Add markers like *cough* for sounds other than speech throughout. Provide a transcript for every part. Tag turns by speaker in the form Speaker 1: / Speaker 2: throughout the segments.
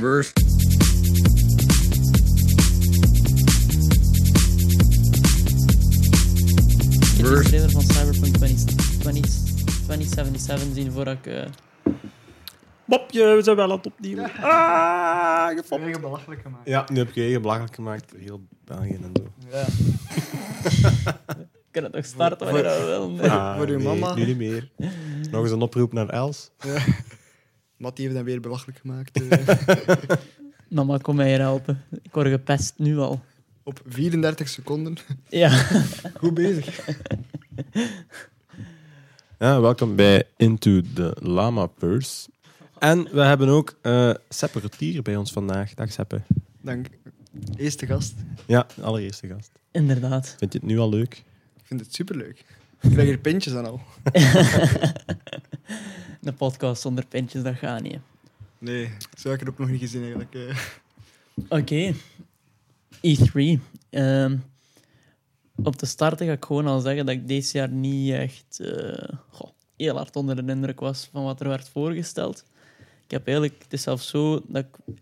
Speaker 1: verse
Speaker 2: Ik heb de
Speaker 1: Verse.
Speaker 2: trailer van Cyberpunk 20, 20, 2077 zien voordat ik... eh,
Speaker 3: Mopje, we zijn wel aan het opnieuw. Ah,
Speaker 4: Heb
Speaker 3: gefopt.
Speaker 4: je belachelijk gemaakt?
Speaker 5: Ja, nu heb ik je eigen belachelijk gemaakt. Heel België en zo.
Speaker 4: Ja.
Speaker 2: Ik kan het nog starten
Speaker 3: Voor-
Speaker 2: wanneer we willen.
Speaker 5: Ah,
Speaker 3: voor uw
Speaker 5: nee,
Speaker 3: mama.
Speaker 5: Nu niet meer. Nog eens een oproep naar Els.
Speaker 3: Matt heeft hem weer belachelijk gemaakt. eh.
Speaker 2: *laughs*
Speaker 3: *laughs*
Speaker 2: Mama, kom mij hier helpen. Ik word gepest nu al.
Speaker 3: op 34 seconden.
Speaker 2: Ja.
Speaker 3: Goed bezig.
Speaker 5: Ja, welkom bij Into the Lama Purse. En we hebben ook eh Seppe Rotier bij ons vandaag. Dag Seppe.
Speaker 3: Dank. Eerste gast.
Speaker 5: Ja, de allereerste gast.
Speaker 2: *laughs* Inderdaad.
Speaker 5: Vind je het nu al leuk?
Speaker 3: Ik vind het superleuk. Ik krijg er pintjes aan al.
Speaker 2: Een podcast zonder pintjes, dat gaat niet. hè.
Speaker 3: Nee, zo heb ik het ook nog niet gezien eigenlijk. eh.
Speaker 2: Oké. E3. Ehm, op de start ga ik gewoon al zeggen dat ik deze jaar niet echt eh, goh, heel hard onder de indruk was van wat er werd voorgesteld. Ik heb eigenlijk, het is zelfs zo dat ik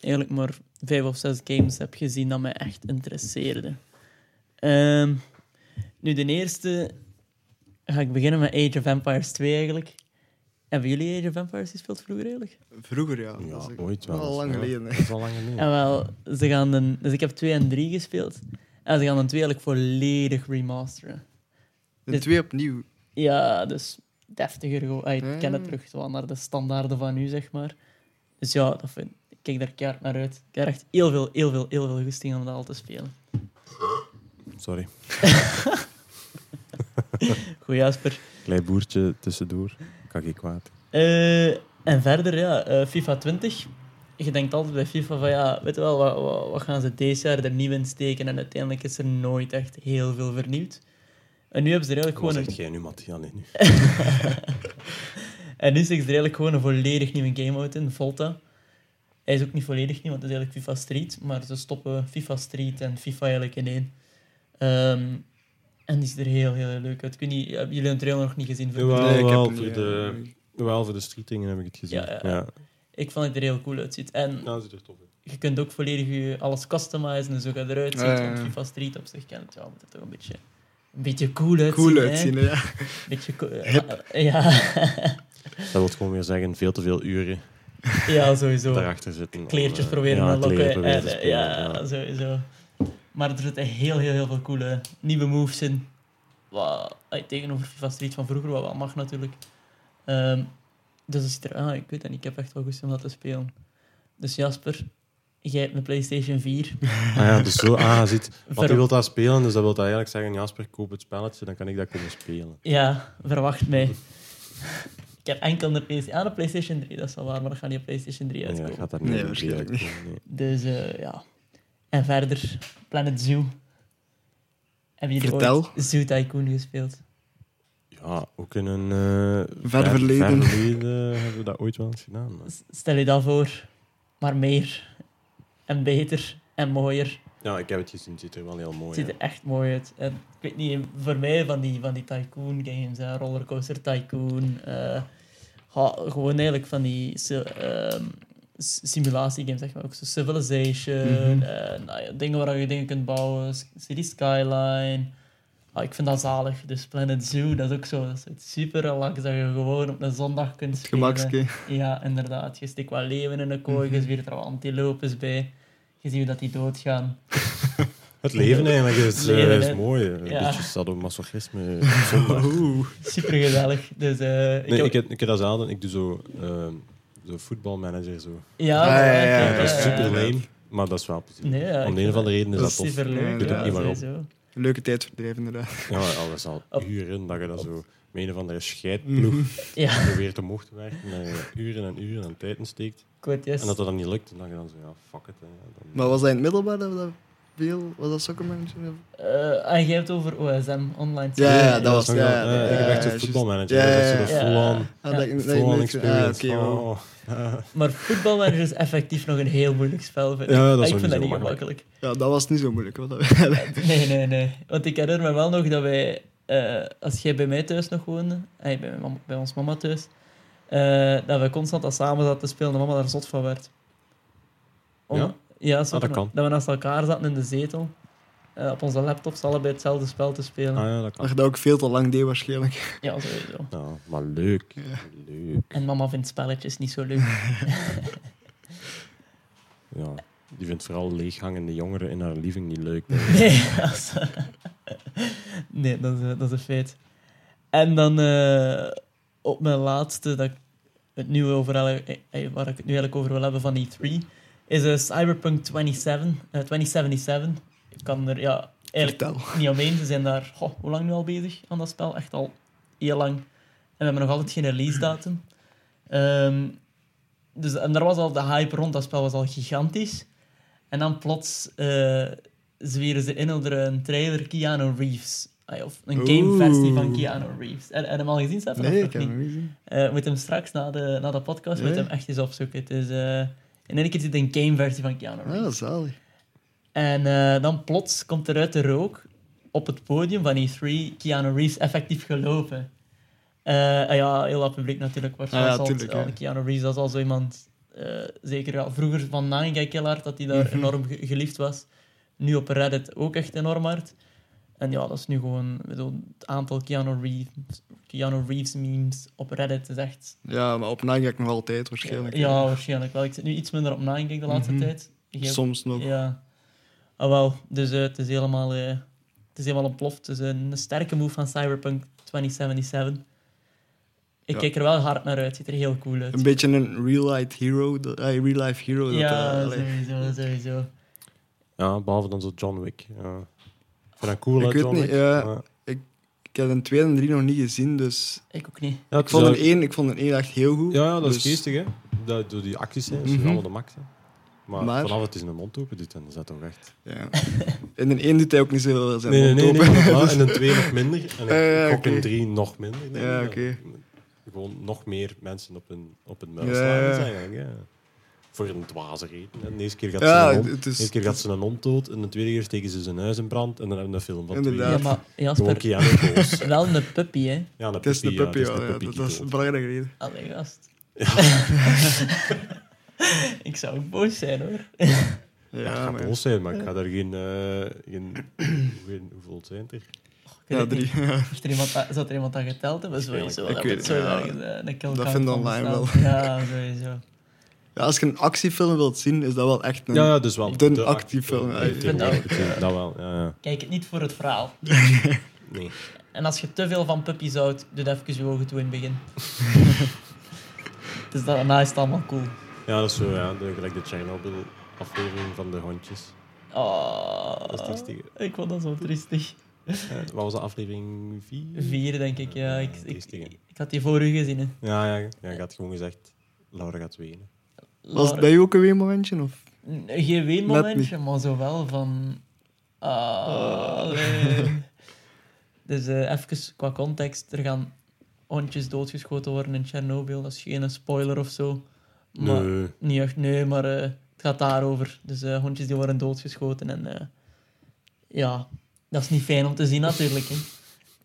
Speaker 2: eigenlijk maar vijf of zes games heb gezien dat mij echt interesseerden. Ehm, nu, de eerste ga ik beginnen met Age of Empires 2 eigenlijk. Hebben jullie Age of Empires gespeeld vroeger eigenlijk?
Speaker 3: Vroeger ja.
Speaker 5: Ja,
Speaker 3: Dat is
Speaker 5: ooit wel
Speaker 3: Al
Speaker 5: eens,
Speaker 3: lang
Speaker 5: ja.
Speaker 3: geleden. hè.
Speaker 5: Dat is al lang geleden.
Speaker 2: En wel, ze gaan de, dus ik heb 2 en 3 gespeeld. En ze gaan de 2 eigenlijk volledig remasteren.
Speaker 3: De
Speaker 2: Dit-
Speaker 3: twee opnieuw.
Speaker 2: Ja, dus deftiger gewoon. Ah, Ik ken het
Speaker 3: Mm.
Speaker 2: terug wel naar de standaarden van nu, zeg maar. Dus ja, dat vind, ik kijk daar keihard naar uit. Ik heb er echt heel veel, heel veel, heel veel goesting om dat al te spelen.
Speaker 5: Sorry.
Speaker 2: Goed, Jasper.
Speaker 5: Klein boertje tussendoor. Kan ik kwaad.
Speaker 2: Eh, en verder, ja, eh, FIFA 20. Je denkt altijd bij FIFA van, ja, weet je wel, wat, wat, wat gaan ze deze jaar er nieuw in steken? En uiteindelijk is er nooit echt heel veel vernieuwd. En nu hebben ze er eigenlijk
Speaker 5: Gewoon
Speaker 2: gewoon een
Speaker 5: zegt jij nu, Matthias? Nee, nu.
Speaker 2: *laughs* En nu is er eigenlijk gewoon een volledig nieuwe game uit in, Volta. Hij is ook niet volledig nieuw, want het is eigenlijk FIFA Street. Maar ze stoppen FIFA Street en FIFA eigenlijk in één. Ehm, en die ziet er heel, heel leuk uit. Ik weet niet, hebben jullie een trailer nog niet gezien?
Speaker 5: Jawel.
Speaker 2: mij?
Speaker 5: Wel, wel,
Speaker 3: hem
Speaker 5: voor
Speaker 3: niet,
Speaker 5: de-
Speaker 3: eh.
Speaker 5: Wel, voor de streetingen heb ik het gezien.
Speaker 2: Ja, ja, ja. Ik vond het er heel cool uitziet. En
Speaker 5: Nou, zit er tof in.
Speaker 2: je kunt ook volledig je alles customizen, dus ook het eruit ziet.
Speaker 3: Ja, ja, ja.
Speaker 2: Want FIFA Street op zich kent, ja, moet het toch een beetje, een beetje cool uitzien.
Speaker 3: Cool
Speaker 2: hè?
Speaker 3: uitzien, hè, ja.
Speaker 2: Beetje cool- *laughs* Ja.
Speaker 5: Dat wil gewoon weer zeggen, veel te veel uren
Speaker 2: ja, sowieso.
Speaker 5: daarachter zitten. om,
Speaker 2: kleertjes
Speaker 5: eh,
Speaker 2: proberen te
Speaker 5: ja,
Speaker 2: lokken.
Speaker 5: kleren proberen
Speaker 2: en,
Speaker 5: te
Speaker 2: eh,
Speaker 5: spelen,
Speaker 2: ja, *laughs*
Speaker 5: ja.
Speaker 2: sowieso. Maar er zitten heel, heel, heel veel coole nieuwe moves in. Wat, ay, tegenover FIFA Street van vroeger, wat wel mag natuurlijk. Ehm, dus dat ziet er... Ah, ik weet dat niet. Ik heb echt wel goed zin om dat te spelen. Dus Jasper, jij hebt een PlayStation 4.
Speaker 5: Ah ja, dus zo, ah, ziet. Want
Speaker 2: Ver-
Speaker 5: die wil dat spelen, dus dat wil dat eigenlijk zeggen, Jasper, koop het spelletje, dan kan ik dat komen spelen.
Speaker 2: *laughs* Ja, verwacht mij. *laughs* ik heb enkel een PlayStation... Ah, een PlayStation 3, dat is wel waar. Maar dat gaat niet op PlayStation 3
Speaker 5: Nee,
Speaker 2: uitkomen.
Speaker 5: dat gaat daar
Speaker 3: Nee,
Speaker 5: niet op
Speaker 3: waarschijnlijk
Speaker 5: spelen. Nee.
Speaker 2: Dus eh, ja. En verder, Planet Zoo. Hebben jullie
Speaker 3: Vertel.
Speaker 2: ooit Zoo Tycoon gespeeld?
Speaker 5: Ja, ook in een... eh,
Speaker 3: Ver verleden.
Speaker 5: ver verleden hebben we dat ooit wel eens gedaan. maar-
Speaker 2: S- Stel je dat voor, maar meer en beter en mooier.
Speaker 5: Ja, ik heb het gezien, het ziet er wel heel
Speaker 2: Het
Speaker 5: mooi
Speaker 2: ziet
Speaker 5: uit.
Speaker 2: er echt mooi uit. En, ik weet niet, voor mij van die, van die Tycoon games, hè, Rollercoaster Tycoon, eh, ja, gewoon eigenlijk van die si- ehm, s- simulatie games, zeg maar ook zo Civilization,
Speaker 3: Mhm.
Speaker 2: eh, nou ja, dingen waar je dingen kunt bouwen, S- City Skyline. Ah, ik vind dat zalig. Dus Planet Zoo, dat is ook zo. Dat is iets super relaxed dat je gewoon op een zondag kunt spelen.
Speaker 3: Gemakske.
Speaker 2: Ja, inderdaad. Je steekt wel leeuwen in de kooi, je zwiert er wel antilopes bij. Je ziet hoe dat die doodgaan.
Speaker 5: Het leven eigenlijk is, eh,
Speaker 2: Leven, hè.
Speaker 5: is mooi. eh, Een
Speaker 2: Ja.
Speaker 5: beetje sadomasochisme. op zondag.
Speaker 3: Oeh.
Speaker 2: Super gezellig. Dus, eh, ik
Speaker 5: Nee,
Speaker 2: heb-
Speaker 5: ik heb, ik heb dat zelden. Ik doe zo, ehm zo voetbalmanager zo.
Speaker 2: Ja,
Speaker 3: Ah, ja,
Speaker 2: maar-
Speaker 3: ja, ja,
Speaker 5: dat is super
Speaker 3: ja.
Speaker 5: lame, maar dat is wel plezierig.
Speaker 2: Nee, ja,
Speaker 5: Om
Speaker 2: ik
Speaker 5: de een of
Speaker 2: vind
Speaker 5: andere reden is
Speaker 2: Dat is
Speaker 5: dat tof.
Speaker 2: super leuk.
Speaker 3: Ik doe
Speaker 2: Ja,
Speaker 3: het niet
Speaker 5: maar op.
Speaker 2: sowieso.
Speaker 3: Leuke tijdverdrijf inderdaad.
Speaker 5: Ja, maar dat is al
Speaker 2: Op-
Speaker 5: uren dat je dat zo met een of andere scheidploeg
Speaker 2: Ja,
Speaker 5: probeert omhoog te werken. En dat je uren en uren aan tijd steekt.
Speaker 2: ik weet juist.
Speaker 5: En dat dat dan niet lukt, en dan je dan zo, ja, fuck it. Hè, dan...
Speaker 3: Maar was dat in het middelbaar dat we dat veel... Was dat Ah, soccer manager?
Speaker 2: Eh, en jij hebt over OSM online.
Speaker 3: Ja, ja, dat
Speaker 5: is
Speaker 3: was-
Speaker 5: nog
Speaker 3: ja,
Speaker 5: wel- eh, ik heb
Speaker 3: ja,
Speaker 5: echt zo'n
Speaker 3: juist.
Speaker 5: voetbalmanager.
Speaker 3: Ja,
Speaker 5: Dat
Speaker 3: ja,
Speaker 5: is zo
Speaker 2: ja.
Speaker 5: de full-on
Speaker 3: Ah, dat ik- dat ik
Speaker 5: full
Speaker 3: nooit- Ah,
Speaker 5: experience.
Speaker 3: oké, wel.
Speaker 5: Oh.
Speaker 2: Maar voetbalmanager is dus effectief nog een heel moeilijk spel. Vind ik. Ah,
Speaker 5: Ja, dat is
Speaker 2: ik
Speaker 5: ook
Speaker 2: vind
Speaker 5: niet
Speaker 2: dat
Speaker 5: zo
Speaker 2: niet
Speaker 5: makkelijk.
Speaker 2: gemakkelijk.
Speaker 3: Ja, dat was niet zo moeilijk. Wat dat... *laughs*
Speaker 2: Nee, nee, nee. Want ik herinner me wel nog dat wij, eh, als jij bij mij thuis nog woonde, eh, bij, mijn mam- bij ons mama thuis, eh, dat we constant al samen zaten te spelen en mama daar zot van werd. Om-
Speaker 5: Ja? Ah,
Speaker 2: Ja, snap
Speaker 5: dat
Speaker 2: je?
Speaker 5: kan.
Speaker 2: Dat we naast elkaar zaten in de zetel. eh, op onze laptops allebei hetzelfde spel te spelen.
Speaker 5: Ah ja, dat
Speaker 1: Dat
Speaker 5: kan.
Speaker 1: je dat ook veel te lang deed waarschijnlijk.
Speaker 2: Ja, sowieso.
Speaker 5: Ja, maar leuk.
Speaker 1: Ja.
Speaker 5: Leuk.
Speaker 2: En mama vindt spelletjes niet zo leuk.
Speaker 5: Ja. Die vindt vooral leeghangende jongeren in haar living niet leuk.
Speaker 2: Nee, *laughs* als- nee dat, is, eh, dat is een feit. En dan eh, op mijn laatste, dat ik het nu over, alle- eh, eh, waar ik het nu eigenlijk over wil hebben van E3, is eh, Cyberpunk 27, eh, 2077. Ik kan er ja, eigenlijk
Speaker 1: Vertel.
Speaker 2: niet omheen. Ze zijn daar, goh, hoe lang nu al bezig aan dat spel? Echt al heel lang. En we hebben nog altijd geen release datum. Ehm, dus, en daar was al de hype rond, dat spel was al gigantisch. En dan plots eh, zweren ze in onder een trailer Keanu Reeves. Ay, Of een
Speaker 1: Oeh.
Speaker 2: gameversie van Keanu Reeves. Heb heb je hem al gezien, Stefan? of
Speaker 1: Nee,
Speaker 2: nog
Speaker 1: ik heb
Speaker 2: niet?
Speaker 1: hem niet gezien.
Speaker 2: Eh, moet hem straks na de, na de podcast
Speaker 1: Nee.
Speaker 2: moet hem echt eens opzoeken. Het is, eh, in één keer zit een gameversie van Keanu Reeves.
Speaker 1: Ah, zalig.
Speaker 2: En eh, dan plots komt er uit de rook op het podium van E3 Keanu Reeves effectief gelopen. Eh, ah ja, heel dat publiek natuurlijk. Waarschijnlijk
Speaker 1: Ah ja,
Speaker 2: zal-
Speaker 1: tuurlijk, hè.
Speaker 2: Keanu Reeves dat is al zo iemand, eh, zeker ja, vroeger van Nine Killer, dat hij daar
Speaker 1: Mhm.
Speaker 2: enorm ge- geliefd was. Nu op Reddit ook echt enorm hard. En ja, dat is nu gewoon ik bedoel, het aantal Keanu Reeves, Keanu Reeves memes op Reddit is echt
Speaker 1: Ja, maar op Nike nog altijd waarschijnlijk.
Speaker 2: ja, waarschijnlijk wel. Ik zit nu iets minder op Nine de laatste
Speaker 1: Mhm.
Speaker 2: tijd. Geen-
Speaker 1: Soms nog.
Speaker 2: ja. Ah, wel. Dus eh, het, is helemaal, eh, het is helemaal ontploft. Het is een sterke move van Cyberpunk 2077. Ik
Speaker 1: Ja.
Speaker 2: kijk er wel hard naar uit. Ziet er heel cool uit.
Speaker 1: Een beetje een real-life hero. dat- eh, real-life hero. dat, eh,
Speaker 2: ja,
Speaker 1: allee.
Speaker 2: sowieso, sowieso.
Speaker 5: Ja, behalve dan zo John Wick. Ja. Ik vind dat cool,
Speaker 1: Ik
Speaker 5: hè,
Speaker 1: weet
Speaker 5: John
Speaker 1: niet,
Speaker 5: Wick.
Speaker 1: ja.
Speaker 5: Maar-
Speaker 1: Ik heb een 2 en 3 nog niet gezien, dus...
Speaker 2: Ik ook niet.
Speaker 5: Ja,
Speaker 1: Ik vond een 1, ik vond een 1 echt heel goed.
Speaker 5: Ja, ja, dat is
Speaker 1: dus-
Speaker 5: geestig, hè. Dat, door die acties, hè. Dat is
Speaker 1: Mhm.
Speaker 5: allemaal de max, hè. Maar,
Speaker 1: Maar-
Speaker 5: vanaf het is een mond open doet, dan is dat toch echt...
Speaker 1: Ja. In een 1 doet hij ook niet zoveel zijn
Speaker 5: Nee, nee,
Speaker 1: mond
Speaker 5: nee.
Speaker 1: open. *laughs*
Speaker 5: nee, Ah, maar- en een twee nog minder. En
Speaker 1: Ja, Ah, ja,
Speaker 5: een, ook
Speaker 1: oké.
Speaker 5: een drie nog minder. denk ik.
Speaker 1: Ja,
Speaker 5: Dat-
Speaker 1: oké.
Speaker 5: Gewoon nog meer mensen op hun, op hun muil
Speaker 1: Ja,
Speaker 5: slaan,
Speaker 1: ja.
Speaker 5: is eigenlijk, hè. Voor een dwaze reden. En de eerste keer gaat
Speaker 1: Ja,
Speaker 5: ze een hond,
Speaker 1: het is-
Speaker 5: de eerste keer gaat ze een hond dood. En de tweede keer steken ze zijn huis in brand. En dan hebben we een film van
Speaker 1: Inderdaad.
Speaker 2: Ja,
Speaker 1: Ja.
Speaker 5: twee uur.
Speaker 2: maar
Speaker 5: Gewoon
Speaker 2: Jasper,
Speaker 5: Keanu boos.
Speaker 1: *laughs*
Speaker 2: wel een puppy, hè.
Speaker 5: Ja, een
Speaker 1: Het is de
Speaker 5: puppy, ja, het
Speaker 1: puppy,
Speaker 5: is
Speaker 1: ja,
Speaker 5: de
Speaker 1: ja,
Speaker 5: puppy
Speaker 1: dat
Speaker 5: die
Speaker 1: is
Speaker 5: dood.
Speaker 1: een belangrijke reden.
Speaker 2: Allee,
Speaker 1: *laughs*
Speaker 2: gast. ik zou ook boos zijn, hoor.
Speaker 5: Ja, het
Speaker 1: Ja,
Speaker 5: gaat
Speaker 1: maar-
Speaker 5: boos zijn, maar ik ga daar geen... eh, geen hoeveel- hoeveel zijn het er?
Speaker 2: Ik
Speaker 1: Ja,
Speaker 2: weet het niet.
Speaker 1: drie. Ja.
Speaker 2: Heeft er iemand dat, zou er iemand dat geteld hebben? Sowieso.
Speaker 1: Ik
Speaker 2: dat
Speaker 1: weet
Speaker 2: moet
Speaker 1: het,
Speaker 2: zo
Speaker 1: ja.
Speaker 2: wel eens, eh, een kill
Speaker 1: Dat
Speaker 2: count
Speaker 1: vindt
Speaker 2: van
Speaker 1: online
Speaker 2: bestaan. Ja, sowieso.
Speaker 1: Ja, als je een actiefilm wilt zien, is dat wel echt een...
Speaker 5: Ja, ja, dus wel.
Speaker 1: De
Speaker 5: De
Speaker 1: actieve film, ja.
Speaker 5: Nee,
Speaker 1: Ik
Speaker 2: vind
Speaker 5: tegenwoordig,
Speaker 2: ook,
Speaker 5: ik vind dat wel, ja, ja.
Speaker 2: Kijk het niet voor het verhaal.
Speaker 5: Nee.
Speaker 2: En als je te veel van puppies houdt, doe dat even je ogen toe in het
Speaker 5: *laughs*
Speaker 2: begin. dus daarna is het allemaal cool.
Speaker 5: Ja, dat is zo, ja. De, gelijk de Chernobyl-aflevering van de hondjes.
Speaker 2: Oh,
Speaker 5: Dat is triestig.
Speaker 2: Ik vond dat zo triestig.
Speaker 5: Eh, wat was de aflevering 4?
Speaker 2: Vier, denk ik. Ja, ik, ik,
Speaker 5: Triestig, hè.
Speaker 2: ik had die voor u gezien. Hè.
Speaker 5: Ja, ja. Ja, ik had gewoon gezegd, Laura gaat wenen.
Speaker 1: Was het bij jou ook een weemomentje? Of?
Speaker 2: N- Geen
Speaker 1: Net
Speaker 2: weenmomentje, maar zo wel van... Ah,
Speaker 1: *laughs*
Speaker 2: allee. Dus eh, even qua context. Er gaan hondjes doodgeschoten worden in Tsjernobyl. Dat is geen spoiler of zo. Maar,
Speaker 5: Nee.
Speaker 2: Niet echt, nee, maar eh, het gaat daarover. Dus eh, hondjes die worden doodgeschoten. En eh, ja, dat is niet fijn om te zien natuurlijk. Hè.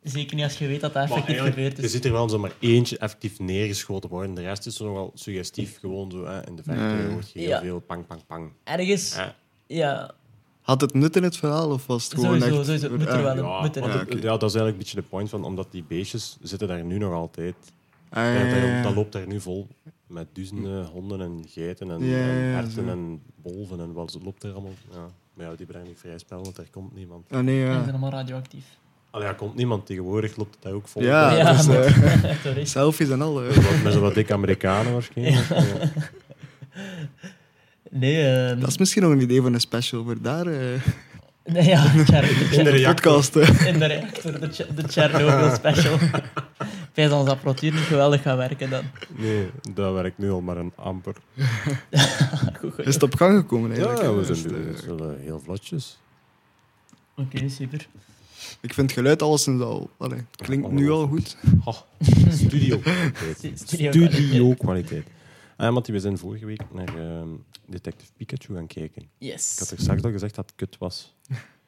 Speaker 2: Zeker niet als je weet dat dat
Speaker 5: Maar
Speaker 2: effectief
Speaker 5: eigenlijk,
Speaker 2: gebeurd
Speaker 5: Je
Speaker 2: is.
Speaker 5: ziet er wel zomaar eentje effectief neergeschoten worden. De rest is zo nogal suggestief. Gewoon zo, hè. In de verte
Speaker 1: Nee.
Speaker 5: hoort je heel
Speaker 2: Ja.
Speaker 5: veel pang, pang, pang.
Speaker 2: Ergens,
Speaker 5: Ja.
Speaker 2: ja,
Speaker 1: Had het nut in het verhaal, of was het gewoon
Speaker 2: sowieso,
Speaker 1: echt...
Speaker 2: sowieso. Moet er wel
Speaker 1: Ah,
Speaker 2: een-
Speaker 5: Ja,
Speaker 2: moet er
Speaker 5: want
Speaker 2: een-
Speaker 5: het- ja, dat is eigenlijk een beetje de point van, omdat die beestjes zitten daar nu nog altijd.
Speaker 1: ja,
Speaker 5: Ja,
Speaker 1: ja, ja.
Speaker 5: dat, dat loopt daar nu vol met duizenden honden en geiten en,
Speaker 1: Ja, ja,
Speaker 5: en
Speaker 1: ja,
Speaker 5: herten
Speaker 1: zo.
Speaker 5: en wolven en wat ze- loopt er allemaal. Ja. Maar ja, die brengen niet vrij spel, want daar komt niemand.
Speaker 1: Ah, nee,
Speaker 2: ze zijn
Speaker 1: ja.
Speaker 2: allemaal radioactief.
Speaker 5: Allee, ja, komt niemand. Tegenwoordig loopt dat ook vol.
Speaker 1: Ja,
Speaker 2: Ja,
Speaker 1: dus,
Speaker 2: maar-
Speaker 1: eh,
Speaker 2: *laughs* Sorry.
Speaker 1: selfies en al. hè.
Speaker 5: Met zo wat dikke Amerikanen waarschijnlijk. Ja.
Speaker 2: Nee, ehm,
Speaker 1: Dat is misschien nog een idee voor een special, voor daar... eh,
Speaker 5: *laughs*
Speaker 2: nee
Speaker 1: *laughs*
Speaker 2: ja, de Tsjer-
Speaker 5: In de reactor.
Speaker 1: podcast, hè.
Speaker 2: in de reactor, de, Tsjer- de Chernobyl
Speaker 1: *laughs*
Speaker 2: special. Ik weet dat onze apparatuur niet geweldig gaat werken dan.
Speaker 5: Nee, dat werkt nu al maar een amper.
Speaker 2: Goed, goed.
Speaker 1: Is het op gang gekomen,
Speaker 5: Ja,
Speaker 1: eigenlijk? hè?
Speaker 5: we
Speaker 1: Is
Speaker 5: zijn
Speaker 1: het,
Speaker 5: nu-
Speaker 1: eh,
Speaker 5: het is wel eh, heel vlotjes.
Speaker 2: Oké, super.
Speaker 1: Ik vind het geluid alleszins al... Allee, het klinkt nu al goed.
Speaker 5: Oh, *laughs* studio kwaliteit.
Speaker 2: Studio
Speaker 5: Studio kwaliteit. Ah, Mattie, we zijn vorige week naar ehm, Detective Pikachu gaan kijken.
Speaker 2: Yes.
Speaker 5: Ik had er straks al gezegd dat het kut was.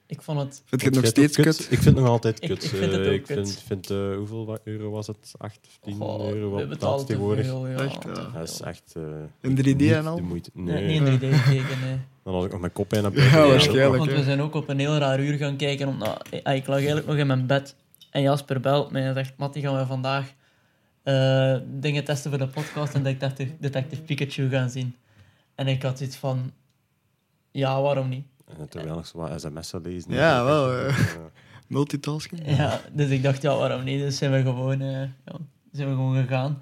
Speaker 2: Ik vond het...
Speaker 1: Vind je het nog
Speaker 5: Jij
Speaker 1: steeds
Speaker 5: toch
Speaker 1: kut?
Speaker 5: Ik vind het nog altijd
Speaker 2: Ik- *laughs*
Speaker 5: kut.
Speaker 2: ik vind het
Speaker 5: Eh,
Speaker 2: ook
Speaker 5: ik
Speaker 2: kut.
Speaker 5: vind, vind, eh, hoeveel wa- euro was het? 8 of 10
Speaker 2: Goh,
Speaker 5: euro?
Speaker 2: we
Speaker 5: Wat betaalt
Speaker 2: betalen
Speaker 5: het
Speaker 2: te
Speaker 5: tegenwoordig?
Speaker 2: veel, ja.
Speaker 1: Echt,
Speaker 2: te
Speaker 1: ja.
Speaker 2: veel.
Speaker 5: Dat is echt... eh,
Speaker 1: In 3D
Speaker 5: niet
Speaker 1: en al?
Speaker 5: De moeite. Nee.
Speaker 2: Nee, niet in 3D gekeken, nee.
Speaker 5: Dan had ik nog mijn
Speaker 1: *laughs*
Speaker 5: koppijn aan
Speaker 1: Ja, waarschijnlijk.
Speaker 2: Want
Speaker 1: hè.
Speaker 2: we zijn ook op een heel raar uur gaan kijken. Om, nou, ik ik lag eigenlijk nog in mijn bed. En Jasper belt mij en zegt: Matti, gaan we vandaag eh, dingen testen voor de podcast en Detective, Detective Pikachu gaan zien? En ik had iets van: Ja, waarom niet?
Speaker 5: En Eh, terwijl nog zo wat sms'en lezen.
Speaker 1: Ja, wel, eh.
Speaker 5: Eh,
Speaker 1: Multitasking.
Speaker 2: Ja, dus ik dacht: Ja, waarom niet? Dus zijn we gewoon, eh, ja, zijn we gewoon gegaan.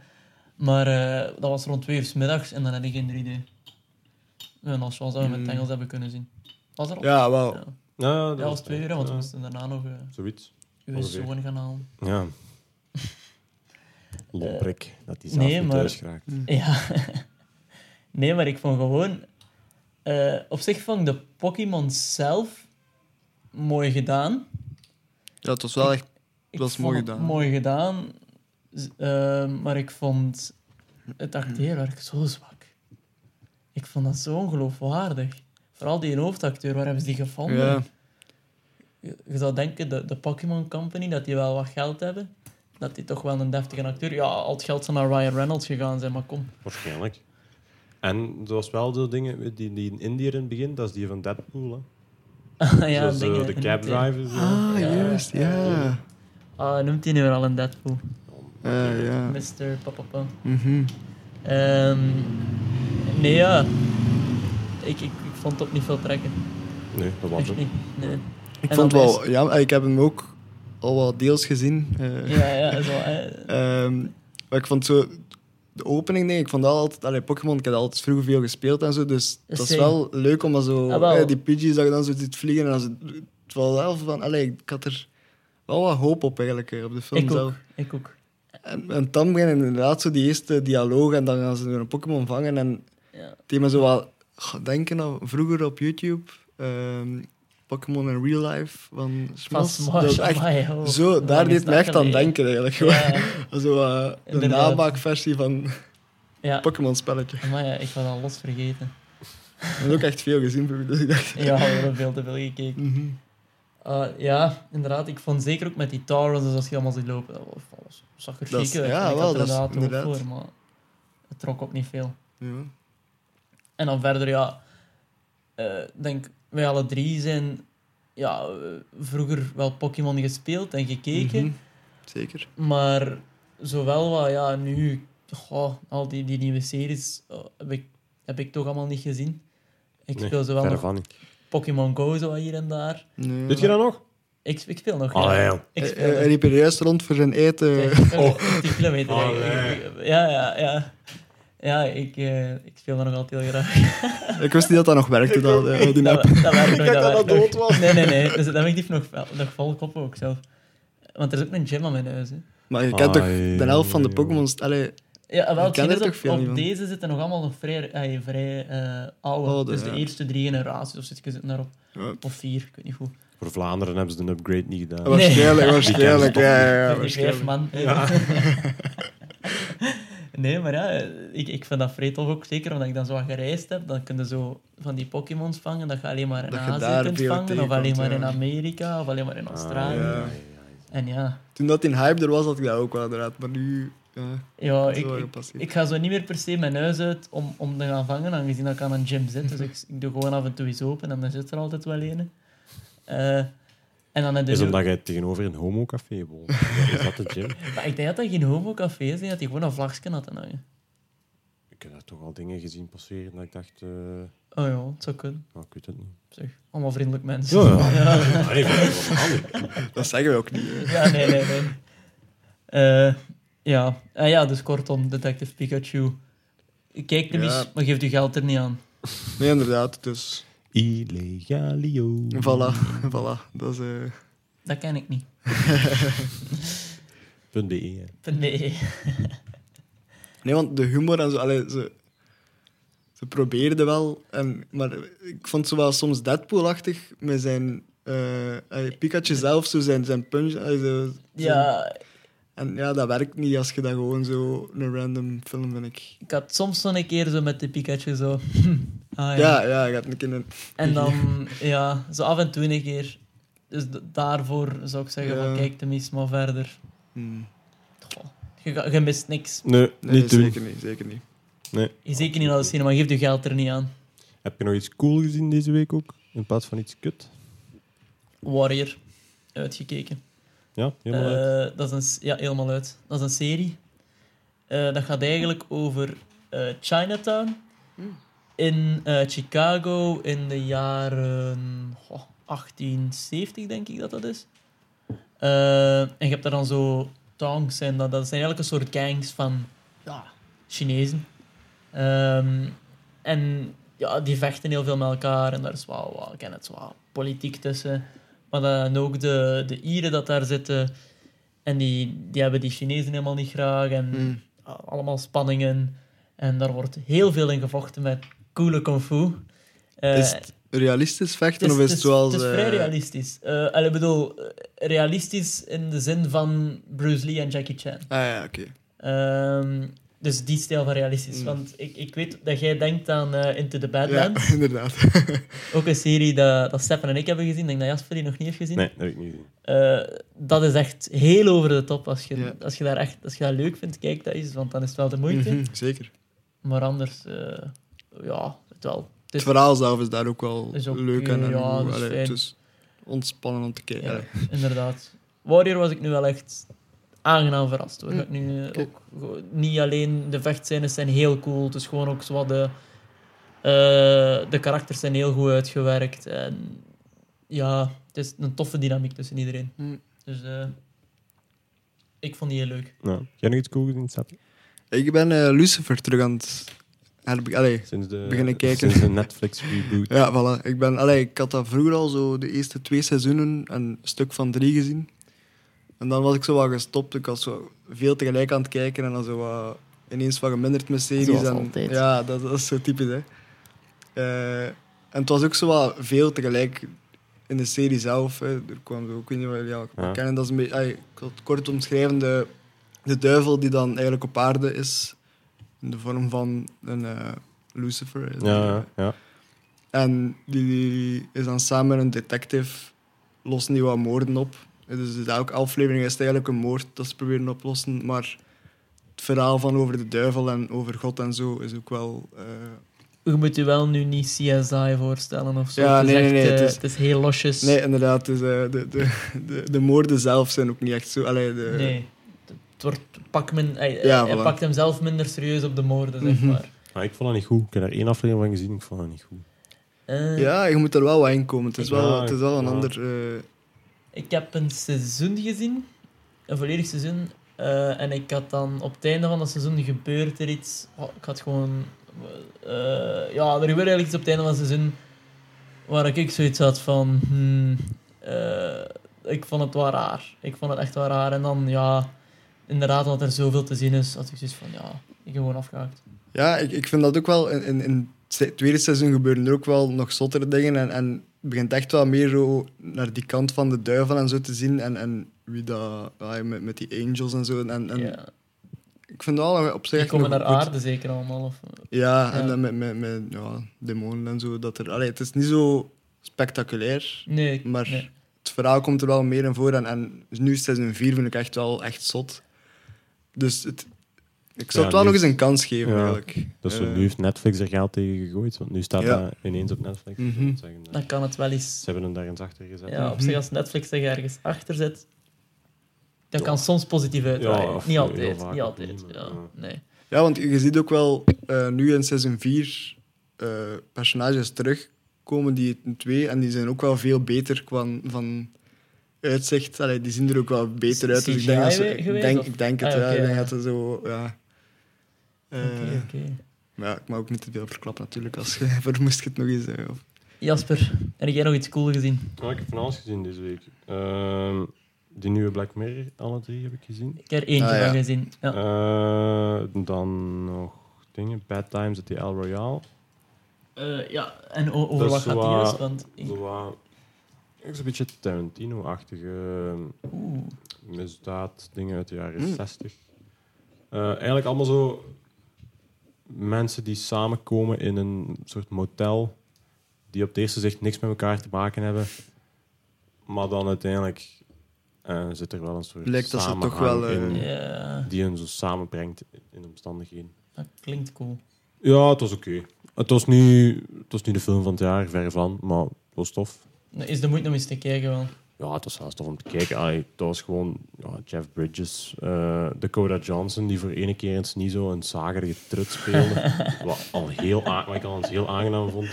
Speaker 2: Maar eh, dat was rond twee uur 's middags en dan had ik geen 3D. En als we zouden we met
Speaker 1: Hmm.
Speaker 2: het Engels hebben kunnen zien. Was er al?
Speaker 1: Ja, wel.
Speaker 2: Mm. Ja,
Speaker 5: nou,
Speaker 2: dat was twee uur, hè, want we
Speaker 5: ja,
Speaker 2: moesten daarna nog eh,
Speaker 5: Zoiets.
Speaker 2: uw
Speaker 5: Ongeveer.
Speaker 2: zoon gaan halen.
Speaker 5: Ja. Lomprik, dat die
Speaker 2: Eh,
Speaker 5: zelf
Speaker 2: nee,
Speaker 5: niet
Speaker 2: maar-
Speaker 5: thuis geraakt.
Speaker 2: Ja. *laughs* Nee, maar ik vond gewoon... eh, op zich vond ik de Pokémon zelf mooi gedaan.
Speaker 1: Ja, het was wel echt...
Speaker 2: Ik
Speaker 1: Dat is
Speaker 2: vond
Speaker 1: mooi
Speaker 2: het
Speaker 1: gedaan.
Speaker 2: mooi gedaan. Z- eh, maar ik vond het acteerwerk zo zwak. Ik vond dat zo ongeloofwaardig. Vooral die hoofdacteur, waar hebben ze die gevonden?
Speaker 1: Ja.
Speaker 2: Je, je zou denken, de, de Pokémon Company, dat die wel wat geld hebben. Dat die toch wel een deftige acteur... Ja, al het geld zou naar Ryan Reynolds gegaan zijn, maar kom. *laughs*
Speaker 5: Waarschijnlijk. En dat was wel de dingen die, die in India in het begin, dat is die van Deadpool. Hè.
Speaker 2: ja,
Speaker 5: Zoals, eh,
Speaker 2: dingen-
Speaker 5: de cab drivers. eh.
Speaker 1: Ah,
Speaker 2: Ja.
Speaker 1: juist, ja.
Speaker 2: Ah, noemt hij nu weer al een Deadpool?
Speaker 1: Ja, ja.
Speaker 2: Mr. Papapa.
Speaker 1: Mhm.
Speaker 2: Ehm nee, ja. Ik, ik, ik vond het op niet veel trekken.
Speaker 5: Nee, dat was
Speaker 2: Echt
Speaker 5: het.
Speaker 2: niet. Nee.
Speaker 1: Ik
Speaker 2: En
Speaker 1: vond
Speaker 2: dan
Speaker 1: wel... Ja, ik heb hem ook al wat deels gezien. eh.
Speaker 2: Ja, ja, zo. eh.
Speaker 1: Ehm, maar ik vond zo... De opening, denk ik, ik vond dat altijd... Allee, Pokémon, ik heb dat altijd vroeger veel gespeeld en zo, dus dat is
Speaker 2: Same.
Speaker 1: wel leuk om dat zo...
Speaker 2: Ah, wel.
Speaker 1: eh, die Pidgeys, dat je dan zo ziet vliegen en dan zo... Het was wel van... Allee, ik had er wel wat hoop op, eigenlijk, eh, op de film
Speaker 2: Ik
Speaker 1: zelf.
Speaker 2: ook. Ik ook.
Speaker 1: En, en dan beginnen inderdaad zo die eerste dialoog en dan gaan ze weer een Pokémon vangen en
Speaker 2: Ja.
Speaker 1: die me zo wat goh, denken aan vroeger op YouTube. ehm, Pokémon in real life van
Speaker 2: Van
Speaker 1: Smash.
Speaker 2: Smash,
Speaker 1: Dat is echt
Speaker 2: amai, oh.
Speaker 1: zo,
Speaker 2: Hoe
Speaker 1: daar
Speaker 2: lang is
Speaker 1: deed me
Speaker 2: dat
Speaker 1: echt aan
Speaker 2: geleden?
Speaker 1: denken eigenlijk. Gewoon.
Speaker 2: Ja,
Speaker 1: Zo, eh, de
Speaker 2: Inderdaad.
Speaker 1: namaakversie van
Speaker 2: ja.
Speaker 1: Pokémon spelletje.
Speaker 2: Amai, ja, ik was al los
Speaker 1: *laughs*
Speaker 2: vergeten.
Speaker 1: Ik heb ook echt veel gezien vroeger, dus ik dacht...
Speaker 2: Ja, we hebben veel te veel gekeken.
Speaker 1: mhm.
Speaker 2: Ah, ja, inderdaad. Ik vond zeker ook met die towers, dus als je allemaal ziet lopen, dat was, dat was- zag er
Speaker 1: Dat is-
Speaker 2: chic uit.
Speaker 1: ja,
Speaker 2: En ik
Speaker 1: wel,
Speaker 2: had
Speaker 1: dat
Speaker 2: er
Speaker 1: is
Speaker 2: inderdaad ook
Speaker 1: inderdaad.
Speaker 2: voor, maar het trok op niet veel.
Speaker 1: Ja.
Speaker 2: En dan verder, ja, eh, denk wij alle drie zijn ja, eh, vroeger wel Pokémon gespeeld en gekeken,
Speaker 1: Mhm. Zeker.
Speaker 2: maar zowel wat, ja, nu, goh, al die, die nieuwe series eh, heb, ik, heb ik toch allemaal niet gezien. Ik
Speaker 5: Nee,
Speaker 2: speel zowel
Speaker 5: verre
Speaker 2: nog
Speaker 5: van niet.
Speaker 2: Pokémon Go zo wat hier en daar.
Speaker 1: Nee,
Speaker 5: Doet je dat nog?
Speaker 2: Ik, ik speel nog.
Speaker 5: Allee,
Speaker 2: ja.
Speaker 5: joh.
Speaker 2: Ik
Speaker 1: Eh, eh,
Speaker 2: speel nog.
Speaker 1: Hij liep er juist rond voor zijn eten.
Speaker 2: Oh. 10 kilometer.
Speaker 5: eh, Allee.
Speaker 2: Ja, ja, ja. Ja, ik, eh, ik speel dat nog altijd heel graag.
Speaker 1: Ik wist niet dat dat nog werkte, dat, eh, die
Speaker 2: Dat,
Speaker 1: app.
Speaker 2: dat werkt nog,
Speaker 5: dacht dat
Speaker 2: werkt
Speaker 5: dat
Speaker 2: nog.
Speaker 5: dood was.
Speaker 2: Nee, nee, nee. Dus dat heb ik nog, wel- nog vol koppen ook zelf. Want er is ook een gym aan mijn huis. Hè.
Speaker 1: Maar je kent toch
Speaker 5: Ai,
Speaker 1: de helft van de
Speaker 5: joh.
Speaker 1: Pokémon... Allee,
Speaker 2: Ja, wel,
Speaker 1: Ik ken er
Speaker 2: het is
Speaker 1: toch veel
Speaker 2: op,
Speaker 1: niet
Speaker 2: op
Speaker 1: van.
Speaker 2: deze zitten nog allemaal nog vrij, eh, vrij eh, oude.
Speaker 1: Oude,
Speaker 2: dus de
Speaker 1: Oh, ja.
Speaker 2: eerste drie generaties of zit zitten daarop.
Speaker 1: Ja.
Speaker 2: Of vier, ik weet niet hoe.
Speaker 5: Voor Vlaanderen hebben ze de upgrade niet gedaan.
Speaker 2: Nee.
Speaker 1: eh, Waarschijnlijk, waarschijnlijk.
Speaker 5: Die
Speaker 1: Ja, ja, ja,
Speaker 2: Vijf
Speaker 1: waarschijnlijk.
Speaker 2: man. *laughs* nee, maar ja, ik, ik vind dat vrij tof ook. Zeker omdat ik dan zo wat gereisd heb. Dan kun je zo van die Pokémons vangen. Dat je alleen maar in
Speaker 1: Dat je
Speaker 2: Azië
Speaker 1: daar
Speaker 2: kunt
Speaker 1: veel
Speaker 2: vangen. Of
Speaker 1: tegenkomt,
Speaker 2: alleen maar
Speaker 1: ja.
Speaker 2: in Amerika. Of alleen maar in Australië.
Speaker 1: Ah, ja.
Speaker 2: En ja,
Speaker 1: Toen dat in hype er was, had ik dat ook wel inderdaad. Maar nu... Ja,
Speaker 2: ja
Speaker 1: dat is
Speaker 2: ik,
Speaker 1: wel
Speaker 2: ik,
Speaker 1: gepasseerd.
Speaker 2: ik ga zo niet meer per se mijn huis uit om, om te gaan vangen. Aangezien dat ik aan een gym zit. Dus ik, ik doe gewoon af en toe eens open. En dan zit er altijd wel een. Eh, en dan heb je
Speaker 5: Is
Speaker 2: zo-
Speaker 5: omdat jij tegenover een homocafé *laughs* woont. Is dat de gym?
Speaker 2: Maar ik denk dat dat geen homo-café is. Ik denk dat die gewoon een vlagje had aan hangen.
Speaker 5: Ik heb daar toch al dingen gezien passeren dat ik dacht... eh,
Speaker 2: Oh ja, het zou kunnen.
Speaker 5: nou, ik weet het niet.
Speaker 2: Zeg, allemaal vriendelijk mensen.
Speaker 5: Oh Ja, ja. Nee, dat is wel handig.
Speaker 1: Dat zeggen we ook niet. hè.
Speaker 2: *laughs* Ja, nee, nee, nee. Eh, ja. Ah ja, dus kortom, Detective Pikachu. Kijk hem
Speaker 1: Ja.
Speaker 2: eens, maar geef je geld er niet aan.
Speaker 1: Nee, inderdaad. Dus
Speaker 5: Illegalio.
Speaker 1: voilà. *laughs* voilà. Dat is, eh,
Speaker 2: Dat ken ik niet.
Speaker 5: Punt .be. hè.
Speaker 2: Nee.
Speaker 1: Nee, want de humor en zo... Allee, ze, ze probeerden wel. En, maar ik vond ze wel soms Deadpool-achtig met zijn... eh, allee, Pikachu zelf, zo zijn, zijn punch... allee, zo- zijn-
Speaker 2: Ja,
Speaker 1: En ja, dat werkt niet als je dat gewoon zo... Een random film, vind ik.
Speaker 2: ik had soms zo'n keer zo met de Pikachu zo. *laughs* Ah, ja.
Speaker 1: Ja, ja, je gaat een keer een...
Speaker 2: En dan, ja, zo af en toe een keer. Dus d- daarvoor zou ik zeggen: van,
Speaker 1: Ja.
Speaker 2: kijk tenminste maar verder.
Speaker 1: Hm.
Speaker 2: Goh, je, ga- je mist niks.
Speaker 5: Nee,
Speaker 1: Nee,
Speaker 5: niet doen.
Speaker 1: zeker niet. Zeker niet.
Speaker 2: Je Zeker niet naar de cinema, geef je geld er niet aan.
Speaker 5: Heb je nog iets cool gezien deze week ook? In plaats van iets kut?
Speaker 2: Warrior, uitgekeken.
Speaker 5: Ja, helemaal uit.
Speaker 2: Eh, dat is een, s- ja, helemaal uit. Dat is een serie. Eh, dat gaat eigenlijk over eh, Chinatown in eh, Chicago in de jaren goh, 1870, denk ik dat dat is. Eh, en je hebt daar dan zo tongs en dat, dat zijn eigenlijk een soort gangs van ja, Chinezen. Ehm, en ja, die vechten heel veel met elkaar en daar is wel, wel ik ken het, wel politiek tussen. Maar dan ook de, de Ieren dat daar zitten. En die, die hebben die Chinezen helemaal niet graag. En
Speaker 1: Hm.
Speaker 2: allemaal spanningen. En daar wordt heel veel in gevochten met coole kung fu. Eh,
Speaker 1: Is het realistisch vechten of is het
Speaker 2: het
Speaker 1: zoals...
Speaker 2: het is
Speaker 1: eh,
Speaker 2: vrij realistisch. Eh, allee, ik bedoel, eh, realistisch in de zin van Bruce Lee en Jackie Chan.
Speaker 1: Ah ja, oké.
Speaker 2: Ehm, dus die stijl van realistisch.
Speaker 1: Mm.
Speaker 2: Want ik, ik weet dat jij denkt aan eh, Into the
Speaker 1: Ja,
Speaker 2: Badlands.
Speaker 1: *laughs* inderdaad.
Speaker 2: Ook een serie dat, dat Stefan en ik hebben gezien. Ik denk dat Jasper die nog niet heeft gezien.
Speaker 5: Nee, dat heb ik niet gezien.
Speaker 2: Eh, dat is echt heel over de top. Als je,
Speaker 1: Ja.
Speaker 2: als je, daar echt, als je dat leuk vindt, kijk dat eens. Want dan is het wel de moeite.
Speaker 1: Mhm, zeker.
Speaker 2: Maar anders, eh, ja, het wel. Het
Speaker 1: Het
Speaker 2: is,
Speaker 1: verhaal zelf is daar ook wel
Speaker 2: Is ook-
Speaker 1: leuk en, en
Speaker 2: ja,
Speaker 1: goed.
Speaker 2: dat is
Speaker 1: Allee,
Speaker 2: fijn.
Speaker 1: het is ontspannen om te kijken.
Speaker 2: Ja.
Speaker 1: Allee.
Speaker 2: inderdaad. Warrior was ik nu wel echt aangenaam verrast. Hoor. Dat ik nu eh,
Speaker 1: oké.
Speaker 2: ook, gewoon- niet alleen de vechtscènes zijn heel cool, het is gewoon ook wat de, eh, de karakters zijn heel goed uitgewerkt. En ja, het is een toffe dynamiek tussen iedereen.
Speaker 1: Mm.
Speaker 2: Dus eh, ik vond die heel leuk.
Speaker 5: Nou, jij nog iets cool gezien, Sap?
Speaker 1: Ik ben eh, Lucifer terug aan het... herbe- Allee,
Speaker 5: Sinds de,
Speaker 1: Beginnen kijken.
Speaker 5: Sinds de Netflix
Speaker 1: *laughs*
Speaker 5: reboot.
Speaker 1: ja, voilà. Ik, ben, allee, ik had dat vroeger al zo de eerste twee seizoenen en een stuk van drie gezien. En dan was ik zo wat gestopt. Ik was zo veel tegelijk aan het kijken en dan zo wat ineens wat geminderd met series.
Speaker 2: Zoals
Speaker 1: en,
Speaker 2: altijd.
Speaker 1: Ja, dat, dat is zo typisch, hè. Eh, en het was ook zo wat veel tegelijk in de serie zelf. Hè. Er kwam zo, ik weet niet wat jullie al
Speaker 5: Ja.
Speaker 1: kennen, dat is een beetje... ai, ik wil het kort omschrijven, de, de duivel die dan eigenlijk op aarde is. In de vorm van een eh, Lucifer. hè.
Speaker 5: Ja, ja, ja.
Speaker 1: En die, die is dan samen met een detective, lossen die wat moorden op. Dus elke aflevering is het eigenlijk een moord dat ze proberen oplossen. Maar het verhaal van over de duivel en over God en zo is ook wel... eh,
Speaker 2: Je moet je wel nu niet CSI voorstellen of zo.
Speaker 1: Ja,
Speaker 2: het is
Speaker 1: nee, nee,
Speaker 2: echt,
Speaker 1: nee,
Speaker 2: eh,
Speaker 1: het
Speaker 2: het,
Speaker 1: is-
Speaker 2: is... heel losjes.
Speaker 1: Nee, inderdaad. Dus, eh, de, de, de, de moorden zelf zijn ook niet echt zo... Allee, de,
Speaker 2: Nee. Het wordt, pak men, hij,
Speaker 1: Ja,
Speaker 2: hij
Speaker 1: voilà.
Speaker 2: pakt hem zelf minder serieus op de moorden, zeg
Speaker 1: Mhm.
Speaker 2: maar.
Speaker 5: Maar ik vond dat niet goed. Ik heb daar één aflevering van gezien, ik vond dat niet goed.
Speaker 2: Eh,
Speaker 1: Ja, je moet er wel wat in komen. Het is
Speaker 5: Ja,
Speaker 1: wel, het is wel een
Speaker 5: ja.
Speaker 1: ander... eh,
Speaker 2: Ik heb een seizoen gezien, een volledig seizoen, eh, en ik had dan op het einde van dat seizoen gebeurt er iets. Oh, ik had gewoon. eh, ja, er gebeurde eigenlijk iets op het einde van het seizoen waar ik zoiets had van. hmm, eh, ik vond het wel raar. Ik vond het echt wel raar. En dan, ja, inderdaad, omdat er zoveel te zien is, had ik zoiets van, ja, ik gewoon afgehaakt.
Speaker 1: Ja, ik, ik vind dat ook wel. In, in, in het se- tweede seizoen gebeuren er ook wel nog zottere dingen. En, en het begint echt wel meer zo naar die kant van de duivel en zo te zien. En, en wie dat. ah, met, met die angels en zo. En, en
Speaker 2: ja.
Speaker 1: ik vind dat al op zich.
Speaker 2: Die
Speaker 1: echt
Speaker 2: komen
Speaker 1: nog
Speaker 2: naar
Speaker 1: goed.
Speaker 2: aarde zeker allemaal. Of,
Speaker 1: Ja, en
Speaker 2: Ja.
Speaker 1: dan met, met, met ja, demonen en zo. Dat er, allee, het is niet zo spectaculair.
Speaker 2: nee, ik-
Speaker 1: Maar
Speaker 2: nee.
Speaker 1: het verhaal komt er wel meer in voor. En, en nu is seizoen 4 vind ik echt wel echt zot. Dus het, ik zou
Speaker 5: Ja,
Speaker 1: het wel
Speaker 5: nu-
Speaker 1: nog eens een kans geven,
Speaker 5: Ja.
Speaker 1: eigenlijk.
Speaker 5: Dat is zo,
Speaker 1: Eh,
Speaker 5: nu heeft Netflix er geld tegen gegooid, want nu staat
Speaker 1: Ja.
Speaker 5: dat ineens op Netflix.
Speaker 1: Mhm.
Speaker 5: Ik moet zeggen, eh,
Speaker 2: dan kan het wel eens
Speaker 5: Ze hebben hem daar eens achter gezet.
Speaker 2: Ja, op
Speaker 1: Mhm.
Speaker 2: zich als Netflix zich ergens achter zit, dat
Speaker 5: Ja.
Speaker 2: kan soms positief uitdraaien.
Speaker 5: Ja, of
Speaker 2: niet
Speaker 5: heel
Speaker 2: altijd,
Speaker 5: vaak
Speaker 2: niet
Speaker 5: ook
Speaker 2: altijd.
Speaker 5: niet, maar
Speaker 2: ja.
Speaker 5: ja.
Speaker 2: Nee.
Speaker 1: Ja, want je ziet ook wel eh, nu in seizoen 4 eh, personages terugkomen die in twee en die zijn ook wel veel beter qua van uitzicht. Allee, die zien er ook wel beter
Speaker 2: C-
Speaker 1: uit. Dus ik
Speaker 2: CGI
Speaker 1: denk, dat ze-
Speaker 2: we-
Speaker 1: ik,
Speaker 2: geweest,
Speaker 1: denk,
Speaker 2: of?
Speaker 1: ik denk het,
Speaker 2: Ah,
Speaker 1: ja.
Speaker 2: oké,
Speaker 1: Ik denk
Speaker 2: ja.
Speaker 1: dat ze zo, ja. Eh,
Speaker 2: Oké, oké.
Speaker 1: Maar ja, ik mag ook niet te veel verklappen natuurlijk, als je, *laughs* voor moest je het nog eens... eh, of-
Speaker 2: Jasper, heb jij nog iets cool gezien?
Speaker 5: Oh, ik heb van alles gezien deze week. Ehm, die nieuwe Black Mirror, alle drie heb ik gezien.
Speaker 2: Ik heb er eentje
Speaker 1: Ah, ja.
Speaker 2: van gezien. Ja.
Speaker 5: Eh, dan nog dingen. Bad Times at the El Royale.
Speaker 2: Eh, ja, en o- over
Speaker 5: Dat
Speaker 2: wat
Speaker 5: is
Speaker 2: gaat
Speaker 5: zo,
Speaker 2: die
Speaker 5: eh,
Speaker 2: juist? Want ik-
Speaker 5: Zo wat- ook zo'n beetje Tarantino-achtige ehm,
Speaker 2: Oeh.
Speaker 5: misdaad, dingen uit de jaren
Speaker 1: Hmm.
Speaker 5: 60. Eh, eigenlijk allemaal zo mensen die samenkomen in een soort motel, die op het eerste zicht niks met elkaar te maken hebben, Maar dan uiteindelijk eh, zit er wel een soort
Speaker 1: Lijkt dat ze
Speaker 5: samenhang
Speaker 1: toch wel, eh,
Speaker 5: in,
Speaker 2: Ja,
Speaker 5: die hen zo samenbrengt in de omstandigheden.
Speaker 2: dat klinkt cool.
Speaker 5: Ja, het was oké. Het, was niet- het was niet de film van het jaar, ver van, maar het was tof.
Speaker 2: Is de moeite om eens te kijken wel.
Speaker 5: Ja, het was zelfs tof om te kijken. Allee, ah, het was gewoon ja, Jeff Bridges, eh, Dakota Johnson, die voor ene keer eens niet zo een zagerige trut speelde. wat, al heel aan- wat ik al eens heel aangenaam vond.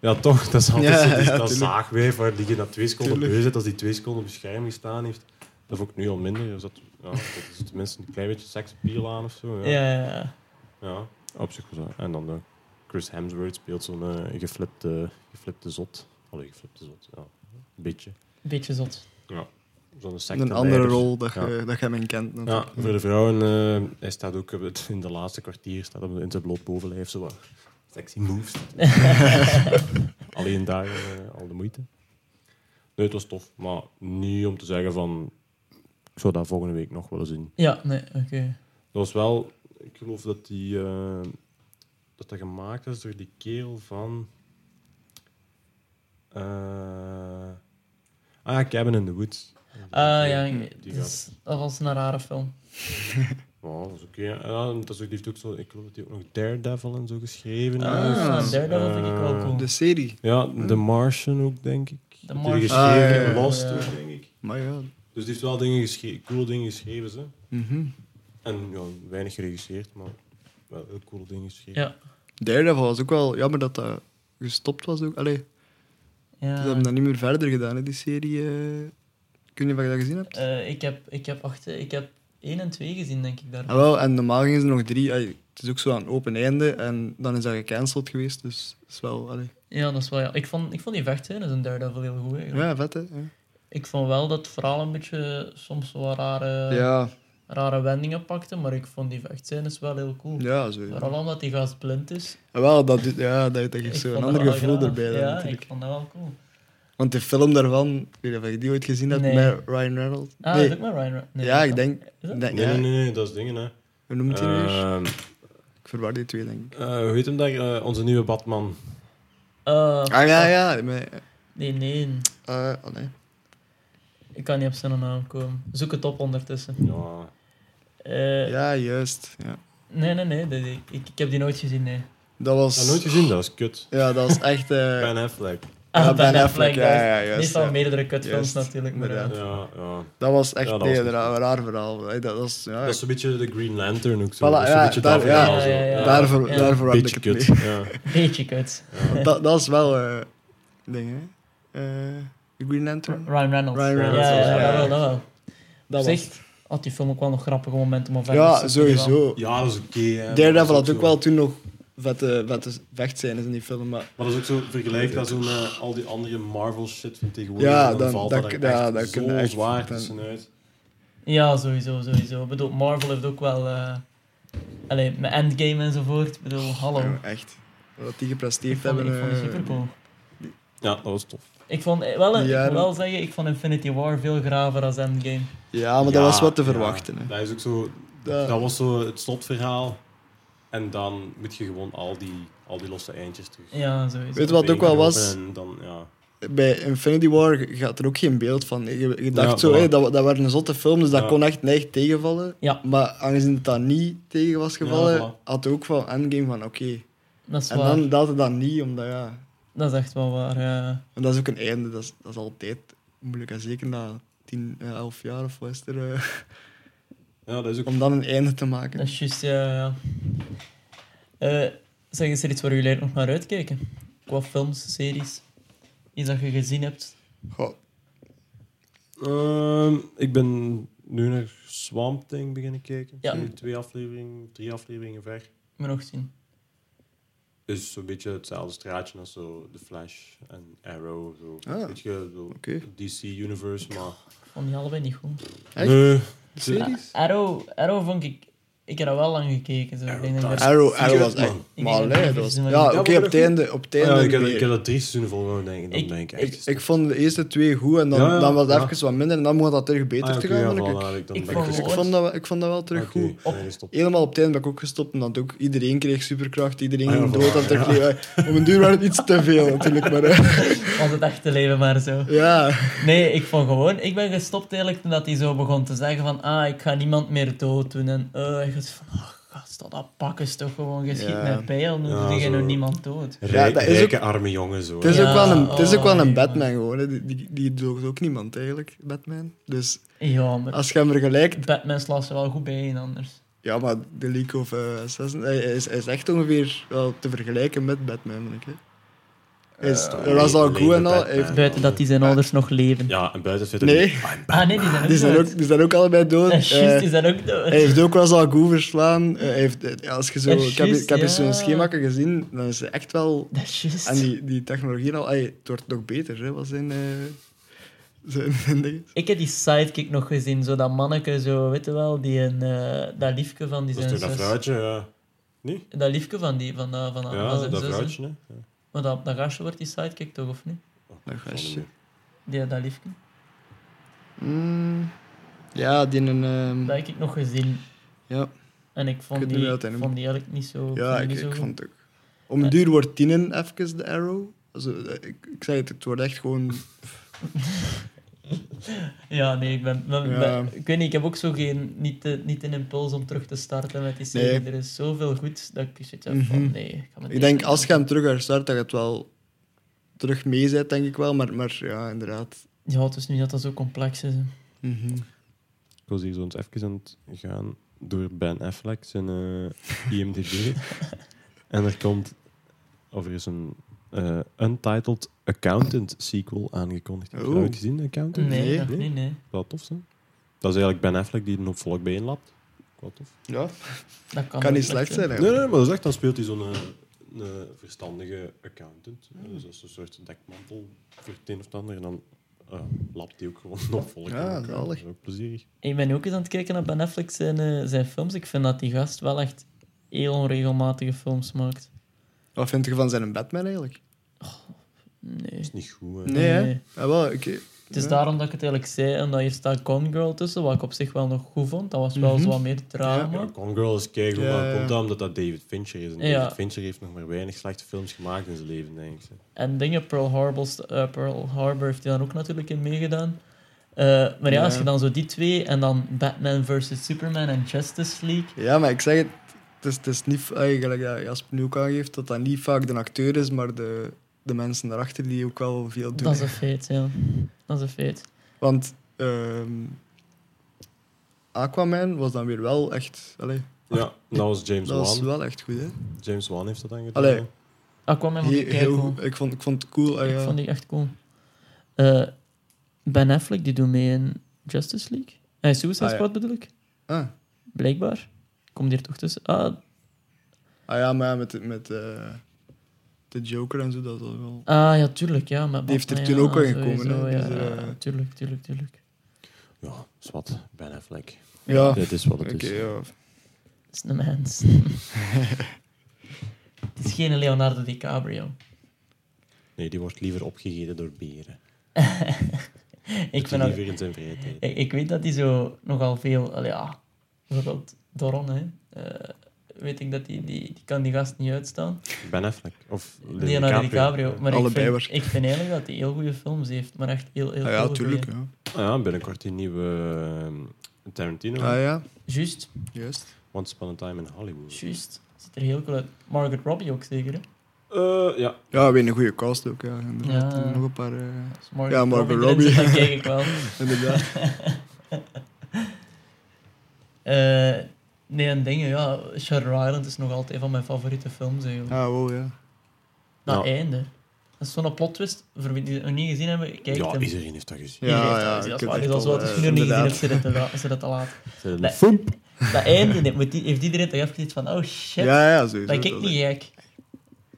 Speaker 5: Ja, toch? Dat is altijd
Speaker 1: Ja,
Speaker 5: zo, die-
Speaker 1: ja,
Speaker 5: dat
Speaker 1: tuurlijk.
Speaker 5: zaagwijf waar die je na twee seconden
Speaker 1: Tuurlijk.
Speaker 5: beu zit, als die twee seconden bescherming staan heeft. Dat vond ik nu al minder. Dus dat, ja, dat is tenminste een klein beetje seksappeal aan of zo.
Speaker 2: Ja, ja, ja.
Speaker 5: Ja, op zich wel. En dan de Chris Hemsworth speelt zo'n eh, geflipte, geflipte zot. Allee, geflipte zot, ja. Een beetje.
Speaker 2: Beetje zot.
Speaker 5: Zo'n
Speaker 1: Een
Speaker 5: secteleider.
Speaker 1: andere rol dat,
Speaker 5: Ja.
Speaker 1: je, dat jij men kent.
Speaker 5: Ja,
Speaker 1: natuurlijk.
Speaker 5: voor de vrouwen, eh, hij staat ook op het- in de laatste kwartier, staat op, in zijn bloot bovenlijf, zo wat sexy
Speaker 1: *laughs*
Speaker 5: moves. Alleen daar eh, al de moeite. Nee, het was tof, maar niet om te zeggen van, ik zou dat volgende week nog willen zien.
Speaker 2: Ja, nee, oké.
Speaker 5: Dat was wel, ik geloof dat die, eh, dat, dat gemaakt is door die kerel van. eh, ah ja, Cabin in the Woods.
Speaker 2: Ah ja,
Speaker 5: Die
Speaker 2: het is- dat was een rare film.
Speaker 5: Oh, dat is oké. Ja, dat is ook, die heeft ook zo, ik geloof dat hij ook nog Daredevil en zo geschreven heeft. Eh,
Speaker 2: Ah,
Speaker 1: Ah.
Speaker 2: Daredevil vind ik wel cool.
Speaker 1: De serie.
Speaker 5: Ja, The Martian ook, denk ik.
Speaker 2: The
Speaker 5: Die
Speaker 2: Martian.
Speaker 5: geschreven
Speaker 1: Ah, ja,
Speaker 5: en
Speaker 1: ja.
Speaker 5: Lost
Speaker 2: Ja.
Speaker 5: ook, denk ik.
Speaker 1: Maar ja.
Speaker 5: Dus die heeft wel dingen geschreven, coole dingen geschreven, ze.
Speaker 1: mhm.
Speaker 5: En ja, weinig geregisseerd, maar wel heel coole dingen geschreven.
Speaker 2: Ja.
Speaker 1: Daredevil was ook wel jammer dat dat gestopt was. Ook. Allee, ze
Speaker 2: ja.
Speaker 1: hebben dat niet meer verder gedaan, hè, die serie. eh. Ik weet niet of je dat gezien hebt.
Speaker 2: Eh, ik, heb, ik, heb acht, ik heb 1 en 2 gezien, denk ik. Daar.
Speaker 1: Ah, wel, en normaal gingen ze nog drie. Allee, het is ook zo aan het open einde en dan is dat gecanceld geweest. Dus is wel, allee.
Speaker 2: Ja, dat is wel ja. Ik vond, ik vond die vechtscènes in Daredevil heel goed. eigenlijk.
Speaker 1: Ja, vet hè.
Speaker 2: Eh,
Speaker 1: Ja,
Speaker 2: Ik vond wel dat het verhaal een beetje soms wat rare,
Speaker 1: ja,
Speaker 2: rare wendingen pakte, maar ik vond die vechtscènes wel heel cool.
Speaker 1: ja zo. ja.
Speaker 2: Vooral omdat die gast blind is.
Speaker 1: Ah, Wel, dat, ja, dat, dat geeft
Speaker 2: Ik
Speaker 1: zo een
Speaker 2: vond
Speaker 1: ander
Speaker 2: dat wel
Speaker 1: gevoel
Speaker 2: graaf.
Speaker 1: erbij. Dan,
Speaker 2: Ja,
Speaker 1: natuurlijk.
Speaker 2: ik vond dat wel cool.
Speaker 1: Want de film daarvan, ik weet niet of je die ooit gezien hebt,
Speaker 2: Nee.
Speaker 1: met Ryan Reynolds.
Speaker 2: Ah,
Speaker 1: nee.
Speaker 2: is ook maar Ryan Re- nee,
Speaker 1: ja,
Speaker 2: dat-
Speaker 1: ik Eh. denk...
Speaker 2: Is dat?
Speaker 1: denk-
Speaker 5: Nee,
Speaker 1: ja,
Speaker 5: nee, nee, nee, dat is dingen, hè.
Speaker 1: Hoe noemt hij nu weer?
Speaker 5: Ehm,
Speaker 1: Ik verwar die twee, denk ik.
Speaker 5: eh, hoe heet hem daar? Eh, onze nieuwe Batman.
Speaker 2: Eh,
Speaker 1: Ah, ja, ja. Met,
Speaker 2: Nee, nee.
Speaker 1: eh, oh, nee.
Speaker 2: Ik kan niet op zijn naam komen. Zoek het op ondertussen.
Speaker 5: Ja.
Speaker 2: Eh,
Speaker 1: Ja, juist. Ja.
Speaker 2: Nee, nee, nee. dit- ik, ik, ik heb die nooit gezien, nee.
Speaker 1: Dat
Speaker 5: Dat heb ik nooit
Speaker 1: was...
Speaker 5: gezien, dat is kut.
Speaker 1: Ah, *laughs* Ja, dat was echt... eh,
Speaker 5: Ben Affleck.
Speaker 1: Ah,
Speaker 2: Ah,
Speaker 1: Ben Affleck,
Speaker 2: dat is
Speaker 1: ja, ja, juist,
Speaker 2: Meestal
Speaker 1: ja.
Speaker 2: meerdere kutfilms
Speaker 1: Juist,
Speaker 2: natuurlijk. Maar, eh, ja.
Speaker 1: inderdaad.
Speaker 5: Ja, ja.
Speaker 1: dat was echt
Speaker 5: Ja, dat
Speaker 1: nee,
Speaker 5: was
Speaker 1: een
Speaker 5: niet
Speaker 1: raar, raar verhaal. Hey, Dat was... Ja,
Speaker 5: Dat is een beetje de Green Lantern ook zo.
Speaker 1: Voilà,
Speaker 5: dat is een
Speaker 1: ja,
Speaker 5: beetje
Speaker 1: daar-
Speaker 5: dat
Speaker 1: ja.
Speaker 5: verhaal zo.
Speaker 2: Ja, ja, ja.
Speaker 1: daarvoor
Speaker 2: Ja.
Speaker 1: daarvoor had ik
Speaker 5: Beetje
Speaker 1: het
Speaker 5: kut.
Speaker 1: mee.
Speaker 5: Ja.
Speaker 1: *laughs*
Speaker 2: Beetje kut.
Speaker 1: Dat, dat is wel... eh ding, hè. Eh, Green Lantern?
Speaker 2: Ryan Reynolds.
Speaker 1: Ryan
Speaker 2: Ja,
Speaker 1: Reynolds,
Speaker 2: ja, ja,
Speaker 1: ja.
Speaker 2: dat wel, dat wel.
Speaker 1: Dat
Speaker 2: Op zich had die film ook wel nog grappige momenten om
Speaker 1: was... Ja, sowieso.
Speaker 5: Ja, dat is oké. hè.
Speaker 1: Daredevil
Speaker 5: Maar dat
Speaker 1: had
Speaker 5: is
Speaker 1: ook
Speaker 5: zo-
Speaker 1: wel toen nog vette, vette vechtscènes in die film, maar...
Speaker 5: Maar dat is ook zo, vergelijk dat zo met eh, al die andere Marvel shit van tegenwoordig.
Speaker 1: Ja,
Speaker 5: en dan,
Speaker 1: dan-
Speaker 5: valt
Speaker 1: dat-
Speaker 5: dat, er
Speaker 1: ja,
Speaker 5: echt
Speaker 1: dat kun
Speaker 5: zo
Speaker 1: je echt-
Speaker 5: zwaar
Speaker 1: dan-
Speaker 5: tussenuit.
Speaker 2: Ja, sowieso, sowieso. Ik bedoel, Marvel heeft ook wel... eh allee, met Endgame enzovoort. Ik bedoel, Oh, hallo.
Speaker 1: Ja, echt. Wat die
Speaker 2: ik
Speaker 1: gepresteerd
Speaker 2: vond,
Speaker 1: hebben.
Speaker 2: ik vond die
Speaker 1: eh,
Speaker 2: supercool.
Speaker 5: Ja, dat was tof.
Speaker 2: Ik vond eh, wel, ik
Speaker 1: Ja,
Speaker 2: moet wel zeggen, ik vond Infinity War veel graver als Endgame.
Speaker 1: Ja, maar dat was wat te verwachten. Hè.
Speaker 5: Dat is ook zo...
Speaker 1: Dat-
Speaker 5: Dat was zo het slotverhaal. En dan moet je gewoon al die, al die losse eindjes terug.
Speaker 2: Ja, sowieso.
Speaker 1: Weet je wat ook wel was?
Speaker 5: En dan, ja.
Speaker 1: Bij Infinity War gaat er ook geen beeld van. Je, je dacht
Speaker 5: Ja,
Speaker 1: zo,
Speaker 5: voilà.
Speaker 1: hé, dat, dat werd een zotte film, dus dat
Speaker 5: Ja.
Speaker 1: kon echt neig tegenvallen.
Speaker 2: Ja.
Speaker 1: Maar aangezien het dat niet tegen was gevallen,
Speaker 5: Ja, voilà.
Speaker 1: had ook van Endgame van oké.
Speaker 2: Dat is
Speaker 1: En
Speaker 2: waar.
Speaker 1: dan dat het dan niet, omdat ja...
Speaker 2: Dat is echt wel waar, ja.
Speaker 1: En dat is ook een einde, dat is, dat is altijd moeilijk. En zeker na 10, eh, 11 jaar of wat is er, eh,
Speaker 5: ja, dat is ook...
Speaker 1: om dan een einde te maken.
Speaker 2: Dat is juist, ja, ja. Eh, zeg eens er iets waar jullie nog naar uitkijken? Qua films, series? Iets dat je gezien hebt?
Speaker 1: Goh,
Speaker 5: Ehm, ik ben nu naar Swamp Thing beginnen kijken.
Speaker 2: Ja.
Speaker 5: Nu Twee afleveringen, drie afleveringen ver.
Speaker 2: Moet nog zien.
Speaker 5: Is zo'n beetje hetzelfde straatje als zo The Flash en Arrow. Zo.
Speaker 1: Ah.
Speaker 5: Weet je, zo
Speaker 1: Oké.
Speaker 5: DC Universe, maar...
Speaker 2: Ik vond die allebei niet goed.
Speaker 1: Echt?
Speaker 5: Nee,
Speaker 1: de series?
Speaker 2: Arrow, Arrow vond ik Ik heb al wel lang gekeken. Zo. Ik denk dat ik er-
Speaker 1: Arrow, Arrow was
Speaker 5: man.
Speaker 1: echt...
Speaker 5: Ik
Speaker 2: denk
Speaker 1: Maar
Speaker 2: dat
Speaker 1: allee,
Speaker 2: ik
Speaker 1: dat was... Ja,
Speaker 2: even- Ja,
Speaker 1: oké,
Speaker 5: maar
Speaker 1: op
Speaker 5: dat-
Speaker 1: het einde... Op het
Speaker 5: Ah, ja,
Speaker 1: einde
Speaker 5: ik, heb,
Speaker 1: meer.
Speaker 5: ik heb dat drie seizoenen volgehouden, denk ik. Dan
Speaker 2: Ik-
Speaker 5: denk ik
Speaker 1: ik,
Speaker 5: echt...
Speaker 1: ik vond de eerste twee goed en dan,
Speaker 5: Ja, ja,
Speaker 1: dan was het
Speaker 5: ja.
Speaker 1: even wat minder en dan moet dat terug beter
Speaker 5: Ah,
Speaker 1: te
Speaker 5: oké,
Speaker 1: gaan.
Speaker 5: ja,
Speaker 1: vond ik.
Speaker 5: voilà, ik, dan
Speaker 2: Ik
Speaker 5: ben
Speaker 2: vond
Speaker 5: ik
Speaker 1: Dus ik,
Speaker 2: gehoord.
Speaker 1: vond dat, wel- ik vond dat wel terug
Speaker 5: Oké,
Speaker 1: goed.
Speaker 5: dan is het op.
Speaker 1: Helemaal op het einde ben ik ook gestopt, omdat ook iedereen kreeg superkracht, iedereen
Speaker 5: Ah, ja,
Speaker 1: ging
Speaker 5: voilà,
Speaker 1: dood aan het terugleven. Op een duur werd het iets te veel natuurlijk, maar eh, *laughs*
Speaker 2: Want het echte leven maar zo.
Speaker 1: ja.
Speaker 2: Nee, ik vond gewoon... Ik ben gestopt eigenlijk toen dat hij zo begon te zeggen van... Ah, ik ga niemand meer dood doen. En eh, ik was van... Oh, gast, dat- dat pakken is toch gewoon geschiet
Speaker 1: Ja.
Speaker 2: met pijl. Nu
Speaker 5: Ja,
Speaker 2: doe je
Speaker 5: zo.
Speaker 2: nog niemand dood.
Speaker 1: Ja, dat
Speaker 5: Rijk-
Speaker 1: is
Speaker 5: Rijke, arme jongen, zo.
Speaker 1: Het is,
Speaker 2: Ja,
Speaker 1: ook wel een, het is ook wel
Speaker 2: oh,
Speaker 1: een
Speaker 2: nee,
Speaker 1: Batman gewoon. hè. Die, die, die doogt ook niemand eigenlijk, Batman. Dus
Speaker 2: Ja, maar
Speaker 1: als je hem vergelijkt...
Speaker 2: Batman slaat ze wel goed bij in anders.
Speaker 1: Ja, maar The League of eh, Assassins hij is, hij is echt ongeveer wel te vergelijken met Batman, vind ik. Hè. Hij is,
Speaker 5: Eh,
Speaker 1: hij was al
Speaker 5: le-
Speaker 1: goed en al.
Speaker 5: Batman.
Speaker 1: hij heeft-
Speaker 2: Buiten dat die zijn ouders nog leven.
Speaker 5: Ja, en buiten vindt
Speaker 1: Nee.
Speaker 2: Ah nee, die zijn ook
Speaker 1: Die zijn
Speaker 2: dood.
Speaker 1: ook, die zijn ook allebei dood.
Speaker 2: Eh, *laughs* Juist,
Speaker 1: Eh,
Speaker 2: die zijn ook dood.
Speaker 1: Hij heeft ook wel eens al goed verslaan. Eh, hij heeft, eh, als je zo,
Speaker 2: Dat is
Speaker 1: ik heb,
Speaker 2: juist,
Speaker 1: ik heb hier
Speaker 2: ja.
Speaker 1: zo'n schema gezien, dan is hij echt wel...
Speaker 2: Dat is juist.
Speaker 1: En die, die technologie al... ey, het wordt nog beter, hè, wat zijn... eh, zijn *laughs* zijn dingen.
Speaker 2: Ik heb die sidekick nog gezien, zo dat manneke, zo, weet je wel, die een, eh, dat liefke van die
Speaker 5: Dat is
Speaker 2: zijn
Speaker 5: toch dat
Speaker 2: zus.
Speaker 5: vrouwtje, ja. Nee?
Speaker 2: Dat liefke van die, van, eh, van, van
Speaker 5: Ja,
Speaker 2: zijn
Speaker 5: dat
Speaker 2: zus, hè.
Speaker 5: vrouwtje, hè. Ja.
Speaker 2: Maar dat, dat gastje wordt die sidekick toch, of niet?
Speaker 1: Dat gastje.
Speaker 2: Die, dat liefke.
Speaker 1: Mm, ja, die een... ehm,
Speaker 2: Dat heb ik nog gezien.
Speaker 1: ja,
Speaker 2: En ik
Speaker 1: Ik
Speaker 2: vond
Speaker 1: weet
Speaker 2: die,
Speaker 1: niet wat hij
Speaker 2: ik
Speaker 1: noemt.
Speaker 2: vond die eigenlijk niet zo...
Speaker 1: ja
Speaker 2: die
Speaker 1: ik,
Speaker 2: niet zo
Speaker 1: ik
Speaker 2: goed.
Speaker 1: vond het ook. Om een duur wordt tienen even de arrow. Also, eh, ik, ik zei het, het wordt echt gewoon...
Speaker 2: Ja, nee, ik ben... ben-
Speaker 1: Ja.
Speaker 2: ben- ik weet niet, ik heb ook zo geen... Niet, de, niet een impuls om terug te starten met die serie.
Speaker 1: Nee.
Speaker 2: Er is zoveel goed dat ik zoiets heb
Speaker 1: Mhm.
Speaker 2: van... Nee, ik ga me
Speaker 1: Ik
Speaker 2: niet
Speaker 1: denk,
Speaker 2: aan
Speaker 1: als je hem terug herstart, dat je het wel terug mee bent, denk ik wel. Maar, maar ja, inderdaad.
Speaker 2: doen. Ja, het is niet dat dat zo complex is. hè.
Speaker 1: Mhm.
Speaker 5: Ik was hier zo eens even aan het gaan door Ben Affleck, zijn eh,
Speaker 1: *laughs*
Speaker 5: IMDb. en er komt, of er is een eh, Untitled Accountant sequel aangekondigd. Heb je dat
Speaker 1: Oh.
Speaker 5: ooit gezien, Accountant?
Speaker 2: Nee,
Speaker 1: Nee,
Speaker 2: nog niet, nee.
Speaker 5: Wel tof, hè? Dat is eigenlijk Ben Affleck die een hoop volk bijeenlapt. Wel tof.
Speaker 1: Ja,
Speaker 2: Dat kan,
Speaker 1: kan
Speaker 2: ook
Speaker 1: niet
Speaker 2: met
Speaker 1: slecht
Speaker 2: zo-
Speaker 1: zijn.
Speaker 5: Nee,
Speaker 1: eigenlijk.
Speaker 5: nee, maar dat is echt, dan speelt hij zo'n eh, een verstandige accountant. Eh, Dus dat is een soort dekmantel voor het een of het ander. En dan eh, lapt hij ook gewoon nog volk.
Speaker 1: Ja,
Speaker 5: aan elkaar.
Speaker 1: zalig.
Speaker 5: Dat is ook plezierig.
Speaker 2: Ik ben ook eens aan het kijken naar Ben Affleck zijn, eh, zijn films. Ik vind dat die gast wel echt heel onregelmatige films maakt.
Speaker 1: Wat vind je van zijn Batman eigenlijk?
Speaker 2: Nee.
Speaker 5: Dat is niet goed. hè.
Speaker 1: Nee, hè?
Speaker 2: Nee.
Speaker 1: Ja, Ah, wel, oké.
Speaker 2: Het is
Speaker 1: Ja.
Speaker 2: daarom dat ik het eigenlijk zei, omdat hier staat Gone Girl tussen, wat ik op zich wel nog goed vond. Dat was wel
Speaker 1: Mhm.
Speaker 2: zo wat meer drama.
Speaker 5: Ja, Gone Girl is keigoed,
Speaker 1: Ja,
Speaker 5: maar
Speaker 1: ja.
Speaker 5: dat komt dat omdat dat David Fincher is. En David
Speaker 2: Ja.
Speaker 5: Fincher heeft nog maar weinig slechte films gemaakt in zijn leven, denk ik.
Speaker 2: En dingen, Pearl Harbor, eh, Pearl Harbor heeft hij dan ook natuurlijk in meegedaan. Eh, maar ja,
Speaker 1: Ja.
Speaker 2: als je dan zo die twee en dan Batman vs. Superman en Justice League.
Speaker 1: Ja, maar ik zeg het, het is, het is niet eigenlijk, ja, Jasper nu ook aangeeft, dat dat niet vaak de acteur is, maar de, de mensen daarachter die ook wel veel doen.
Speaker 2: Dat is een feit, ja. Dat is een feit.
Speaker 1: Want ehm, Aquaman was dan weer wel echt, allee,
Speaker 5: Ja, dat was James
Speaker 1: dat was
Speaker 5: Wan.
Speaker 1: wel echt goed. Hè?
Speaker 5: James Wan heeft dat dan gedaan.
Speaker 1: Allee.
Speaker 5: hè.
Speaker 2: Aquaman vond
Speaker 1: Heel,
Speaker 2: Ah, ik heel
Speaker 1: heel
Speaker 2: cool.
Speaker 1: goed. ik, vond, ik vond het cool. ah,
Speaker 2: Ik
Speaker 1: ja.
Speaker 2: vond die echt cool. Eh, ben Affleck die doet mee in Justice League. Eh, Suicide
Speaker 1: Ah, ja.
Speaker 2: Squad bedoel ik.
Speaker 1: Ah,
Speaker 2: Blijkbaar. Komt hier toch tussen. Ah,
Speaker 1: ah ja, maar ja, met, met eh, de Joker en zo, dat is al wel...
Speaker 2: ah ja, tuurlijk. Ja, maar
Speaker 1: Die heeft er
Speaker 2: Batman,
Speaker 1: toen ook
Speaker 2: ja,
Speaker 1: al gekomen,
Speaker 2: sowieso,
Speaker 1: hè, dus,
Speaker 2: ja,
Speaker 1: eh.
Speaker 2: Tuurlijk, tuurlijk, tuurlijk.
Speaker 5: Ja, zwart. Ben Affleck.
Speaker 1: Ja, oké,
Speaker 5: Dit is wat het is.
Speaker 1: ja.
Speaker 2: Dat is
Speaker 1: *laughs*
Speaker 2: een mens. Het is geen Leonardo DiCaprio. *laughs*
Speaker 5: Nee, die wordt liever opgegeten door beren.
Speaker 2: *laughs* Ik,
Speaker 5: Ik
Speaker 2: vind dat,
Speaker 5: liever in zijn vrije tijd.
Speaker 2: ik, ik weet dat hij zo nogal veel... allee, ja, bijvoorbeeld Doron, hè. Eh, weet ik dat die, die, die kan die gast niet uitstaan.
Speaker 5: Ben Affleck. Of
Speaker 2: Leonardo DiCaprio. Maar ik
Speaker 1: Allebei
Speaker 2: vind, ik
Speaker 1: waarschijnlijk.
Speaker 2: vind eigenlijk dat hij heel goede films heeft, maar echt heel, heel
Speaker 1: Ah, ja,
Speaker 2: veel
Speaker 1: tuurlijk.
Speaker 2: goeie.
Speaker 1: Ja.
Speaker 5: Ah ja, binnenkort die nieuwe eh, Tarantino.
Speaker 1: Ah ja,
Speaker 2: Juist,
Speaker 1: juist.
Speaker 5: Once Upon a Time in Hollywood.
Speaker 2: juist. Ziet er heel cool uit. Margaret Robbie ook zeker, hè? Dus
Speaker 5: Eh, ja,
Speaker 1: Ja, weer een goede cast ook, ja. Inderdaad,
Speaker 2: Ja.
Speaker 1: En nog een paar...
Speaker 5: *laughs*
Speaker 1: eh,
Speaker 2: Als Margaret
Speaker 1: Ja, Margot
Speaker 2: erin
Speaker 1: Robbie.
Speaker 2: zit, dan kijk ik wel.
Speaker 1: *laughs* inderdaad.
Speaker 2: Eh, nee, en dingen, ja. Shutter Island is nog altijd een van mijn favoriete films, eigenlijk.
Speaker 1: Ah, wow, ja.
Speaker 2: Dat
Speaker 5: Ja.
Speaker 2: einde. Dat is zo'n plot twist. Voor wie die het nog niet gezien hebben, kijk
Speaker 5: ja
Speaker 2: hem.
Speaker 5: iedereen heeft dat gezien.
Speaker 2: Iedereen
Speaker 1: Ja,
Speaker 2: heeft dat
Speaker 1: ja,
Speaker 2: gezien.
Speaker 1: ik
Speaker 2: Dat is
Speaker 1: heb
Speaker 2: waar.
Speaker 1: echt
Speaker 2: Dus als
Speaker 1: al,
Speaker 2: wat
Speaker 1: eh,
Speaker 2: je nog niet gezien
Speaker 1: inderdaad.
Speaker 2: hebt, zit het te la- zit het te
Speaker 5: *laughs*
Speaker 2: laat.
Speaker 5: Zijn
Speaker 2: Nee.
Speaker 5: dat Fump.
Speaker 2: Dat einde dit moet die- heeft iedereen toch even iets van, oh shit,
Speaker 1: Ja, ja, sowieso.
Speaker 2: dat ik
Speaker 1: dat
Speaker 2: niet gek.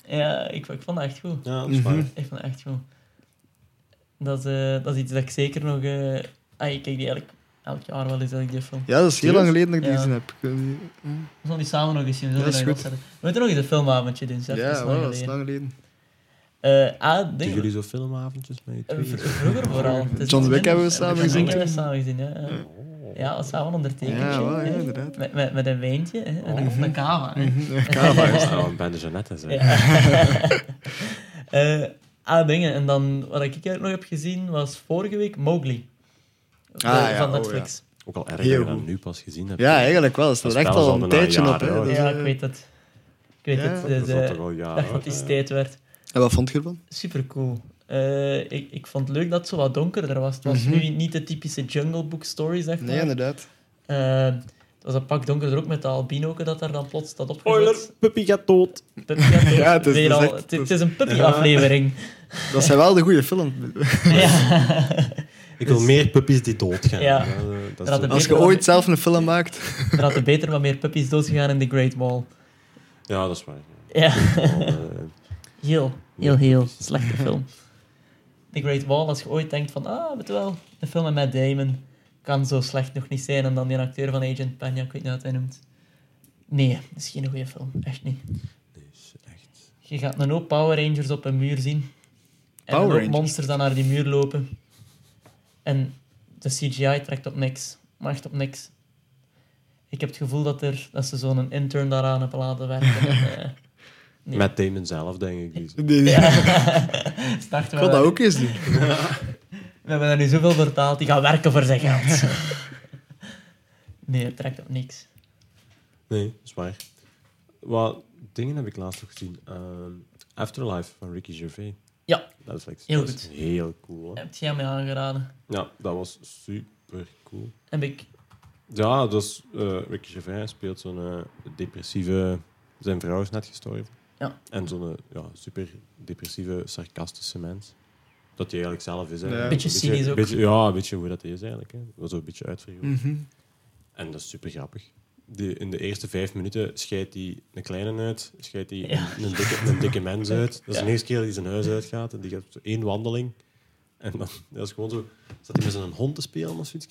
Speaker 2: Ja, ik, ik vond dat echt goed.
Speaker 5: Ja, dat is
Speaker 1: Mhm.
Speaker 5: waar.
Speaker 2: Ik vond dat echt goed. Dat, is, eh, dat is iets dat ik zeker nog... eh ah, ik kijk die eigenlijk elk jaar wel eens dat ik die film.
Speaker 1: Ja, dat is heel lang geleden dat ik die
Speaker 2: Ja.
Speaker 1: gezien heb. Ik weet niet.
Speaker 2: We zullen die samen nog eens zien. We
Speaker 1: Ja,
Speaker 2: zullen
Speaker 1: is
Speaker 2: nog eens
Speaker 1: goed.
Speaker 2: opzetten. We moeten nog eens een filmavondje doen. Zelf,
Speaker 1: Ja,
Speaker 2: dat is
Speaker 1: wel,
Speaker 2: lang
Speaker 1: dat is
Speaker 2: geleden.
Speaker 1: lang
Speaker 2: *laughs*
Speaker 1: geleden.
Speaker 2: Eh, ah,
Speaker 5: Doen
Speaker 2: ding,
Speaker 5: jullie zo filmavondjes met je
Speaker 2: eh,
Speaker 5: tweeën?
Speaker 2: v- Vroeger vooral. Het is
Speaker 1: John
Speaker 2: nog
Speaker 1: Wick hebben we
Speaker 2: minder.
Speaker 1: samen
Speaker 2: John Wick
Speaker 1: gezien.
Speaker 2: hebben we samen gezien, ja. ja. Ja, dat samen ondertekend.
Speaker 1: Ja, wel, ja,
Speaker 2: hè.
Speaker 1: inderdaad. Mhm.
Speaker 2: Met, met, met een wijntje hè. en dan op een kava. hè.
Speaker 5: Kava is trouwens bij de Jeannette, zeg.
Speaker 2: Ja. *laughs* Eh, ah, dingen. En dan, wat ik eigenlijk nog heb gezien, was vorige week Mowgli.
Speaker 1: Ah,
Speaker 2: Eh,
Speaker 1: ja,
Speaker 2: van
Speaker 1: oh,
Speaker 2: Netflix.
Speaker 5: Ook al
Speaker 1: Heel
Speaker 5: erger dan
Speaker 1: goed.
Speaker 5: nu pas gezien heb.
Speaker 1: Ja, eigenlijk wel. Het staat
Speaker 5: Dat
Speaker 1: echt
Speaker 5: spel is
Speaker 1: al
Speaker 5: al
Speaker 1: een
Speaker 5: bijna
Speaker 1: tijdje
Speaker 5: een
Speaker 1: op.
Speaker 5: jaar
Speaker 1: Hè.
Speaker 5: oud.
Speaker 1: Dus,
Speaker 2: Ja,
Speaker 1: eh,
Speaker 2: ik weet het. Ik weet
Speaker 1: Ja,
Speaker 2: het.
Speaker 1: dat
Speaker 5: Dat
Speaker 2: Dus,
Speaker 5: is al
Speaker 2: eh,
Speaker 5: toch al jaren.
Speaker 2: dacht dat die
Speaker 5: hè.
Speaker 2: tijd werd.
Speaker 1: En wat vond je ervan?
Speaker 2: Super cool. Eh, ik, ik vond het leuk dat het zo wat donkerder was. Het was
Speaker 1: Mhm.
Speaker 2: nu niet de typische Jungle Book story, zeg maar.
Speaker 1: Nee, inderdaad.
Speaker 2: Eh, het was een pak donkerder ook met de albinoke dat daar dan plots staat opgezet.
Speaker 3: Spoiler, puppy gaat dood.
Speaker 2: Puppy
Speaker 1: *laughs*
Speaker 2: had ook
Speaker 1: Ja, het is-
Speaker 2: weer
Speaker 1: het is
Speaker 2: al-
Speaker 1: echt-
Speaker 2: het- het is
Speaker 1: *laughs*
Speaker 2: een puppy-aflevering.
Speaker 1: Dat zijn wel de goede film.
Speaker 2: Ja. *laughs*
Speaker 5: Ik wil meer puppies die doodgaan.
Speaker 2: Ja.
Speaker 5: eh, dat is
Speaker 2: Dat
Speaker 5: zo-
Speaker 1: Als je ooit zelf een film maakt.
Speaker 2: er hadden beter wat meer puppies doodgegaan in The Great Wall.
Speaker 5: Ja, dat is waar.
Speaker 2: Ja,
Speaker 5: Wel, eh,
Speaker 2: heel, heel, heel slechte film. *laughs* The Great Wall, als je ooit denkt van, ah, weet je wel, een film met Matt Damon kan zo slecht nog niet zijn. En dan die acteur van Agent Panja, ik weet niet wat hij noemt. Nee, dat is geen goede film. Echt niet.
Speaker 5: nee, is echt.
Speaker 2: Je gaat een hoop Power Rangers op een muur zien. En
Speaker 1: Power
Speaker 2: een hoop
Speaker 1: Rangers?
Speaker 2: monsters dan naar die muur lopen. En de CGI trekt op niks. Maar echt op niks. Ik heb het gevoel dat, er, dat ze zo'n intern daaraan hebben laten werken.
Speaker 1: *laughs*
Speaker 2: En, eh, nee.
Speaker 5: Met Damon zelf, denk ik. die zo-
Speaker 1: Nee, nee.
Speaker 2: Ja.
Speaker 1: Ik
Speaker 2: Start
Speaker 1: wil
Speaker 2: wel.
Speaker 1: dat ook eens doen.
Speaker 2: We hebben er nu zoveel vertaald, die gaan werken voor zijn geld. nee, het trekt op niks.
Speaker 5: Nee, dat is waar. Wat dingen heb ik laatst nog gezien. Ehm, Afterlife van Ricky Gervais.
Speaker 2: Ja.
Speaker 5: Netflix.
Speaker 2: Heel
Speaker 5: dat is
Speaker 2: goed.
Speaker 5: heel cool. Hè?
Speaker 2: Heb jij mij aangeraden?
Speaker 5: Ja, dat was super cool.
Speaker 2: Heb ik.
Speaker 5: Ja, dus eh Ricky Gervais speelt zo'n eh, depressieve... Zijn vrouw is net gestorven.
Speaker 2: Ja.
Speaker 5: En zo'n eh, ja, super depressieve, sarcastische mens. Dat hij eigenlijk zelf is. hè.
Speaker 1: Ja.
Speaker 5: Een
Speaker 2: Beetje cynisch ook.
Speaker 5: beetje- ja, een beetje hoe dat is eigenlijk. Hè. Dat is een beetje uitvergroot.
Speaker 1: Mhm.
Speaker 5: En dat is super grappig. Die, in de eerste vijf minuten scheidt hij een kleine uit, scheidt hij
Speaker 2: Ja.
Speaker 5: een, een dikke, een dikke mens uit. Dat is
Speaker 2: Ja.
Speaker 5: de eerste keer dat hij zijn huis uitgaat en die gaat zo één wandeling. En dan dat is gewoon zo, zat hij met zijn hond te spelen of zoiets.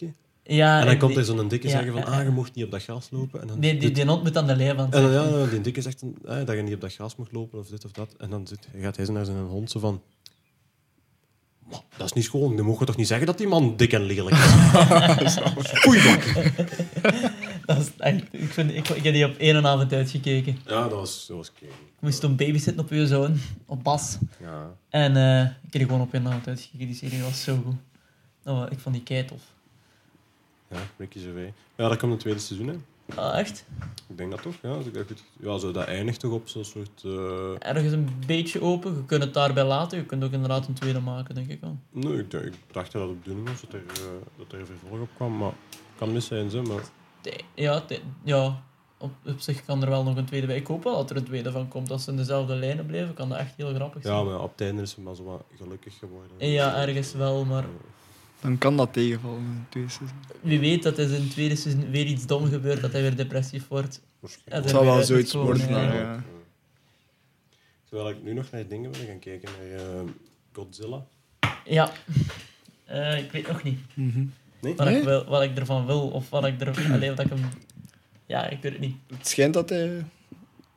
Speaker 2: Ja,
Speaker 5: en dan komt
Speaker 2: Ah, die,
Speaker 5: er zo'n dikke
Speaker 2: ja,
Speaker 5: zeggen van,
Speaker 2: ja, ja.
Speaker 5: ah, je mocht niet op dat gras lopen. En dan,
Speaker 2: die, die,
Speaker 5: doet-
Speaker 2: die hond moet aan de leiband
Speaker 5: en dan,
Speaker 2: zitten.
Speaker 5: ja, die dikke zegt dan, ah, dat je niet op dat gras mocht lopen of dit of dat. En dan zit, gaat hij zo naar zijn hond zo van, "Maar, dat is niet schoon, dan mogen we toch niet zeggen dat die man dik en lelijk is.
Speaker 2: Dat is echt, ik, vind, ik, ik heb die op één avond uitgekeken.
Speaker 5: *laughs* ja, dat was, dat was kei.
Speaker 2: Ik moest toen babysitten op uw zoon, op Bas.
Speaker 5: Ja.
Speaker 2: En eh, ik heb die gewoon op één avond uitgekeken. Die serie was zo goed. Oh, ik vond die kei tof.
Speaker 5: Ja, Ricky Gervais. Ja, dat komt het tweede seizoen, hè?
Speaker 2: Ah, echt?
Speaker 5: Ik denk dat toch, ja. Als ik dat, goed... ja zo, dat eindigt toch op zo'n soort... eh,
Speaker 2: Ergens een beetje open. Je kunt het daarbij laten. Je kunt ook inderdaad een tweede maken, denk ik wel.
Speaker 5: Nee, ik, dacht- ik dacht dat het bedoeling was, dat er, eh, dat er een vervolg op kwam, maar... Kan mis zijn, ze, maar...
Speaker 2: Tij- Ja, tij- ja op, op zich kan er wel nog een tweede bij. Ik hoop wel dat er een tweede van komt. Als ze in dezelfde lijnen blijven, kan dat echt heel grappig zijn.
Speaker 5: Ja, maar op het einde is ze maar zo wat gelukkig geworden.
Speaker 2: Ja, ergens wel, maar-
Speaker 1: Dan kan dat tegenvallen. in de tweede seizoen.
Speaker 2: Wie weet dat er in het tweede seizoen weer iets dom gebeurt, dat hij weer depressief wordt.
Speaker 5: Waarschijnlijk.
Speaker 1: Het
Speaker 2: Ja,
Speaker 1: zou wel
Speaker 2: dat
Speaker 1: zoiets
Speaker 2: moet komen,
Speaker 1: worden.
Speaker 2: ja.
Speaker 1: Ja.
Speaker 5: Ja. Terwijl ik nu nog naar dingen wil gaan kijken, naar eh, Godzilla.
Speaker 2: Ja. Eh, ik weet nog niet
Speaker 1: Mhm.
Speaker 5: Nee?
Speaker 2: wat,
Speaker 1: Nee?
Speaker 2: ik wil, wat ik ervan wil of wat ik er... Allee, wat ik hem... Ja, ik weet het niet.
Speaker 1: Het schijnt dat hij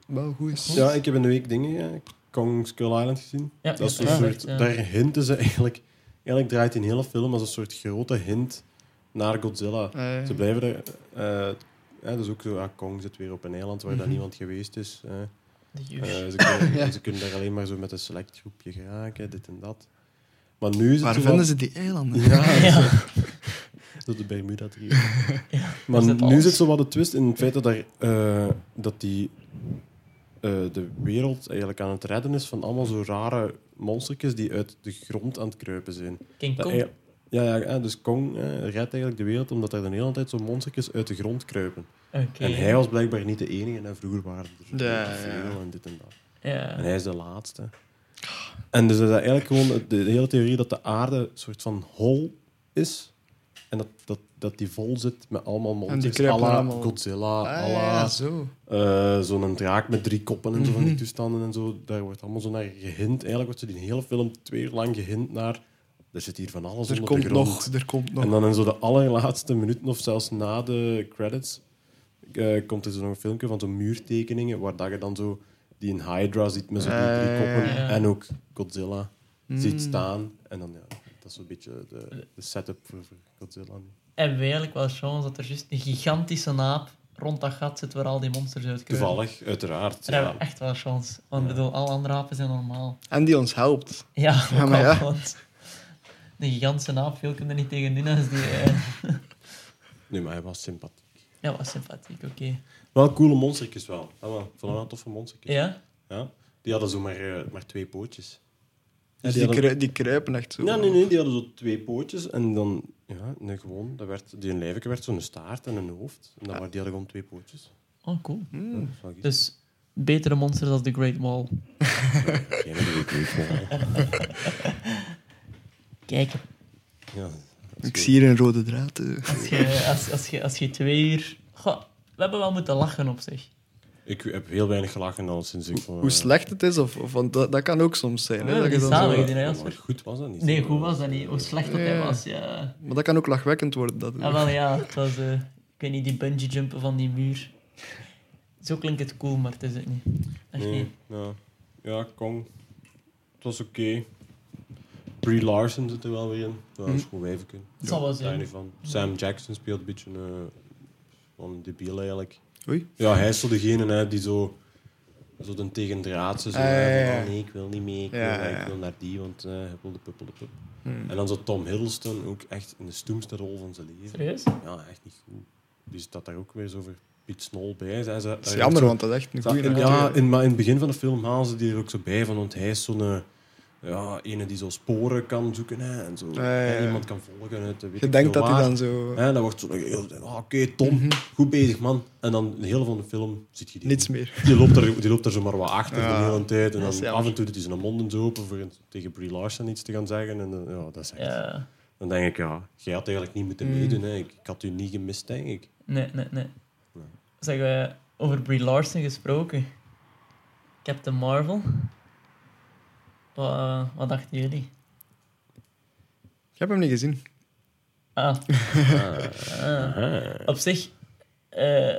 Speaker 1: wel goed is.
Speaker 5: Ja, ik heb in de week dingen, eh, Kong Skull Island gezien.
Speaker 2: Ja,
Speaker 5: Dat is
Speaker 2: je
Speaker 5: een
Speaker 2: hebt
Speaker 5: soort,
Speaker 2: gezegd, ja.
Speaker 5: daar hinten ze eigenlijk... Eigenlijk draait die hele film als een soort grote hint naar Godzilla.
Speaker 1: Eh,
Speaker 5: Ze blijven er... eh, eh, dus ook zo, ah, Kong zit weer op een eiland waar daar
Speaker 1: Mhm.
Speaker 5: niemand geweest is. eh.
Speaker 2: De
Speaker 5: Eh,
Speaker 2: juice.
Speaker 5: ze, kunnen,
Speaker 1: Ja.
Speaker 5: ze kunnen daar alleen maar zo met een select groepje geraken, dit en dat. Maar nu is het
Speaker 1: Waar
Speaker 5: zo
Speaker 1: vinden
Speaker 5: wat-
Speaker 1: ze die eilanden?
Speaker 2: *laughs*
Speaker 5: Ja, dat is,
Speaker 2: Ja.
Speaker 5: eh, *laughs* dat is de Bermuda-driehoek. maar
Speaker 2: zit
Speaker 5: nu
Speaker 2: alles.
Speaker 5: zit zo wat de twist in het feit dat, daar, eh, dat die, eh, de wereld eigenlijk aan het redden is van allemaal zo rare monstertjes die uit de grond aan het kruipen zijn.
Speaker 2: King
Speaker 5: Dat
Speaker 2: Kong.
Speaker 5: ei- Ja, ja, eh, dus Kong eh, redt eigenlijk de wereld omdat er de hele tijd zo'n monstertjes uit de grond kruipen.
Speaker 2: Oké.
Speaker 5: En hij was blijkbaar niet de enige. En vroeger waren er
Speaker 1: Ja,
Speaker 5: te veel
Speaker 1: ja.
Speaker 5: en dit en dat. En
Speaker 2: Ja.
Speaker 5: hij is de laatste. En dus dat is eigenlijk gewoon de, de hele theorie dat de aarde een soort van hol is. En dat, dat, dat die vol zit met allemaal monsters.
Speaker 1: kruipen
Speaker 5: à la
Speaker 1: allemaal.
Speaker 5: Godzilla,
Speaker 1: Ah,
Speaker 5: à la,
Speaker 1: ja, Mhm. zo.
Speaker 5: eh, zo'n draak met drie koppen en zo van die toestanden en zo. Daar wordt allemaal zo naar gehint. Eigenlijk wordt ze die hele film twee uur lang gehint naar Er zit hier van alles
Speaker 1: Er
Speaker 5: onder
Speaker 1: komt
Speaker 5: de grond.
Speaker 1: nog, er komt nog.
Speaker 5: En dan in zo de allerlaatste minuten of zelfs na de credits eh, komt er zo nog een filmpje van zo'n muurtekeningen waar dat je dan zo die in Hydra ziet met zo'n die drie
Speaker 1: Eh,
Speaker 5: koppen
Speaker 2: ja.
Speaker 5: en ook Godzilla
Speaker 1: Mm.
Speaker 5: ziet staan. En dan, ja, dat is zo'n beetje de, de setup voor, voor Godzilla nu.
Speaker 2: Hebben we eigenlijk wel chance dat er juist een gigantische naap rond dat gat zit waar al die monsters uit kunnen.
Speaker 5: Toevallig, uiteraard.
Speaker 2: Daar
Speaker 5: Ja.
Speaker 2: hebben we echt wel chance. Want ik
Speaker 5: Ja.
Speaker 2: bedoel, alle andere apen zijn normaal.
Speaker 1: En die ons helpt.
Speaker 2: Ja,
Speaker 1: Ja,
Speaker 2: ook
Speaker 1: maar
Speaker 2: al,
Speaker 1: ja.
Speaker 2: want de gigantische naap, veel kunnen er niet tegen doen als die... eh,
Speaker 5: Nee, maar hij was sympathiek.
Speaker 2: Ja, was sympathiek, oké.
Speaker 5: Wel coole monstertjes wel. Ja, wel. Ik vond hem wel toffe monstertjes.
Speaker 2: Ja?
Speaker 5: Ja? Die hadden zo maar, eh, maar twee pootjes.
Speaker 1: Dus
Speaker 5: die
Speaker 1: die,
Speaker 5: hadden-
Speaker 1: kru- die kruipen echt zo.
Speaker 5: Ja, nee, nee, die hadden zo twee pootjes en dan, ja, nee, gewoon, dat werd, die lijfje werd zo'n staart en een hoofd. En dan
Speaker 1: Ah.
Speaker 5: waren die hadden gewoon twee pootjes.
Speaker 2: Oh, cool.
Speaker 5: Ja,
Speaker 1: Mm.
Speaker 5: dat is wel
Speaker 2: Dus betere monsters dan de Great Wall.
Speaker 5: iets. Geen idee, ik weet het wel.
Speaker 2: Kijk,
Speaker 5: Ja, dat is
Speaker 1: Ik
Speaker 5: goed.
Speaker 1: zie hier een rode draad. eh.
Speaker 2: als je, als, als je, als je twee uur... Goh, we hebben wel moeten lachen op zich.
Speaker 5: Ik heb heel weinig gelachen al sinds
Speaker 1: *laughs*
Speaker 5: ik... eh,
Speaker 1: Hoe slecht het is, of, of, want dat, dat kan ook soms zijn. Hè,
Speaker 2: Ja,
Speaker 1: dat je
Speaker 2: die
Speaker 1: dan
Speaker 2: zalig.
Speaker 1: zo-
Speaker 2: die naar Jasper.
Speaker 5: Maar goed was dat niet.
Speaker 2: Nee, goed was dat niet. Hoe slecht dat hij
Speaker 1: Ja.
Speaker 2: was, ja.
Speaker 1: maar dat kan ook lachwekkend worden. Dat,
Speaker 2: Ah, wel ja, het was... eh, ik weet niet, die bungee jumpen van die muur. Zo klinkt het cool, maar het is het niet. Echt niet.
Speaker 5: Nee, ja. ja, Kong. Het was oké. Brie Larson zit er wel weer in. Dat is
Speaker 1: Hm.
Speaker 5: goed wijven
Speaker 2: Dat zal wel zijn.
Speaker 5: van. Sam Jackson speelt een beetje een van debiel eigenlijk.
Speaker 1: Oei.
Speaker 5: Ja, hij is zo degene hè, die zo, zo den tegendraadse. Zo,
Speaker 1: Ah, ja,
Speaker 5: hè,
Speaker 1: ja,
Speaker 5: van,
Speaker 1: ja.
Speaker 5: oh nee, ik wil niet mee. Ik,
Speaker 1: Ja,
Speaker 5: wil,
Speaker 1: ja,
Speaker 5: ik
Speaker 1: ja.
Speaker 5: wil naar die, want eh hij wil de puppel de pup.
Speaker 1: Hmm.
Speaker 5: En dan zo Tom Hiddleston, ook echt in de stoemste rol van zijn leven.
Speaker 2: Serieus?
Speaker 5: Ja, echt niet goed. Die staat daar ook weer zo voor Piet Snol bij. Zij, zij,
Speaker 1: Dat is jammer, want dat is echt een
Speaker 5: Zo,
Speaker 1: goede
Speaker 5: in- ja, in, maar in het begin van de film halen ze die er ook zo bij van, want hij is zo'n eh, ja, ene die zo sporen kan zoeken hè, en zo
Speaker 1: Ja,
Speaker 5: hè,
Speaker 1: ja.
Speaker 5: iemand kan volgen. Uit, eh, weet
Speaker 1: Je
Speaker 5: ik
Speaker 1: denkt
Speaker 5: veel
Speaker 1: dat hij
Speaker 5: waar.
Speaker 1: dan zo...
Speaker 5: Hè, dan wordt zo heel, ah, oké Tom, goed bezig man. En dan de hele van de film ziet je die.
Speaker 1: Mhm. Niets meer.
Speaker 5: Die loopt, er, die loopt er zomaar wat achter
Speaker 1: Ja,
Speaker 5: de hele tijd. En
Speaker 1: dat is
Speaker 5: dan
Speaker 1: jammer.
Speaker 5: af en toe doet hij zijn mond eens open voor een- tegen Brie Larson iets te gaan zeggen. En dan, ja, dat is echt.
Speaker 2: Ja.
Speaker 5: Dan denk ik, ja, jij had eigenlijk niet moeten
Speaker 1: Mm.
Speaker 5: meedoen. Hè. Ik, ik had u niet gemist, denk
Speaker 1: *laughs*
Speaker 5: ik.
Speaker 2: Nee, nee, nee.
Speaker 5: Nee.
Speaker 2: Zeg, eh, over Brie Larson gesproken. Captain Marvel. Wat, eh, wat dachten jullie?
Speaker 1: Ik heb hem niet gezien.
Speaker 2: Ah, ah.
Speaker 5: Aha.
Speaker 2: Op zich, eh,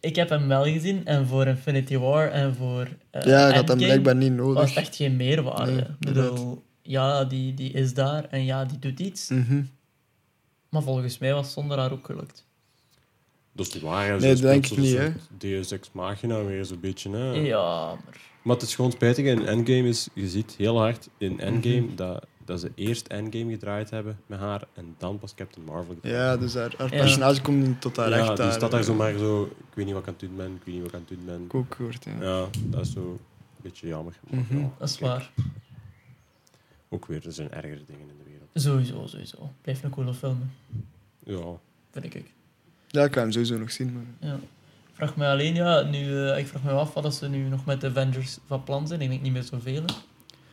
Speaker 2: ik heb hem wel gezien en voor Infinity War en voor. eh,
Speaker 1: ja, je had hem
Speaker 2: Endgame
Speaker 1: blijkbaar niet
Speaker 2: Was het
Speaker 1: nodig.
Speaker 2: echt geen meerwaarde.
Speaker 1: Nee,
Speaker 2: ik bedoel, ja, die, die is daar en ja, die doet iets.
Speaker 1: Mhm.
Speaker 2: Maar volgens mij was zonder haar ook gelukt.
Speaker 5: Dat Dus is niet waar. hè. Ze
Speaker 1: Nee, dat
Speaker 5: speelt
Speaker 1: denk
Speaker 5: zo
Speaker 1: ik niet,
Speaker 5: een soort Deus Ex Machina weer zo'n beetje. Hè.
Speaker 2: Ja, maar.
Speaker 5: Maar het is gewoon spijtig. In Endgame is, je ziet heel hard in Endgame
Speaker 1: Mhm.
Speaker 5: dat, dat ze eerst Endgame gedraaid hebben met haar en dan pas Captain Marvel. gedraaid.
Speaker 1: Ja, dus haar, haar
Speaker 2: Ja.
Speaker 1: personage komt niet tot haar
Speaker 5: ja,
Speaker 1: recht.
Speaker 5: die
Speaker 1: daar,
Speaker 5: staat daar
Speaker 1: eh.
Speaker 5: zomaar zo, ik weet niet wat ik aan het doen ben, ik weet niet wat ik aan het doen ben.
Speaker 1: Ik ook gehoord, ja.
Speaker 5: Ja, dat is zo een beetje jammer. Maar
Speaker 1: Mhm.
Speaker 5: ja,
Speaker 2: Dat is
Speaker 5: kijk,
Speaker 2: waar.
Speaker 5: Ook weer, er zijn ergere dingen in de wereld.
Speaker 2: Sowieso, sowieso. Blijft een coole film,
Speaker 5: Ja,
Speaker 2: vind ik.
Speaker 1: Ja, ik ga hem sowieso nog zien. Maar...
Speaker 2: Ja. Ik Vraag me alleen, ja, nu, eh, ik vraag me af wat ze nu nog met de Avengers van plan zijn. Ik denk niet meer zoveel. hè. Ah,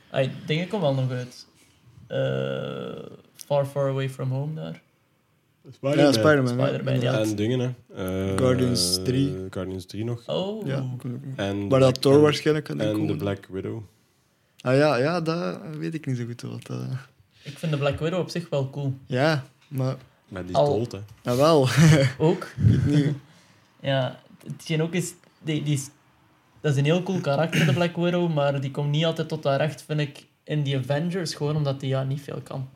Speaker 2: Ai, dingen komen wel nog uit. Eh, far, far away from home daar.
Speaker 1: Ja, Spider-Man. hè.
Speaker 2: Spider-Man, ja.
Speaker 5: En dingen, hè. Eh,
Speaker 1: Guardians 3.
Speaker 5: Guardians 3 nog.
Speaker 2: Oh,
Speaker 1: Ja, ik wil ook niet.
Speaker 5: En
Speaker 1: Waar dat Thor
Speaker 5: en-
Speaker 1: waarschijnlijk kan
Speaker 5: En de
Speaker 1: inkomen.
Speaker 5: Black Widow.
Speaker 1: Ah ja, ja, dat weet ik niet zo goed. Wat, dat-
Speaker 2: ik vind de Black Widow op zich wel cool.
Speaker 1: Ja, maar...
Speaker 5: Maar die is
Speaker 2: Al-
Speaker 5: dood, hè.
Speaker 1: Nou wel. *laughs*
Speaker 2: Ook. *laughs* ja, hetgeen ook is, die, die is... Dat is een heel cool karakter, de Black Widow, maar die komt niet altijd tot haar recht, vind ik, in die Avengers, gewoon omdat die ja, niet veel kan.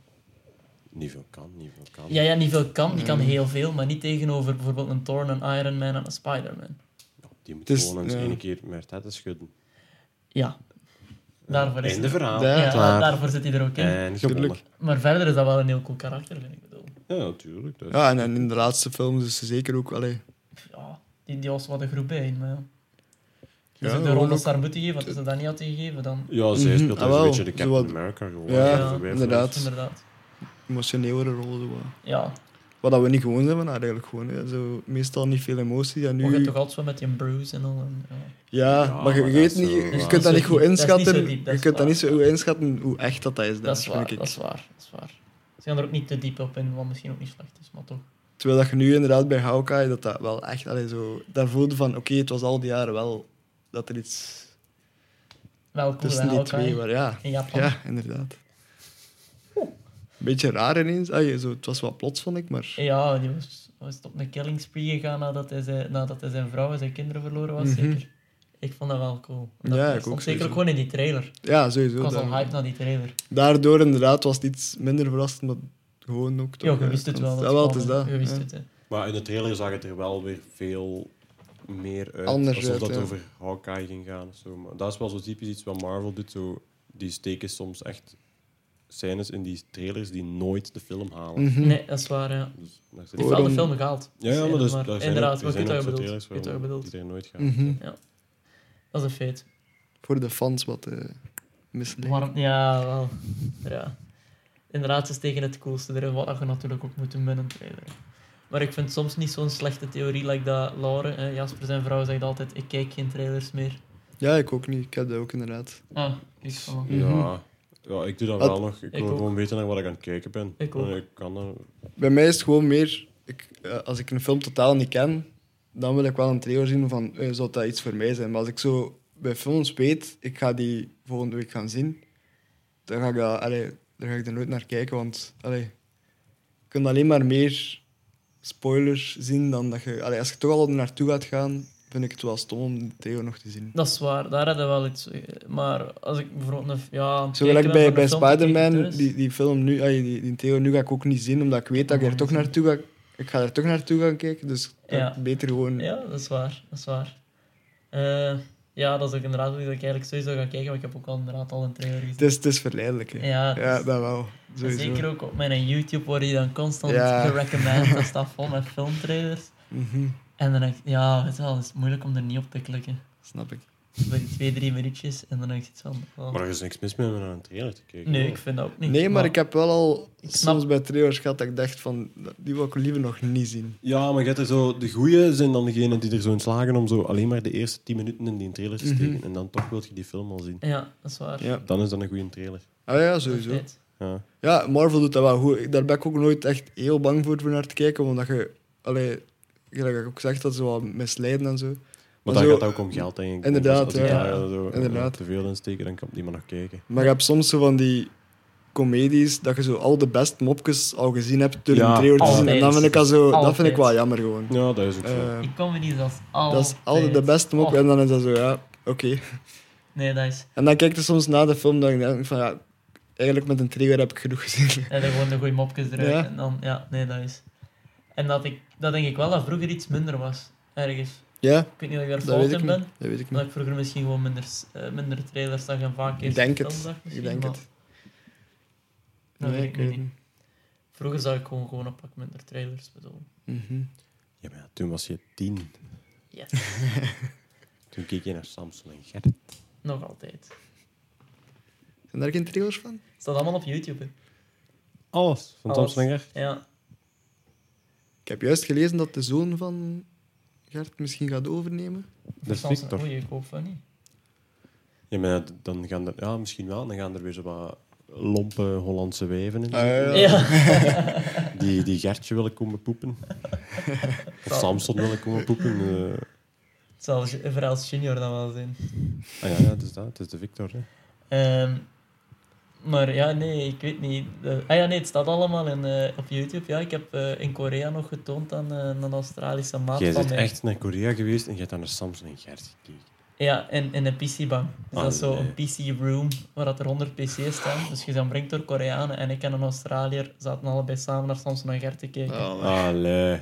Speaker 5: Niet veel kan, niet veel kan.
Speaker 2: Ja, ja, niet veel kan. Die kan
Speaker 1: Mm.
Speaker 2: heel veel, maar niet tegenover bijvoorbeeld een Thor, een Iron Man en een Spider-Man.
Speaker 5: Die moet
Speaker 1: Het is-
Speaker 5: gewoon eens
Speaker 1: ja.
Speaker 5: één keer met haar tetten schudden.
Speaker 2: Ja. Daarvoor is
Speaker 5: Einde
Speaker 2: het-
Speaker 5: verhaal.
Speaker 1: Ja,
Speaker 2: Ja,
Speaker 5: klaar. Eh.
Speaker 2: daarvoor zit hij er ook in.
Speaker 5: En gewonnen.
Speaker 1: Tuurlijk.
Speaker 2: Maar verder is dat wel een heel cool karakter, vind ik. bedoel.
Speaker 5: Ja, natuurlijk. Dus.
Speaker 1: Ja, en, en in de laatste films is ze zeker ook... Allee,
Speaker 2: Ja, die, die was wat een groep bij, maar ja.
Speaker 1: Ja,
Speaker 2: Als ik de
Speaker 1: gewoon
Speaker 2: rol als
Speaker 1: ook-
Speaker 2: daar moeten geven, want als ze dat niet had gegeven, dan...
Speaker 5: Ja, zij
Speaker 1: Mhm,
Speaker 5: speelt daar
Speaker 1: ah, wel.
Speaker 5: een beetje de Captain
Speaker 1: Zowat-
Speaker 5: America gewoon.
Speaker 1: Ja,
Speaker 5: Daar zijn wij
Speaker 1: inderdaad.
Speaker 5: vanaf.
Speaker 2: Inderdaad.
Speaker 1: emotionelere rol. Zo. wat.
Speaker 2: Ja,
Speaker 1: Wat dat we niet gewoon zijn van haar eigenlijk gewoon. Hè. Zo, meestal niet veel emotie. En
Speaker 2: maar je hebt
Speaker 1: nu...
Speaker 2: toch altijd zo met die Bruce en dan... en, ja.
Speaker 1: Ja,
Speaker 5: Ja,
Speaker 1: maar je,
Speaker 5: maar
Speaker 1: je
Speaker 5: dat
Speaker 1: weet
Speaker 5: is
Speaker 1: niet,
Speaker 5: zo- dat
Speaker 1: je
Speaker 5: is
Speaker 1: kunt dat
Speaker 2: zo
Speaker 1: niet goed
Speaker 2: diep, dat is niet
Speaker 1: inschatten.
Speaker 2: zo diep, dat
Speaker 1: je
Speaker 2: is
Speaker 1: kunt dat
Speaker 2: waar.
Speaker 1: niet zo goed inschatten hoe echt dat, dat is.
Speaker 2: Dat is
Speaker 1: daar,
Speaker 2: waar,
Speaker 1: vind
Speaker 2: dat
Speaker 1: ik.
Speaker 2: is waar, dat is waar. Ze gaan er ook niet te diep op in, wat misschien ook niet slecht is, maar toch.
Speaker 1: Terwijl dat je nu inderdaad bij Hawkeye dat dat wel echt allee, zo. Daar voelde van oké, het was al die jaren wel dat er iets
Speaker 2: Wel cool
Speaker 1: tussen
Speaker 2: en
Speaker 1: die
Speaker 2: Hawkeye
Speaker 1: twee was. Ja,
Speaker 2: in Japan.
Speaker 1: ja inderdaad. beetje raar ineens. Ai, zo, het was wat plots, vond ik, maar...
Speaker 2: Ja, die was, was op een killing spree gegaan nadat hij zijn, nadat hij zijn vrouw en zijn kinderen verloren was,
Speaker 1: Mhm.
Speaker 2: zeker. Ik vond dat wel cool. Dat
Speaker 1: Ja, ik
Speaker 2: stond
Speaker 1: ook
Speaker 2: zeker
Speaker 1: sowieso.
Speaker 2: ook gewoon in die trailer.
Speaker 1: Ja,
Speaker 2: Ik
Speaker 1: sowieso.
Speaker 2: was al
Speaker 1: daar-
Speaker 2: hype naar die trailer.
Speaker 1: Daardoor inderdaad was het iets minder verrassend, maar gewoon ook...
Speaker 2: Ja,
Speaker 1: toch,
Speaker 2: je
Speaker 1: eh,
Speaker 2: wist het
Speaker 1: kans.
Speaker 2: wel.
Speaker 1: Ja, wel, het is dat. Mhm.
Speaker 2: Je wist
Speaker 1: ja. *laughs*
Speaker 2: het, hè.
Speaker 5: Maar in de trailer zag het er wel weer veel meer uit.
Speaker 1: Anders
Speaker 5: alsof
Speaker 1: uit,
Speaker 5: dat
Speaker 1: ja.
Speaker 5: over Hawkeye ging gaan. of Zo. Maar dat is wel zo typisch iets wat Marvel doet. Zo. Die steken soms echt scènes in die trailers die nooit de film halen.
Speaker 1: Mhm.
Speaker 2: Nee, dat is waar. Ja.
Speaker 5: Dus daar
Speaker 2: Die
Speaker 5: zit
Speaker 1: Oh,
Speaker 2: heeft wel de
Speaker 1: dan-
Speaker 2: film gehaald.
Speaker 5: ja, ja, maar, dus, daar zijn
Speaker 2: inderdaad,
Speaker 5: ook,
Speaker 2: maar
Speaker 5: er
Speaker 2: ik weet
Speaker 5: zijn
Speaker 2: wat
Speaker 5: ook
Speaker 2: je
Speaker 5: zo
Speaker 2: bedoelt.
Speaker 5: trailers
Speaker 2: Ik weet wat je
Speaker 5: waarom
Speaker 2: bedoelt.
Speaker 5: die er nooit gaan.
Speaker 1: Mhm.
Speaker 2: Dat is een feit.
Speaker 1: Voor de fans wat eh misleidend.
Speaker 2: Waarom? Ja, wel. Ja. Inderdaad, ze steken het coolste erin, wat je natuurlijk ook moet doen met een trailer. Maar ik vind soms niet zo'n slechte theorie, like dat Laure, eh, Jasper zijn vrouw, zegt altijd, ik kijk geen trailers meer.
Speaker 1: Ja, ik ook niet. Ik heb dat ook inderdaad.
Speaker 2: Ah, ik wel.
Speaker 5: Ja. ja, ik doe dat
Speaker 1: Wat-
Speaker 5: wel nog. Ik
Speaker 2: Mhm. Ik
Speaker 5: wil
Speaker 2: ook.
Speaker 5: gewoon weten naar wat ik aan het kijken ben.
Speaker 2: Ik ook.
Speaker 5: En ik kan dat.
Speaker 1: Bij mij is het gewoon meer... Ik, eh, als ik een film totaal niet ken, dan wil ik wel een trailer zien van... eh, zou dat iets voor mij zijn? Maar als ik zo bij films weet, ik ga die volgende week gaan zien, dan ga ik, dat, allee, dan ga ik er nooit naar kijken, want... Allee, je kunt alleen maar meer spoilers zien dan dat je... Allee, als je toch al naartoe gaat gaan, vind ik het wel stom om de trailer nog te zien.
Speaker 2: Dat is waar, daar hadden we wel iets. eh, Maar als ik bijvoorbeeld een. Ja, aan het
Speaker 1: Zo
Speaker 2: kijken
Speaker 1: gelijk
Speaker 2: ben
Speaker 1: bij,
Speaker 2: van
Speaker 1: bij
Speaker 2: een film te kijken
Speaker 1: Spider-Man,
Speaker 2: thuis.
Speaker 1: die, die film nu, ay, die, die Theo nu ga ik ook niet zien, omdat ik weet dat ik er toch naartoe ga. Ik ga er toch naartoe gaan kijken, dus dat
Speaker 2: Oh, Ja.
Speaker 1: beter gewoon.
Speaker 2: Ja, dat is waar. Dat is waar. Eh, ja, dat is ook inderdaad iets dat ik eigenlijk sowieso ga kijken, maar ik heb ook al inderdaad al een trailer gezien.
Speaker 1: Het, is, het is verleidelijk. Hè.
Speaker 2: Ja,
Speaker 1: Ja,
Speaker 2: het is-
Speaker 1: dat wel.
Speaker 2: en
Speaker 1: Sowieso.
Speaker 2: zeker ook op mijn YouTube word je dan constant
Speaker 1: Ja. *laughs*
Speaker 2: gerecommend. Dat staat vol met filmtrailers.
Speaker 1: Mhm,
Speaker 2: En dan denk ik, ja, weet je wel, het is moeilijk om er niet op te klikken.
Speaker 1: Snap ik.
Speaker 2: Bij die twee, drie minuutjes en dan denk ik iets van. oh.
Speaker 5: Maar er is niks mis mee om naar een trailer te kijken.
Speaker 2: Nee,
Speaker 5: hoor.
Speaker 2: ik vind dat ook niet.
Speaker 1: Nee, maar ik heb wel al
Speaker 2: snap-
Speaker 1: soms bij trailers gehad dat ik dacht van, die wil ik liever nog niet zien.
Speaker 5: Ja, maar je hebt er zo, de goeie zijn dan degenen die er zo in slagen om zo alleen maar de eerste 10 minuten in die trailer
Speaker 1: Mhm.
Speaker 5: te steken. En dan toch wil je die film al zien.
Speaker 2: Ja, dat is waar.
Speaker 1: Ja.
Speaker 5: Dan is dat een goede trailer.
Speaker 1: Ah ja, sowieso.
Speaker 2: Feit.
Speaker 5: Ja.
Speaker 1: Ja, Marvel doet dat wel goed. Ik- Daar ben ik ook nooit echt heel bang voor, voor naar te kijken, omdat je, allee, gelijk ik ook zeg, dat ze wel misleiden en zo.
Speaker 5: Maar
Speaker 1: Maar
Speaker 5: daar
Speaker 1: zo-
Speaker 5: gaat het ook om geld, denk ik.
Speaker 1: Inderdaad,
Speaker 5: Als ik
Speaker 2: ja.
Speaker 5: daar zo, eh,
Speaker 1: Inderdaad.
Speaker 5: te veel in steken, dan kan niemand nog kijken.
Speaker 1: Maar je hebt soms zo van die comedies dat je zo al de best mopjes al gezien hebt door
Speaker 5: Ja,
Speaker 1: een trailer te zien.
Speaker 2: altijd.
Speaker 1: En dat vind ik, al zo, dat vind
Speaker 2: Altijd.
Speaker 1: ik wel jammer gewoon.
Speaker 5: Ja, dat is ook zo.
Speaker 1: Eh,
Speaker 2: Die comedies, dat is altijd...
Speaker 1: dat is altijd de beste mop
Speaker 2: Oh.
Speaker 1: en dan is dat zo, ja, oké.
Speaker 2: Nee, dat is...
Speaker 1: En dan kijk je soms na de film dan denk ik van, ja, eigenlijk met een trailer heb ik genoeg gezien. *laughs*
Speaker 2: En dan gewoon de goede mopjes eruit.
Speaker 1: Ja.
Speaker 2: En dan, ja, nee, dat is. En dat, ik, dat denk ik wel dat vroeger iets minder was. Ergens.
Speaker 1: ja,
Speaker 2: Ik weet niet of ik daar
Speaker 1: dat
Speaker 2: fout
Speaker 1: weet ik
Speaker 2: in
Speaker 1: niet.
Speaker 2: ben.
Speaker 1: Dat weet ik
Speaker 2: Dat
Speaker 1: niet.
Speaker 2: ik vroeger misschien gewoon minder, s- eh, minder trailers zag en vaak
Speaker 1: Ik
Speaker 2: eerst
Speaker 1: denk
Speaker 2: de
Speaker 1: het.
Speaker 2: film zag
Speaker 1: Ik
Speaker 2: misschien,
Speaker 1: denk
Speaker 2: maar
Speaker 1: het.
Speaker 2: Dat
Speaker 1: Nee,
Speaker 2: weet ik nu
Speaker 1: weet
Speaker 2: niet.
Speaker 1: het
Speaker 2: Vroeger zag ik gewoon, gewoon een pak minder trailers. Bedoel.
Speaker 1: niet. Mhm.
Speaker 5: Ja, maar ja, toen was je tien.
Speaker 2: Yes.
Speaker 5: *laughs* Toen keek je naar Samson en Gert.
Speaker 2: Nog altijd.
Speaker 1: Zijn daar geen trailers van?
Speaker 2: Staat allemaal op YouTube. hè.
Speaker 5: Alles. Van
Speaker 2: Alles.
Speaker 5: Samson en Gert.
Speaker 2: Ja.
Speaker 1: Ik heb juist gelezen dat de zoon van Gert misschien gaat overnemen.
Speaker 5: Dat is
Speaker 2: Soms-
Speaker 5: Victor.
Speaker 2: Oei, ik hoop van niet.
Speaker 5: Ja, maar ja, d- dan gaan er... Ja, misschien wel. Dan gaan er weer zo wat lompe Hollandse wijven in.
Speaker 1: Ah,
Speaker 2: Ja. *laughs*
Speaker 1: ja.
Speaker 5: Die, die Gertje willen komen poepen. Of Samson willen komen poepen. eh.
Speaker 2: Het zal Ge- vooral Junior dan wel zijn.
Speaker 5: Ah ja, ja, het is dat. Het is de Victor. Hè.
Speaker 2: Ehm, maar ja, nee, ik weet niet. De- ah ja, nee, het staat allemaal in, eh, op YouTube. Ja, ik heb eh, in Korea nog getoond aan eh, een Australische maat
Speaker 5: Jij
Speaker 2: van
Speaker 5: bent
Speaker 2: mij.
Speaker 5: echt naar Korea geweest en je hebt dan naar Samson en Gert gekeken.
Speaker 2: Ja, in, in een PC-bank. Dus
Speaker 5: Ah,
Speaker 2: dat is zo
Speaker 5: nee.
Speaker 2: een PC-room waar dat er 100 PC's staan. Dus je bent omringd door Koreanen en ik en een Australiër zaten allebei samen naar Samson en Gert te kijken.
Speaker 1: Oh, maar-
Speaker 5: Allee.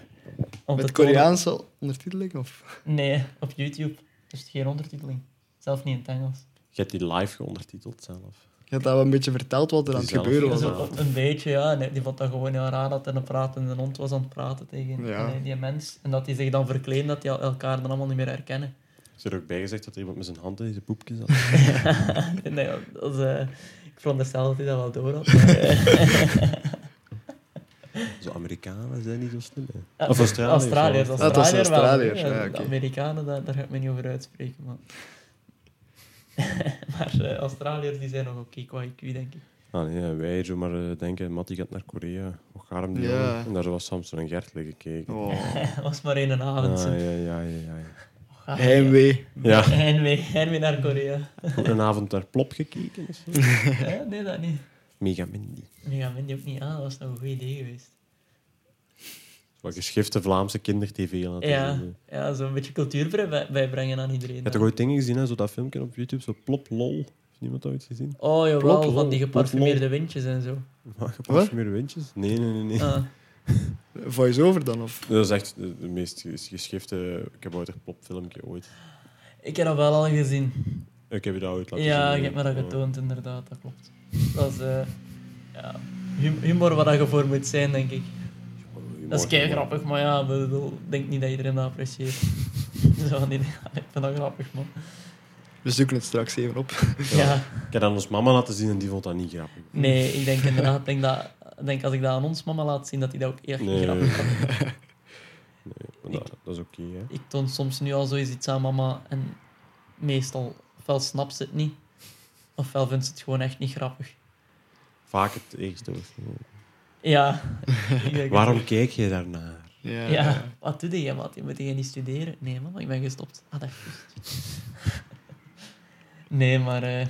Speaker 2: Om
Speaker 1: Met
Speaker 2: te tonen-
Speaker 1: Koreaanse ondertiteling? Of?
Speaker 2: Nee, op YouTube. Dus geen ondertiteling. Zelf niet in het Engels.
Speaker 5: Je hebt die live geondertiteld zelf.
Speaker 1: Je hebt daar wel een beetje verteld wat er aan het
Speaker 5: Zelf,
Speaker 1: gebeuren
Speaker 5: ja.
Speaker 1: was.
Speaker 2: Zo, op- een beetje, ja. En die vond dat gewoon heel raar dat er een pratende hond was aan het praten tegen
Speaker 1: Ja.
Speaker 2: nee, die mens. En dat die zich dan verkleeden dat die el- elkaar dan allemaal niet meer herkennen. *laughs*
Speaker 5: Is er ook bij gezegd dat er iemand met zijn hand in zijn poepje zat?
Speaker 2: nee, ja, dat is, eh, ik veronderstel dat hij dat wel door
Speaker 1: *laughs*
Speaker 2: had. maar, eh,
Speaker 5: Zo Amerikanen zijn niet zo slim. Hè.
Speaker 2: eh,
Speaker 5: Of Australiërs.
Speaker 2: Australiërs,
Speaker 5: wel.
Speaker 1: Ah, het was
Speaker 2: Australiër wel,
Speaker 1: Australiërs,
Speaker 2: hè.
Speaker 1: ja,
Speaker 2: De
Speaker 1: oké.
Speaker 2: Amerikanen, daar, daar ga ik me niet over uitspreken. Maar, *laughs* maar eh, Australiërs die zijn nog oké qua IQ, denk ik. *laughs*
Speaker 5: Ah, nee, ja, wij zo maar eh, denken, Matty gaat naar Korea. Hoe gaat hem die
Speaker 1: Ja.
Speaker 5: jongen? En daar was Samson en Gert liggen kijken.
Speaker 1: Oh.
Speaker 2: Dat was maar één
Speaker 5: Ah,
Speaker 2: avond.
Speaker 5: ja,
Speaker 2: zo.
Speaker 5: ja, ja, ja. ja.
Speaker 2: Ga je-
Speaker 1: *laughs* Heimwee.
Speaker 2: *laughs*
Speaker 5: Ja,
Speaker 2: Heimwee, heimwee naar Korea. *laughs*
Speaker 1: *laughs*
Speaker 5: ook een avond naar Plop gekeken. of zo.
Speaker 2: Eh, nee, dat niet.
Speaker 4: Mega Mindy.
Speaker 2: Nu gaan we die ook niet aan, dat was nog een goed idee geweest.
Speaker 5: Wat geschifte Vlaamse kindertv laten
Speaker 2: Ja,
Speaker 5: zien.
Speaker 2: ja zo'n beetje cultuur bij- bijbrengen aan iedereen.
Speaker 5: Je hebt eh, toch ooit dingen gezien, hè? zo dat filmpje op YouTube, zo plop lol. Heeft niemand dat ooit
Speaker 1: *laughs*
Speaker 5: gezien?
Speaker 2: Oh jawel,
Speaker 5: Plop,
Speaker 2: van die
Speaker 5: plop,
Speaker 2: geparfumeerde windjes en
Speaker 5: *laughs*
Speaker 2: zo.
Speaker 5: Maar geparfumeerde windjes? Nee, nee, nee. nee.
Speaker 2: Ah,
Speaker 1: Voice-over dan? Of?
Speaker 5: Dat is echt de, de meest ges- geschifte kabouterplopfilmpje ooit.
Speaker 2: ik heb dat wel al gezien.
Speaker 5: Ik heb je dat ooit laten zien.
Speaker 2: Ja,
Speaker 5: hè?
Speaker 2: je hebt me dat
Speaker 5: Ja.
Speaker 2: getoond, inderdaad, dat klopt. Dat is eh, ja, hum- humor waar dat je voor moet zijn, denk ik. Dat is kei grappig, maar ja, ik bedoel, ik denk niet dat iedereen dat apprecieert. *laughs* Zo van die dingen. ik vind dat grappig, man.
Speaker 1: We zoeken het straks even op.
Speaker 5: Ja.
Speaker 2: Ja.
Speaker 5: Ik heb dat aan ons mama laten zien en die vond dat niet grappig.
Speaker 2: Nee, ik denk inderdaad, ik denk dat, ik denk als ik dat aan ons mama laat zien, dat die dat ook echt
Speaker 5: Nee.
Speaker 2: grappig vindt.
Speaker 5: Nee, maar dat, dat is oké, hè.
Speaker 2: Ik toon soms nu al zoiets iets aan mama en meestal, ofwel snapt ze het niet, ofwel vindt ze het gewoon echt niet grappig.
Speaker 5: Vaak het eerste.
Speaker 2: Ja. ik denk-
Speaker 5: Waarom kijk je daarnaar?
Speaker 1: Ja.
Speaker 2: Ja, wat doe je, maat? Je moet je niet studeren? Nee, mama, ik ben gestopt. Ah, dat is juist. Nee, maar... eh,
Speaker 5: Ik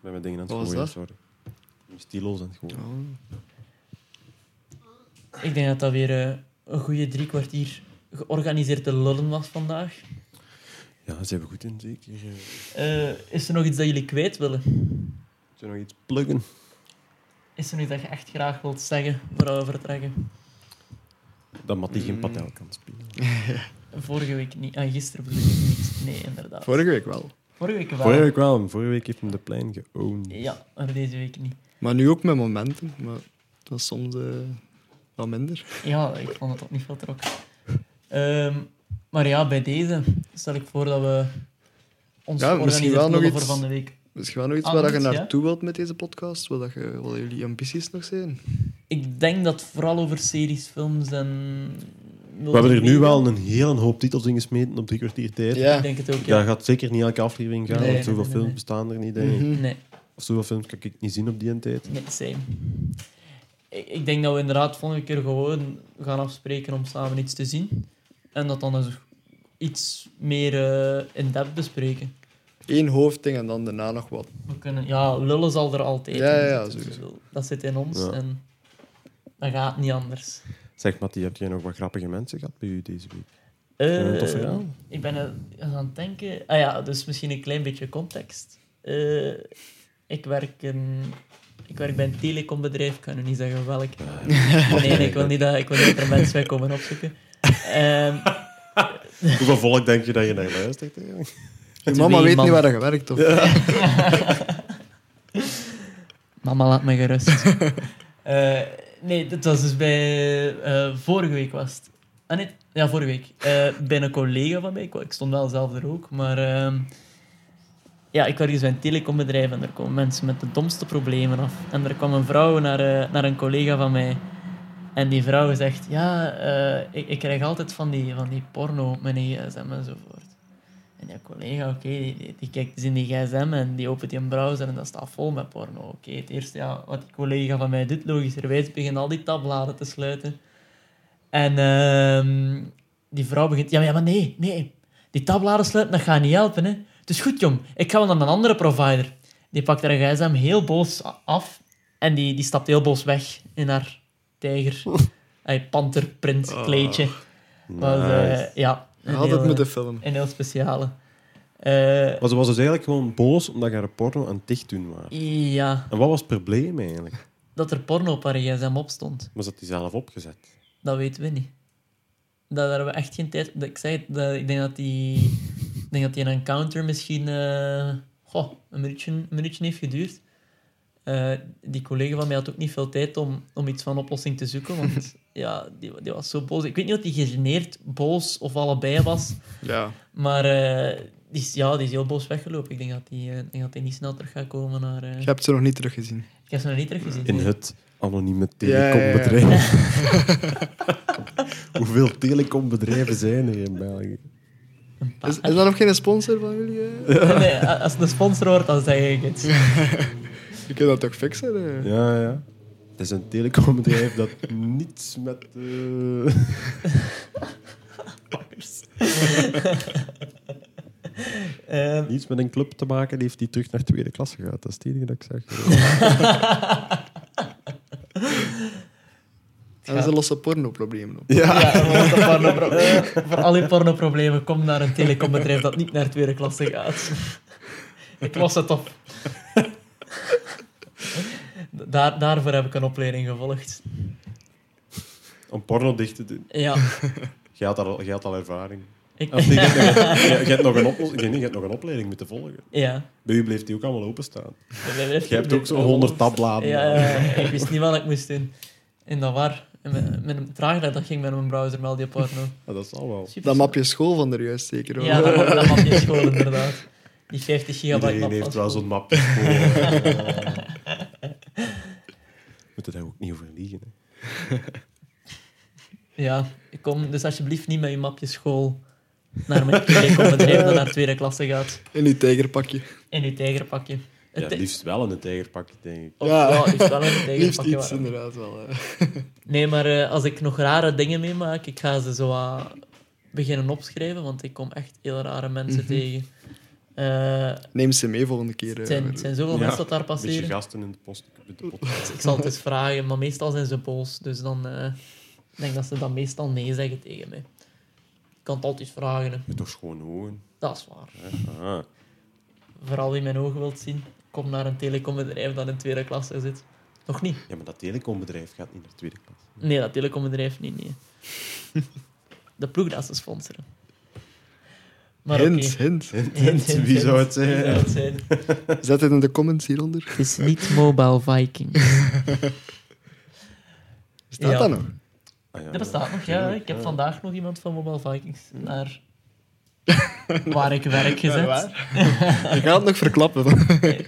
Speaker 5: ben met dingen aan het
Speaker 1: Wat was
Speaker 5: gooien,
Speaker 1: dat?
Speaker 5: sorry. Ik ben Stilo's aan het gooien.
Speaker 1: Oh.
Speaker 2: Ik denk dat dat weer eh, een goede drie kwartier georganiseerd te lullen was vandaag.
Speaker 5: Ja, ze hebben goed in, zeker. Eh,
Speaker 2: Eh, is er nog iets dat jullie kwijt willen?
Speaker 5: Moet je nog iets pluggen?
Speaker 2: Is er nog iets dat je echt graag wilt zeggen voor we vertrekken?
Speaker 5: Dat Mattie geen
Speaker 1: Mm.
Speaker 5: patel kan spelen.
Speaker 2: Vorige week niet. Ah, gisteren bedoel ik niet. Nee, inderdaad.
Speaker 1: Vorige week wel.
Speaker 2: Vorige week wel.
Speaker 5: Vorige week wel. Vorige week heeft hem de plein geowned.
Speaker 2: Ja, maar deze week niet.
Speaker 1: Maar nu ook met momenten. Maar dat is soms eh, wat minder.
Speaker 2: Ja, ik vond het ook niet veel trok. Ehm, maar ja, bij deze stel ik voor dat we ons
Speaker 1: Ja, misschien wel
Speaker 2: organiseren
Speaker 1: nog
Speaker 2: voor
Speaker 1: iets-
Speaker 2: van de week.
Speaker 1: Misschien wel nog iets
Speaker 2: Ah,
Speaker 1: waar dat Dus je
Speaker 2: nog iets, ja?
Speaker 1: naartoe wilt met deze podcast. Wat, dat je, wat jullie ambities nog zijn.
Speaker 2: Ik denk dat het vooral over series, films en...
Speaker 5: We hebben er nu wel een hele hoop titels in gesmeten op drie kwartier tijd.
Speaker 2: Ik denk het ook, ja.
Speaker 5: Daar gaat zeker niet elke aflevering gaan,
Speaker 2: Nee,
Speaker 5: want
Speaker 2: nee,
Speaker 5: zoveel
Speaker 2: nee,
Speaker 5: films
Speaker 2: nee.
Speaker 5: bestaan er niet, denk ik.
Speaker 1: Mhm.
Speaker 2: Nee,
Speaker 5: Of zoveel films kan ik niet zien op die tijd.
Speaker 2: nee, same. Ik, ik denk dat we inderdaad volgende keer gewoon gaan afspreken om samen iets te zien. En dat dan eens iets meer eh, in-depth bespreken.
Speaker 1: Eén hoofdding en dan daarna nog wat.
Speaker 2: We kunnen, ja, lullen zal er altijd
Speaker 1: Ja,
Speaker 2: in
Speaker 1: ja, ja,
Speaker 2: zitten. Ik
Speaker 1: sowieso.
Speaker 2: bedoel, Dat zit in ons
Speaker 5: Ja.
Speaker 2: en dat gaat niet anders.
Speaker 5: Zeg, Mattie, heb jij nog wat grappige mensen gehad bij u deze
Speaker 2: *laughs*
Speaker 5: week?
Speaker 2: Eh,
Speaker 5: Heb je een tof verhaal?
Speaker 2: Ik ben eh, aan het denken. Ah ja, dus misschien een klein beetje context. Eh, ik, werk een, ik werk bij een telecombedrijf, ik kan nu niet zeggen welk. Nee, nee, ik wil niet dat, ik wil niet dat er mensen bij komen
Speaker 5: *laughs*
Speaker 2: opzoeken. Ehm,
Speaker 5: Hoeveel volk denk je dat je naar luistert? eigenlijk?
Speaker 1: Je
Speaker 2: is
Speaker 1: mama
Speaker 2: wie,
Speaker 1: weet
Speaker 2: man?
Speaker 1: niet waar dat je werkt. Of?
Speaker 2: Mama, laat me gerust. *laughs* Eh, nee, dat was dus bij... eh, vorige week was het. Ah, nee, ja, vorige week. Eh, bij een collega van mij. Ik, wa- ik stond wel zelf er ook, maar... ehm, ja, ik werk dus bij een telecombedrijf en er komen mensen met de domste problemen af. En er kwam een vrouw naar, eh, naar een collega van mij. En die vrouw zegt, ja, eh, ik, ik krijg altijd van die, van die porno op mijn E gsm enzovoort. En die collega, oké, die, die, die kijkt dus in die gsm en die opent die een browser en dat staat vol met porno. Oké, het eerste ja, wat die collega van mij doet, logischerwijs, begint al die tabbladen te sluiten. En ehm, die vrouw begint, ja maar, ja, maar nee, nee, die tabbladen sluiten, dat gaat niet helpen. Hè. Het is goed, jong, ik ga wel naar een andere provider. Die pakt haar gsm heel boos a- af en die, die stapt heel boos weg in haar tijger, hey, panterprint kleedje. Was, eh,
Speaker 5: Nice.
Speaker 2: ja, een
Speaker 1: Je had het
Speaker 2: heel,
Speaker 1: moeten filmen.
Speaker 2: een heel speciale. Eh,
Speaker 5: Maar ze was dus eigenlijk gewoon boos omdat je haar porno aan het dicht doen was.
Speaker 2: ja,
Speaker 5: En wat was het probleem eigenlijk?
Speaker 2: dat er porno op haar gsm op stond,
Speaker 5: Was dat die zelf opgezet?
Speaker 2: dat weten we niet. Dat daar hebben we echt geen tijd... dat- Ik zei het, dat, ik denk dat die... Ik denk dat die een encounter misschien... eh, goh, een minuutje, een minuutje heeft geduurd. Eh, die collega van mij had ook niet veel tijd om, om iets van oplossing te zoeken, want ja, die, die was zo boos. Ik weet niet of die gegeneerd, boos of allebei was.
Speaker 1: Ja.
Speaker 2: Maar eh, die, is, ja, die is heel boos weggelopen. Ik denk dat die, eh, ik denk dat die niet snel terug gaat komen naar... eh,
Speaker 1: Je hebt ze nog niet teruggezien.
Speaker 2: Ik heb ze nog niet teruggezien.
Speaker 5: In
Speaker 2: nee.
Speaker 5: het anonieme
Speaker 1: ja, ja.
Speaker 5: telecombedrijf.
Speaker 2: *laughs*
Speaker 5: *laughs* Hoeveel telecombedrijven zijn er in België?
Speaker 1: Is, is dat nog geen sponsor van jullie? eh?
Speaker 2: Nee, als het een sponsor wordt, dan zeg ik het.
Speaker 1: Je kunt dat toch fixen? eh?
Speaker 5: Ja, ja. Het is een telecombedrijf dat *laughs* niets met... eh,
Speaker 6: Ehm,
Speaker 5: Niets met een club te maken, die heeft die terug naar tweede klasse gehad. Dat is het enige dat ik zeg.
Speaker 1: En dat is een losse porno-probleem. op.
Speaker 5: *laughs* ja.
Speaker 2: Ja, want dat porno- eh, voor al uw pornoproblemen, kom naar een telecombedrijf dat niet naar tweede klasse gaat. Ik was het op. Daar, daarvoor heb ik een opleiding gevolgd.
Speaker 5: Om porno dicht te doen.
Speaker 2: Ja,
Speaker 5: Je had al, jij had al ervaring.
Speaker 2: ik,
Speaker 5: Of nee, je, hebt nog een- je- je hebt nog een oplos- ik denk niet, je hebt nog een opleiding moeten volgen.
Speaker 2: *laughs* ja.
Speaker 5: Bij u bleef die ook allemaal openstaan. Je hebt ook zo'n honderd tabbladen.
Speaker 2: Ja, ja, ja. ik wist niet wat ik moest doen. En dat waar. En met, met een trager, dat ging met mijn browser wel, die porno.
Speaker 5: Ja, Ah, dat zal wel.
Speaker 2: Super
Speaker 1: Dat mapje school van er juist zeker. hoor.
Speaker 2: Ja, dat, dat mapje
Speaker 5: *laughs*
Speaker 2: school inderdaad. Die 50 gigabyte
Speaker 5: Iedereen
Speaker 2: map
Speaker 5: heeft
Speaker 2: van
Speaker 5: wel
Speaker 2: school.
Speaker 5: zo'n mapje. voor. Eh, Moet er daar ook niet over liegen. Hè.
Speaker 2: Ja, ik kom dus alsjeblieft niet met je mapje school naar mijn *laughs* bedrijf dat naar tweede klasse gaat.
Speaker 1: In uw tijgerpakje.
Speaker 2: In je tijgerpakje. Het
Speaker 5: Ja,
Speaker 2: ti-
Speaker 5: liefst wel in een tijgerpakje, denk ik.
Speaker 2: Of,
Speaker 1: Ja.
Speaker 2: ja,
Speaker 1: *laughs*
Speaker 2: het is wel een
Speaker 1: Liefst
Speaker 2: tijgerpakje.
Speaker 1: iets,
Speaker 2: waarom?
Speaker 1: inderdaad wel. hè.
Speaker 2: Nee, maar eh, als ik nog rare dingen meemaak, ik ga ze zo wat beginnen opschrijven, want ik kom echt heel rare
Speaker 1: Mhm.
Speaker 2: mensen tegen. Eh,
Speaker 1: Neem ze mee volgende keer. eh, hè.
Speaker 2: het, zijn, het zijn zoveel
Speaker 5: Ja,
Speaker 2: mensen dat daar
Speaker 5: Een beetje
Speaker 2: passeren.
Speaker 5: gasten in de post. in de pot.
Speaker 2: Ik zal het eens vragen, maar meestal zijn ze boos. Dus dan eh, ik denk dat ze dan meestal nee zeggen tegen mij. Ik kan het altijd vragen. hè.
Speaker 5: Met toch schoon ogen. Ah,
Speaker 2: Dat is waar.
Speaker 5: Hè? Aha.
Speaker 2: Vooral wie mijn ogen wilt zien, kom naar een telecombedrijf dat in tweede klasse zit. Nog niet?
Speaker 5: Ja, maar dat telecombedrijf gaat niet naar de tweede klas.
Speaker 2: Nee, dat telecombedrijf niet. Nee. De ploeg dat ze sponsoren. Maar oké.
Speaker 1: Hint, hint.
Speaker 2: Hint, hint,
Speaker 5: Wie zou het
Speaker 2: hint. Wie
Speaker 5: zeggen?
Speaker 2: zou het zijn?
Speaker 1: Zet het in de comments hieronder.
Speaker 2: Het is niet Mobile Viking.
Speaker 1: Staat
Speaker 2: Ja.
Speaker 1: dat nog?
Speaker 5: Ah, ja,
Speaker 2: Dat bestaat nog, ja. Ik heb
Speaker 5: Ja.
Speaker 2: vandaag nog iemand van Mobile Vikings naar waar ik werk
Speaker 1: Ja, *laughs*
Speaker 2: gezet.
Speaker 1: waar? Je gaat het nog
Speaker 2: Eh,
Speaker 1: verklappen.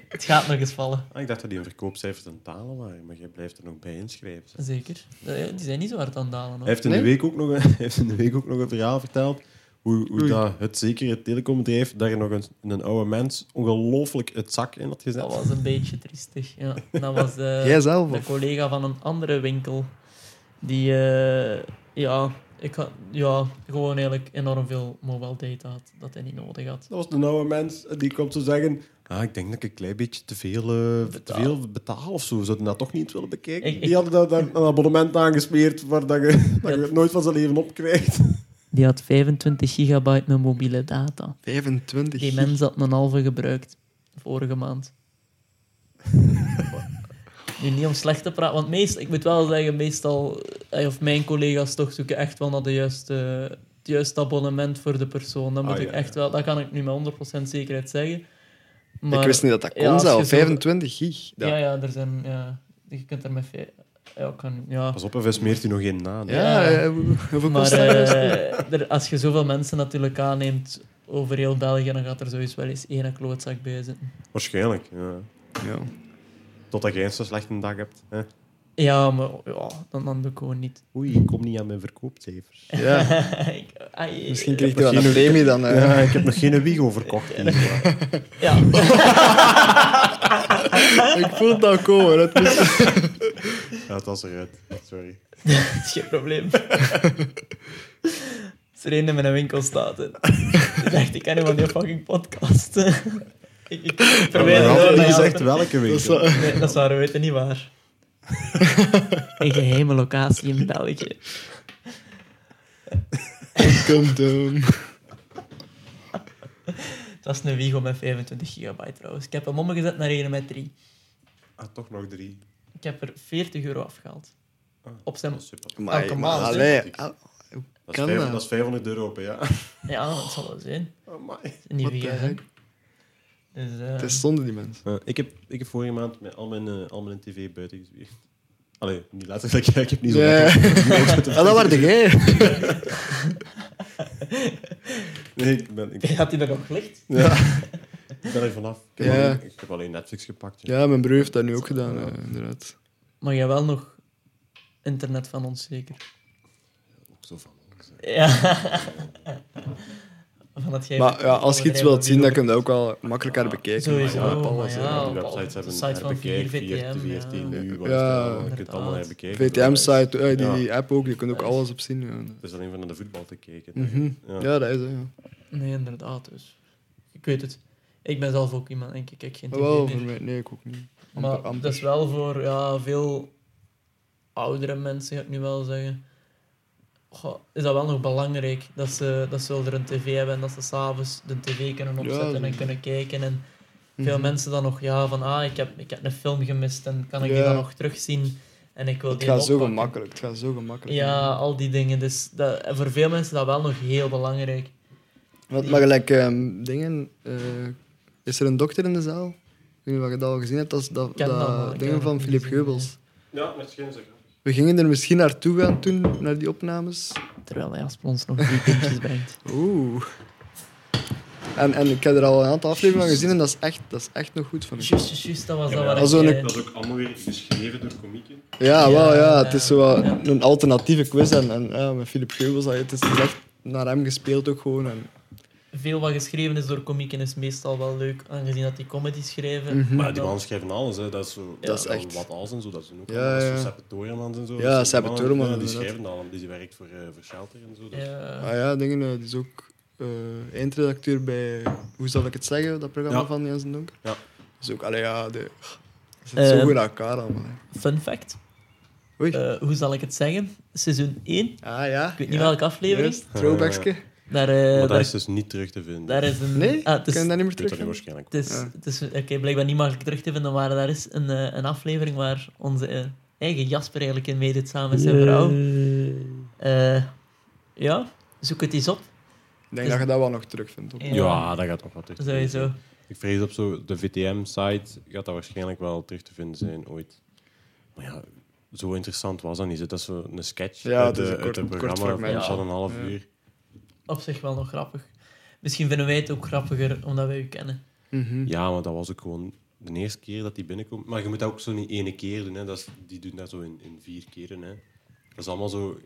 Speaker 2: Het gaat nog eens vallen.
Speaker 5: Ah, ik dacht dat die een verkoopcijfers aan talen waren, maar jij blijft er nog bij inschrijven. zeg.
Speaker 2: Zeker. Eh, Die zijn niet zo hard aan het dalen.
Speaker 5: Hij
Speaker 2: Hoor.
Speaker 5: heeft, in
Speaker 1: Nee?
Speaker 5: de week ook nog een, *laughs* hij heeft in de week ook nog een verhaal verteld hoe, hoe
Speaker 1: Oei.
Speaker 5: dat het zekere telecombedrijf daar nog een, een oude mens ongelooflijk het zak in had gezet.
Speaker 2: Dat was een beetje triestig. Ja. Dat was
Speaker 1: *laughs*
Speaker 2: de,
Speaker 1: Jijzelf?
Speaker 2: de
Speaker 1: Of?
Speaker 2: collega van een andere winkel. Die, eh, ja, ik had, ja, gewoon eigenlijk enorm veel mobile data had dat hij niet nodig had.
Speaker 5: Dat was een oude mens en die komt zo zeggen... Ah, ik denk dat ik een klein beetje te veel, eh, te
Speaker 2: Betaal.
Speaker 5: veel betaal of zo. Zouden dat toch niet willen bekijken?
Speaker 2: Ik- ik-
Speaker 5: Die hadden daar, daar een abonnement aangesmeerd waar dat je, *laughs* dat je
Speaker 2: Ja.
Speaker 5: het nooit van zijn leven opkrijgt.
Speaker 2: Die had 25 gigabyte met mobiele data.
Speaker 1: 25.
Speaker 2: Die mens had een halve gebruikt vorige maand. Nu niet om slecht te praten, want meestal, ik moet wel zeggen, meestal, eh, of mijn collega's toch zoeken echt wel naar de juiste, het juiste abonnement voor de persoon. Dat, moet
Speaker 5: Ah,
Speaker 2: ik
Speaker 5: ja,
Speaker 2: echt wel, dat kan ik nu met 100% zekerheid zeggen. Maar,
Speaker 1: Ik wist niet dat dat kon
Speaker 2: Ja, als je
Speaker 1: zelf.
Speaker 2: zo-
Speaker 1: 25 gig.
Speaker 2: Ja,
Speaker 1: Dat-
Speaker 2: ja, er zijn, ja, je kunt er met veel. Ja, ik kan, ja.
Speaker 5: *laughs* Pas op, even smeert u nog één na. hè.
Speaker 1: Ja,
Speaker 2: Ja.
Speaker 1: eh, hoe- hoeveel kost
Speaker 2: Maar
Speaker 1: dat?
Speaker 2: eh, er- als je zoveel mensen natuurlijk aanneemt over heel België, dan gaat er sowieso wel eens één klootzak bij zitten.
Speaker 5: Waarschijnlijk, ja.
Speaker 1: Ja.
Speaker 5: Totdat jij eens een slechte dag hebt. Hè?
Speaker 2: Ja, maar ja, dan, dan doe ik gewoon niet.
Speaker 5: Oei, ik kom niet aan mijn verkoopcijfers.
Speaker 1: Ja.
Speaker 2: *laughs* Ik- ah, ai,
Speaker 1: Misschien
Speaker 2: ja.
Speaker 1: kreeg je wel een
Speaker 5: Misschien-
Speaker 1: premie dan. eh.
Speaker 5: Ja, ik heb nog geen Wigo verkocht. *laughs* hier.
Speaker 1: *laughs* Ik voel het al komen. Dat is...
Speaker 2: *laughs*
Speaker 5: Ja, het was eruit. Sorry.
Speaker 2: Het is geen probleem. Als er één in mijn winkel staat, hè. ik dacht ik ken hem van die fucking podcast. *laughs* ik, ik
Speaker 5: we
Speaker 2: verwijder
Speaker 5: hadden
Speaker 2: hem
Speaker 5: niet
Speaker 2: naar
Speaker 5: gezegd
Speaker 2: jou.
Speaker 5: welke winkel.
Speaker 1: is wel-
Speaker 2: Nee, dat is waar, we weten niet waar. *laughs* Een geheime locatie in België.
Speaker 1: Come down.
Speaker 2: Dat is een Wigo met 25 gigabyte trouwens. Ik heb hem omgezet naar een met 3.
Speaker 5: Ah, toch nog drie.
Speaker 2: Ik heb er 40 euro afgehaald.
Speaker 1: Oh.
Speaker 5: Ah,
Speaker 2: Op zijn...
Speaker 5: Dat is super.
Speaker 1: Maar,
Speaker 2: Elke
Speaker 1: maar
Speaker 2: maand, hè.
Speaker 1: allee, ah,
Speaker 5: Dat is,
Speaker 1: Kan
Speaker 5: vijf-
Speaker 1: dat?
Speaker 5: dat is 500 euro per jaar.
Speaker 2: Ja, dat zal wel zijn.
Speaker 5: Amai.
Speaker 2: Niet
Speaker 1: What the
Speaker 2: vergeten.
Speaker 1: heck?
Speaker 2: Dus, eh,
Speaker 1: eh, het is zonde, die mensen.
Speaker 5: Eh, ik, heb, ik heb vorige maand met al mijn, eh, al mijn tv buiten gezwierd. Allee, niet letterlijk. *laughs* Ik heb niet zo
Speaker 1: Ja. *laughs*
Speaker 5: letterlijk.
Speaker 1: Ah, dat waren jij.
Speaker 5: Nee, ik ben,
Speaker 2: *laughs*
Speaker 5: ik,
Speaker 2: Had hij er nog licht?
Speaker 5: ja. *laughs* ik ben er vanaf. Ik heb,
Speaker 1: Ja.
Speaker 5: alleen, ik heb alleen Netflix gepakt. ja.
Speaker 1: Ja, mijn broer heeft dat nu ook gedaan, eh, inderdaad.
Speaker 2: Maar jij wel nog internet van ons, zeker?
Speaker 5: Ook zo van. alles, hè.
Speaker 2: Ja. *laughs* van dat jij
Speaker 1: Maar ja, als je iets wilt zien, dan
Speaker 2: dat
Speaker 1: kun je dat ook wel makkelijker bekijken.
Speaker 2: Sowieso.
Speaker 5: Ja,
Speaker 1: op
Speaker 2: maar
Speaker 1: alles, hè.
Speaker 2: ja,
Speaker 5: die
Speaker 2: op- op
Speaker 5: websites
Speaker 2: de
Speaker 5: hebben
Speaker 2: site van
Speaker 5: herbekeken,
Speaker 2: 4VTM,
Speaker 5: VRT, VRT,
Speaker 2: ja.
Speaker 5: nu, wat
Speaker 1: Ja,
Speaker 5: is dat? je kunt het allemaal
Speaker 2: inderdaad.
Speaker 5: herbekeken.
Speaker 1: VTM-site, eh, die,
Speaker 5: Ja.
Speaker 1: die app ook, je kunt ook alles op zien. Ja,
Speaker 5: Het is alleen van naar de voetbal te kijken.
Speaker 1: Mhm.
Speaker 5: Ja.
Speaker 1: ja dat is het. Ja.
Speaker 2: Nee, inderdaad. Dus. Je Ik weet het. Ik ben zelf ook iemand, denk ik. Ik kijk geen tv
Speaker 1: Wel,
Speaker 2: meer.
Speaker 1: voor mij, nee, ik ook niet. Amper,
Speaker 2: Maar
Speaker 1: amper.
Speaker 2: dat is wel voor ja, veel oudere mensen, ga ik nu wel zeggen. Goh, is dat wel nog belangrijk dat ze, dat ze wel er een tv hebben en dat ze s'avonds de tv kunnen
Speaker 1: Ja,
Speaker 2: opzetten en
Speaker 1: sowieso.
Speaker 2: kunnen kijken. En veel
Speaker 1: Mhm.
Speaker 2: mensen dan nog, ja, van ah, ik heb, ik heb een film gemist en kan ik die
Speaker 1: Ja.
Speaker 2: dan nog terugzien en ik wil
Speaker 1: Het
Speaker 2: die
Speaker 1: gaat zo
Speaker 2: oppakken.
Speaker 1: gemakkelijk. Het gaat zo gemakkelijk.
Speaker 2: Ja, al die dingen. Dus dat, en voor veel mensen is dat wel nog heel belangrijk.
Speaker 1: Want, maar gelijk ehm, dingen. eh, is er een dokter in de zaal? Ik weet niet wat je dat al gezien hebt. Dat, is dat,
Speaker 2: ken
Speaker 1: dat
Speaker 2: dat wel, ik heb
Speaker 1: dingen
Speaker 2: dat
Speaker 1: van
Speaker 2: niet
Speaker 1: Philip
Speaker 2: gezien,
Speaker 1: Geubels.
Speaker 5: Ja, misschien zeker.
Speaker 1: We gingen er misschien naartoe gaan toen, naar die opnames.
Speaker 2: Terwijl hij als ons nog drie puntjes brengt.
Speaker 1: Oeh. En, en ik heb er al een aantal afleveringen van gezien en dat is echt, dat is echt nog goed van hem.
Speaker 2: Juist, juist, juist, dat was dat
Speaker 5: Ja,
Speaker 2: waar
Speaker 1: maar zo'n-
Speaker 2: ik... eh,
Speaker 5: Dat is ook allemaal weer geschreven door komieken.
Speaker 1: Ja, wel, ja. Het is zo wat
Speaker 2: Ja.
Speaker 1: een alternatieve quiz. En, en ja, met Philip Geubels, het is echt naar hem gespeeld ook gewoon. En,
Speaker 2: veel wat geschreven is door komieken is meestal wel leuk, aangezien dat die comedy schrijven.
Speaker 1: Mhm.
Speaker 5: Maar die
Speaker 2: Dan-
Speaker 5: mannen schrijven alles, hè. dat is zo.
Speaker 1: Dat is
Speaker 5: dan
Speaker 1: echt-
Speaker 5: Wat als en zo, dat zijn ook.
Speaker 1: Ja,
Speaker 5: allemaal- dat is
Speaker 1: ja.
Speaker 5: zo Seppe Toyermans en zo.
Speaker 1: Ja,
Speaker 5: dat zijn
Speaker 1: Seppe
Speaker 5: mannen,
Speaker 1: Toyerman,
Speaker 5: ja, die
Speaker 1: inderdaad.
Speaker 5: schrijven dat allemaal. Die werkt voor, eh voor Shelter en zo. Dat
Speaker 2: Ja.
Speaker 1: Ah ja, dingen, eh, die is ook eh, eindredacteur bij, hoe zal ik het zeggen, dat programma
Speaker 5: Ja.
Speaker 1: van Jens en Donker.
Speaker 5: Ja.
Speaker 1: Dus ook, allee, ja, de, het zit
Speaker 2: Eh,
Speaker 1: zo goed aan elkaar allemaal. hè.
Speaker 2: Fun fact.
Speaker 1: Oei.
Speaker 2: Eh, hoe zal ik het zeggen? Seizoen 1, ik
Speaker 1: ah ja. Ik
Speaker 2: weet niet welke aflevering.
Speaker 1: Throwbackske.
Speaker 2: Daar, eh,
Speaker 5: Maar dat
Speaker 2: daar,
Speaker 5: is dus niet terug te vinden.
Speaker 2: daar is een...
Speaker 1: Nee,
Speaker 2: ah, het is,
Speaker 1: kan je dat niet meer
Speaker 5: Ik weet dat
Speaker 1: terug?
Speaker 5: nu waarschijnlijk.
Speaker 2: het is,
Speaker 1: Ja.
Speaker 2: het is oké, blijkbaar niet makkelijk terug te vinden, maar daar is een, eh, een aflevering waar onze eh, eigen Jasper eigenlijk in meedoet samen met zijn vrouw. Eh, ja, zoek het eens op.
Speaker 1: Ik denk dat je dat wel nog terugvindt. ook.
Speaker 2: Ja.
Speaker 5: Ja, dat gaat nog wat terug te vinden
Speaker 2: Sowieso.
Speaker 5: Ik vrees op zo de VTM-site gaat dat waarschijnlijk wel terug te vinden zijn ooit. Maar ja, zo interessant was dat niet. Dat is zo een sketch
Speaker 1: Ja,
Speaker 5: uit,
Speaker 1: het is
Speaker 5: de-
Speaker 1: een kort-
Speaker 5: uit het
Speaker 1: kort
Speaker 5: programma van
Speaker 1: fragmentje.
Speaker 5: zo'n een half
Speaker 1: Ja.
Speaker 5: uur.
Speaker 2: Op zich wel nog grappig. Misschien vinden wij het ook grappiger, omdat wij u kennen.
Speaker 1: Mhm.
Speaker 5: Ja, maar dat was ook gewoon de eerste keer dat die binnenkomt. Maar je moet dat ook zo niet ene keer doen. Hè. Dat is, die doen dat zo in, in vier keren. Hè. Dat is allemaal zo...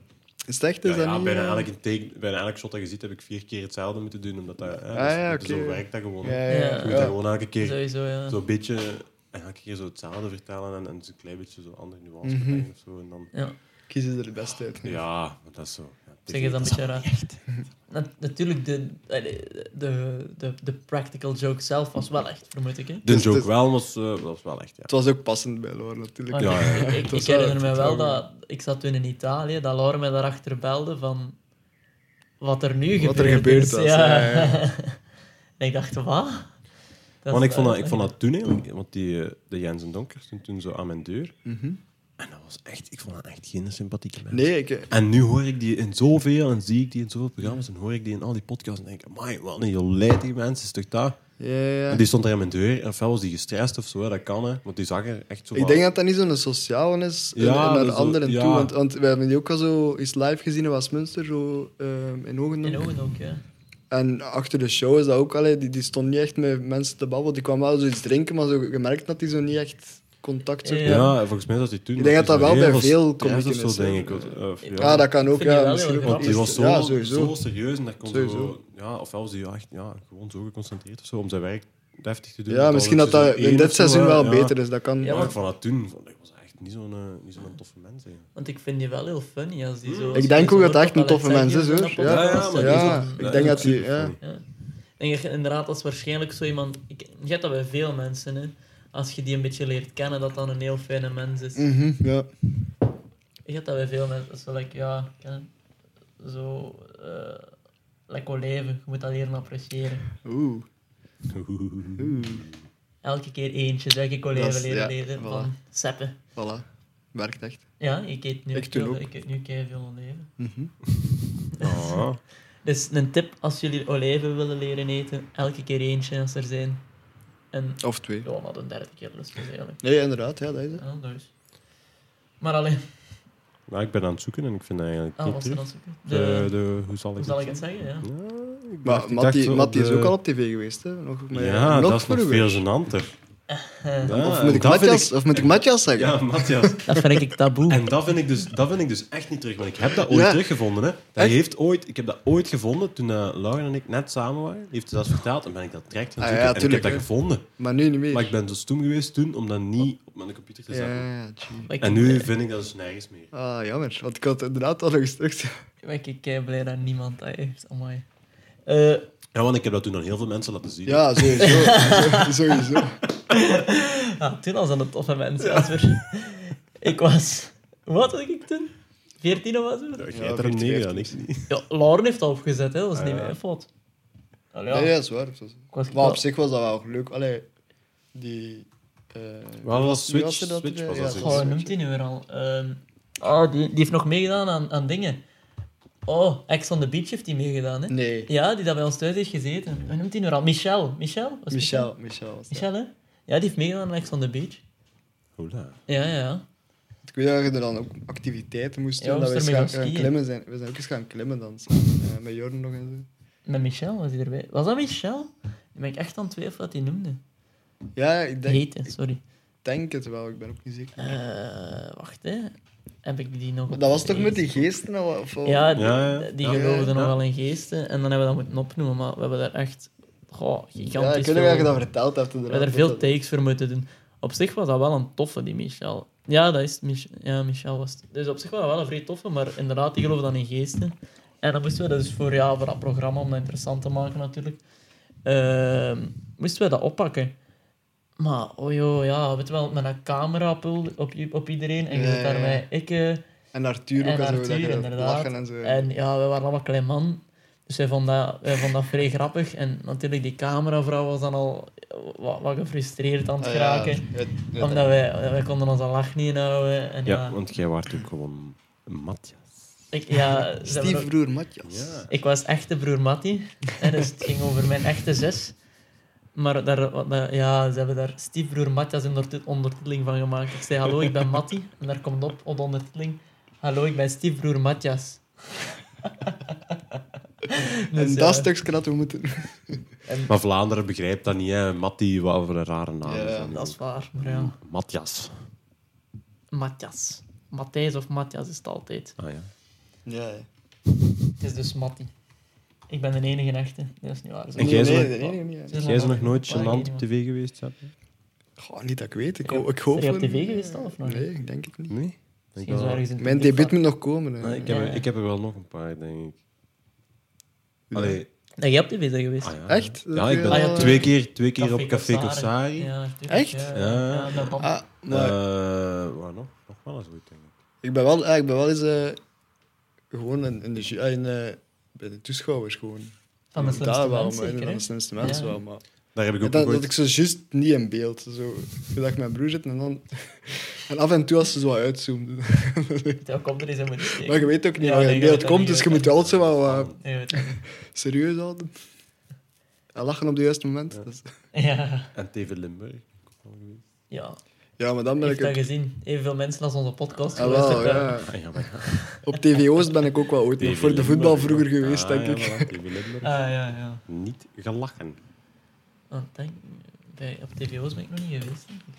Speaker 1: Is het echt? Is
Speaker 5: Ja,
Speaker 1: dat
Speaker 5: ja,
Speaker 1: niet,
Speaker 5: bijna,
Speaker 1: eh,
Speaker 5: elke take, bijna elk shot dat je ziet heb ik vier keer hetzelfde moeten doen. Omdat dat, hè,
Speaker 1: Ah, ja,
Speaker 5: dat is-
Speaker 1: oké.
Speaker 5: Zo werkt dat gewoon.
Speaker 1: Ja,
Speaker 2: Ja.
Speaker 1: ja,
Speaker 5: Je moet
Speaker 1: ja.
Speaker 5: dat gewoon elke keer
Speaker 2: Sowieso, ja.
Speaker 5: zo'n beetje elke keer zo hetzelfde vertellen en, en een klein beetje zo andere nuances
Speaker 1: Mhm.
Speaker 5: brengen of zo. En dan,
Speaker 2: ja.
Speaker 1: Kiezen er het best uit. hè.
Speaker 5: ja, maar dat is zo. Ja,
Speaker 2: Zeg je
Speaker 5: tv,
Speaker 2: dat een
Speaker 5: is
Speaker 2: beetje raar? Na- natuurlijk, de, allee, de, de, de practical joke zelf was wel echt, vermoed ik. Hè?
Speaker 5: De
Speaker 1: Dus-
Speaker 5: joke
Speaker 1: dus-
Speaker 5: wel was, eh, was wel echt, ja.
Speaker 1: Het was ook passend bij Loor natuurlijk.
Speaker 2: Maar
Speaker 5: Ja, ja, ja.
Speaker 2: ik, ik,
Speaker 1: Het was
Speaker 2: ik
Speaker 1: wel-
Speaker 2: herinner me
Speaker 1: het
Speaker 2: wel
Speaker 1: was wel
Speaker 2: dat ik zat toen in Italië, dat Laura mij daarachter belde van wat er nu
Speaker 1: *laughs*
Speaker 2: gebeurt.
Speaker 1: Wat er gebeurd was, ja, ja, ja.
Speaker 2: *laughs* en ik dacht, wat? Dat
Speaker 5: Want
Speaker 2: is
Speaker 5: ik vond, dat,
Speaker 2: wel-
Speaker 5: ik vond dat toen eigenlijk, want die, eh, de Jens en Donker stond toen zo aan mijn deur.
Speaker 1: Mhm.
Speaker 5: En dat was echt, ik vond dat echt geen sympathieke mens.
Speaker 1: Nee, ik,
Speaker 5: En nu hoor ik die in zoveel en zie ik die in zoveel programma's en hoor ik die in al die podcasts en denk ik, amai, wat een jolijtige mens is toch dat?
Speaker 1: ja, ja.
Speaker 5: En die stond daar aan mijn deur en ofwel was die gestrest of zo, hè, dat kan hè, want die zag er echt zo
Speaker 1: Ik
Speaker 5: wat-
Speaker 1: denk dat dat niet zo'n sociale is eh,
Speaker 5: Ja,
Speaker 1: naar
Speaker 5: dat
Speaker 1: de
Speaker 5: is zo-
Speaker 1: anderen
Speaker 5: ja.
Speaker 1: toe. Want, want we hebben die ook al zo eens live gezien in Westminster, zo, ehm, in Ogendonk.
Speaker 2: In ogen ook, ja.
Speaker 1: En achter de show is dat ook allee, die, die stond niet echt met mensen te babbelen. Die kwam wel zoiets drinken, maar zo gemerkt dat die zo niet echt contact zocht.
Speaker 2: Ja.
Speaker 5: Ja, volgens mij was die toen.
Speaker 1: Ik denk dat dat
Speaker 5: die
Speaker 1: wel
Speaker 5: zo
Speaker 1: bij
Speaker 5: heel
Speaker 1: veel
Speaker 5: stress
Speaker 1: komieken
Speaker 5: of
Speaker 1: is,
Speaker 5: zo, denk ik.
Speaker 1: hè.
Speaker 5: Of- of-
Speaker 1: Ja, Ah, dat kan ook.
Speaker 2: Vind je
Speaker 1: Ja,
Speaker 2: wel
Speaker 1: misschien
Speaker 2: heel
Speaker 1: ook
Speaker 2: grappig.
Speaker 5: Want die was zo,
Speaker 1: ja, sowieso.
Speaker 5: zo serieus en dat kon
Speaker 1: Sowieso.
Speaker 5: zo... Ja, ofwel was hij echt ja, gewoon zo geconcentreerd of zo, om zijn werk deftig te doen.
Speaker 1: ja,
Speaker 5: Want
Speaker 1: misschien
Speaker 5: was
Speaker 1: dat dat
Speaker 5: seizoen
Speaker 1: in
Speaker 5: één
Speaker 1: dit
Speaker 5: of zo,
Speaker 1: seizoen
Speaker 5: hè.
Speaker 1: wel
Speaker 5: Ja.
Speaker 1: beter is. Dat kan.
Speaker 2: Ja,
Speaker 5: Ja,
Speaker 2: want-
Speaker 5: maar vanaf toen vond ik was hij echt niet zo'n eh, niet zo'n toffe mens. hè.
Speaker 1: *laughs*
Speaker 2: Want ik vind die wel heel funny als die zo...
Speaker 1: Ik denk ook dat dat echt een toffe mens is, hoor.
Speaker 2: Ja,
Speaker 1: Ja,
Speaker 2: ja,
Speaker 1: maar
Speaker 2: ja.
Speaker 1: ja, ik denk dat die- ja.
Speaker 2: En je, inderdaad, dat is waarschijnlijk zo iemand... Ik, je hebt dat bij veel mensen, hè. Als je die een beetje leert kennen, dat dan een heel fijne mens is.
Speaker 1: Mhm, ja.
Speaker 2: Je hebt dat bij veel mensen. Dat is wel like, ja, ik ken het. Zo... eh lekker leven. Je moet dat leren appreciëren.
Speaker 1: Oeh. Oeh.
Speaker 2: Elke keer eentje, zeg ik
Speaker 1: Dat
Speaker 2: leven
Speaker 1: is-
Speaker 2: leren
Speaker 1: ja,
Speaker 2: leren.
Speaker 1: voilà.
Speaker 2: Van seppen.
Speaker 1: Voilà. Werkt echt.
Speaker 2: Ja, ik eet nu
Speaker 1: Ik doe
Speaker 2: veel-
Speaker 1: ook.
Speaker 2: ik eet nu veel olijven.
Speaker 1: Mhm.
Speaker 5: Ah,
Speaker 2: Dus een tip als jullie olijven willen leren eten, elke keer eentje als er zijn. En
Speaker 1: Of twee.
Speaker 2: ja, maar de derde keer lust is eigenlijk.
Speaker 1: Nee, inderdaad, ja, dat is het.
Speaker 2: Ja, dat is. Maar alleen,
Speaker 5: nou, ik ben aan het zoeken en ik vind dat eigenlijk
Speaker 2: ah,
Speaker 5: niet
Speaker 2: was er
Speaker 5: terug.
Speaker 2: dan zoeken?
Speaker 5: De,
Speaker 2: De,
Speaker 5: de, hoe zal ik,
Speaker 2: hoe zal ik het zeggen? Ja.
Speaker 5: Ja, ik dacht-
Speaker 1: Maar
Speaker 5: ik dacht
Speaker 1: Matty
Speaker 5: zo op
Speaker 1: Matty is
Speaker 5: de-
Speaker 1: ook al op tv geweest, hè? Nog met
Speaker 5: Ja,
Speaker 1: nog
Speaker 5: dat is nog
Speaker 1: vroeger.
Speaker 5: veel gênanter.
Speaker 2: *laughs*
Speaker 5: Ja,
Speaker 1: Of
Speaker 5: en
Speaker 1: moet ik
Speaker 5: dat vind
Speaker 1: Matthias, of moet ik Matthias zeggen?
Speaker 5: Ja, Matthias.
Speaker 2: Dat vind ik taboe.
Speaker 5: En dat vind, ik dus, dat vind ik dus echt niet terug. Want ik heb dat ooit
Speaker 1: Ja.
Speaker 5: teruggevonden. Hè. Dat
Speaker 1: Echt?
Speaker 5: heeft ooit, ik heb dat ooit gevonden toen eh, Laura en ik net samen waren. Heeft ze dat verteld en ben ik dat direct gaan
Speaker 1: Ah,
Speaker 5: zoeken.
Speaker 1: ja,
Speaker 5: en ik
Speaker 1: tuurlijk,
Speaker 5: heb dat
Speaker 1: hè.
Speaker 5: gevonden.
Speaker 1: Maar nu niet meer.
Speaker 5: Maar ik ben zo stoem geweest toen om dat niet op mijn computer te
Speaker 1: ja,
Speaker 5: zetten.
Speaker 1: ja, gee.
Speaker 2: Maar ik-
Speaker 5: En nu vind ik dat dus nergens meer.
Speaker 1: Ah, jammer. Want ik had inderdaad al een stukje.
Speaker 2: Ik ben kei blij dat niemand dat heeft. Amai. Eh,
Speaker 5: Ja, want ik heb dat toen aan heel veel mensen laten zien.
Speaker 1: Ja,
Speaker 5: *laughs*
Speaker 1: sowieso. *laughs* Zo- sowieso.
Speaker 2: Ah, toen al zijn dat toffe mensen. Jasper. *laughs* Ik was... Hoe oud was ik toen? 14 of wat? zo?
Speaker 5: Ja, jij
Speaker 1: Ja,
Speaker 5: hebt er een
Speaker 1: 14,
Speaker 5: negen aan, ik niet.
Speaker 2: Ja, Lauren heeft dat opgezet, hè. dat is niet mijn fout. Allee, ja.
Speaker 1: Nee, dat is waar. Het was-
Speaker 2: Ik was
Speaker 1: Maar op
Speaker 2: wel-
Speaker 1: zich was dat wel leuk. Allee, die... eh,
Speaker 5: Wel, dat was
Speaker 1: wie
Speaker 5: Switch.
Speaker 1: er dat
Speaker 5: Switch
Speaker 1: er-
Speaker 5: was
Speaker 1: ja,
Speaker 5: dat
Speaker 1: dat
Speaker 5: zeker.
Speaker 2: Oh, hoe noemt hij nu weer al? Ehm, oh, die, die heeft nog meegedaan aan, aan dingen. Oh, Ex on the Beach heeft die meegedaan, hè?
Speaker 1: Nee,
Speaker 2: Ja, die dat bij ons thuis heeft gezeten. Hoe noemt hij nu weer al? Michel. Michel? Was
Speaker 1: Michel. Michel was dat.
Speaker 2: Michel, hè? Ja, die heeft meegedaan aan Ex on the Beach.
Speaker 5: Hola.
Speaker 2: Ja, ja, ja.
Speaker 1: Ik weet dat je er dan ook activiteiten moest
Speaker 2: Ja,
Speaker 1: doen.
Speaker 2: we
Speaker 1: dat we eens
Speaker 2: moesten
Speaker 1: gaan,
Speaker 2: ermee gaan
Speaker 1: gaan klimmen
Speaker 2: skiën.
Speaker 1: zijn. We zijn ook eens gaan klimmen dan. samen, eh, met Jorn nog en zo.
Speaker 2: Met Michel was hij erbij. Was dat Michel? Nu ben ik echt aan het twijfelen wat hij noemde.
Speaker 1: Ja, ik denk,
Speaker 2: Heten, sorry.
Speaker 1: ik denk het wel. Ik ben ook niet zeker.
Speaker 2: Eh, wacht, hè. Heb ik die nog... op
Speaker 1: Maar dat was toch met die
Speaker 2: Facebook?
Speaker 1: geesten? al- Of, of-
Speaker 2: Ja, die,
Speaker 5: Ja, ja.
Speaker 2: die
Speaker 1: Ja,
Speaker 2: geloofden
Speaker 1: ja,
Speaker 2: nog
Speaker 5: ja.
Speaker 2: wel in geesten. En dan hebben we dat moeten opnoemen, maar we hebben daar echt... Goh, gigantisch
Speaker 1: ja, ik weet
Speaker 2: veel-
Speaker 1: niet of je dat verteld hebt.
Speaker 2: We hebben er veel takes voor moeten doen. Op zich was dat wel een toffe, die Michel. Ja, dat is Mich ja, Michel was het. Dus op zich was dat wel een vrij toffe, maar inderdaad, die geloofde dan in geesten. En dan moesten we dat dus voor, ja, voor dat programma, om dat interessant te maken natuurlijk, ehm, moesten we dat oppakken. Maar, oh joh, ja, weet je wel, met een camera op, op, op iedereen. En je
Speaker 1: Ja,
Speaker 2: zit daar
Speaker 1: ja, ja.
Speaker 2: met ik... eh,
Speaker 1: En Arthur ook.
Speaker 2: en
Speaker 1: en zo, dat
Speaker 2: Arthur,
Speaker 1: je dat
Speaker 2: inderdaad.
Speaker 1: Lachen en zo.
Speaker 2: En ja, we waren allemaal klein man. Dus wij vonden dat, wij vonden dat vrij grappig. En natuurlijk, die cameravrouw was dan al wat, wat gefrustreerd aan het
Speaker 1: Ah, ja,
Speaker 2: geraken.
Speaker 1: het- het-
Speaker 2: Omdat wij, wij konden onze lach niet inhouden. En ja,
Speaker 5: Ja, want jij waart ook gewoon een Matthias.
Speaker 2: ik, ja, ze hebben ook-
Speaker 1: Stiefbroer Matjas.
Speaker 2: ik was echte broer Matti. En dus het ging over mijn echte zus. Maar daar, wat- daar- ja, ze hebben daar stiefbroer Matthias een onderti- ondertiteling van gemaakt. Ik zei, hallo, ik ben Matti. En daar komt op, op de ondertiteling, hallo, ik ben stiefbroer Matthias. Dus,
Speaker 1: En
Speaker 2: ja.
Speaker 1: dat stukje dat we moeten...
Speaker 5: Maar Vlaanderen begrijpt dat niet, hè. Matti, wat voor een rare naam
Speaker 1: Ja,
Speaker 5: is dat nu?
Speaker 2: Dat is waar, maar ja.
Speaker 5: Matthias.
Speaker 2: Matthias. Matthijs of Matthias is het altijd.
Speaker 5: Ah ja.
Speaker 1: Ja, ja.
Speaker 2: Het is dus Matti. Ik ben de enige echte. Nee, dat is niet waar. Zo.
Speaker 5: En
Speaker 1: Nee,
Speaker 5: jij
Speaker 1: nee,
Speaker 5: zo-
Speaker 1: nee, nee, nee, nee.
Speaker 2: Ze
Speaker 5: Jij is nog
Speaker 2: Ah,
Speaker 5: nooit
Speaker 2: ik weet
Speaker 5: gênant
Speaker 2: niet,
Speaker 5: op tv geweest, Sepp?
Speaker 1: Goh, niet dat ik weet. Ik,
Speaker 2: Ja.
Speaker 1: ik hoop...
Speaker 2: Ben je op
Speaker 1: het-
Speaker 2: tv geweest al of nog
Speaker 1: Nee, ik denk het niet.
Speaker 5: Nee? Ik,
Speaker 2: Misschien zo
Speaker 5: wel.
Speaker 2: ergens in het
Speaker 1: Mijn
Speaker 2: publiek
Speaker 1: debuut
Speaker 2: waar-
Speaker 1: moet nog komen. hè.
Speaker 5: Nee, ik, heb,
Speaker 2: Ja, ja.
Speaker 5: er- ik heb er wel nog een paar, denk ik.
Speaker 1: Ja.
Speaker 5: Allee,
Speaker 2: Nee, jij op tv bent geweest.
Speaker 5: ah ja.
Speaker 1: Echt?
Speaker 5: Ja, ik ben
Speaker 2: Ah, ja,
Speaker 5: twee keer, twee keer
Speaker 2: Café
Speaker 5: op Café
Speaker 2: Corsari.
Speaker 5: Corsari.
Speaker 2: Ja, tuurlijk,
Speaker 1: Echt?
Speaker 2: Ja,
Speaker 5: Ja.
Speaker 2: ja, met Bob.
Speaker 1: Ah, maar
Speaker 5: Eh, waar nog? Nog wel eens goed, denk ik.
Speaker 1: ik, ben wel, ah, ik ben wel eens eh, gewoon in, in de, ju- ah, in, eh, bij de toeschouwers gewoon.
Speaker 2: van de slimste
Speaker 1: Daar wel,
Speaker 2: mens,
Speaker 1: maar
Speaker 2: zeker,
Speaker 1: van
Speaker 2: hè?
Speaker 1: de slimste mensen
Speaker 2: Ja.
Speaker 1: wel. Maar
Speaker 5: Daar heb ik ook
Speaker 1: dat,
Speaker 5: nog
Speaker 1: dat
Speaker 5: ooit-
Speaker 1: ik ze juist niet in beeld. Zo, dat ik met mijn broer zit en dan... *laughs* En af en toe als ze zo wat uitzoomen. *laughs*
Speaker 2: Ja, kom er eens in moeten steken.
Speaker 1: Maar je weet ook niet
Speaker 2: Ja,
Speaker 1: waar je
Speaker 2: nee,
Speaker 1: in
Speaker 2: je weet
Speaker 1: beeld
Speaker 2: dat
Speaker 1: komt,
Speaker 2: niet,
Speaker 1: dus
Speaker 2: je
Speaker 1: je
Speaker 2: weet
Speaker 1: moet je altijd wel eh,
Speaker 2: Nee, weet je.
Speaker 1: serieus houden. En lachen op het juiste moment. dat is-
Speaker 2: Ja.
Speaker 5: En TV Limburg. ook wel geweest.
Speaker 2: Ja,
Speaker 1: Ja, maar dan ben
Speaker 2: ik
Speaker 1: ik...
Speaker 2: heb dat
Speaker 1: ook-
Speaker 2: gezien. Evenveel mensen als onze podcast
Speaker 1: Ah, wel,
Speaker 2: geluisterd hebben.
Speaker 1: ja.
Speaker 5: Ah,
Speaker 1: *laughs*
Speaker 5: ja, maar
Speaker 1: Op TV Oost ben ik ook wel ooit nog
Speaker 5: TV
Speaker 1: voor de voetbal
Speaker 5: Limburg.
Speaker 1: vroeger geweest,
Speaker 5: Ah,
Speaker 1: denk
Speaker 5: ja,
Speaker 1: ik.
Speaker 5: voilà, TV Limburg.
Speaker 2: Ah, ja, ja.
Speaker 5: Niet gelachen.
Speaker 2: Want denk, bij, op tvO's ben ik nog niet geweest. denk ik.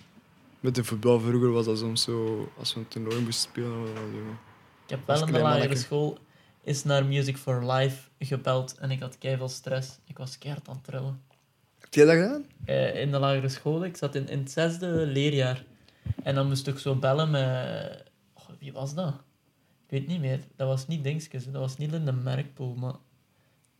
Speaker 1: Met de voetbal vroeger was dat soms zo, als we een toernooi moesten spelen. dan was dat zo.
Speaker 2: Ik heb
Speaker 1: Als
Speaker 2: wel in de
Speaker 1: klein
Speaker 2: lagere
Speaker 1: manneke.
Speaker 2: school is naar Music for Life gebeld en ik had keihard stress. Ik was keihard aan het trillen.
Speaker 1: Heb jij dat gedaan?
Speaker 2: eh, in de lagere school. Ik zat in, in het zesde leerjaar. En dan moest ik zo bellen met... Goh, wie was dat? Ik weet niet meer. Dat was niet Dingskes. hè. Dat was niet in de Merkpool, maar...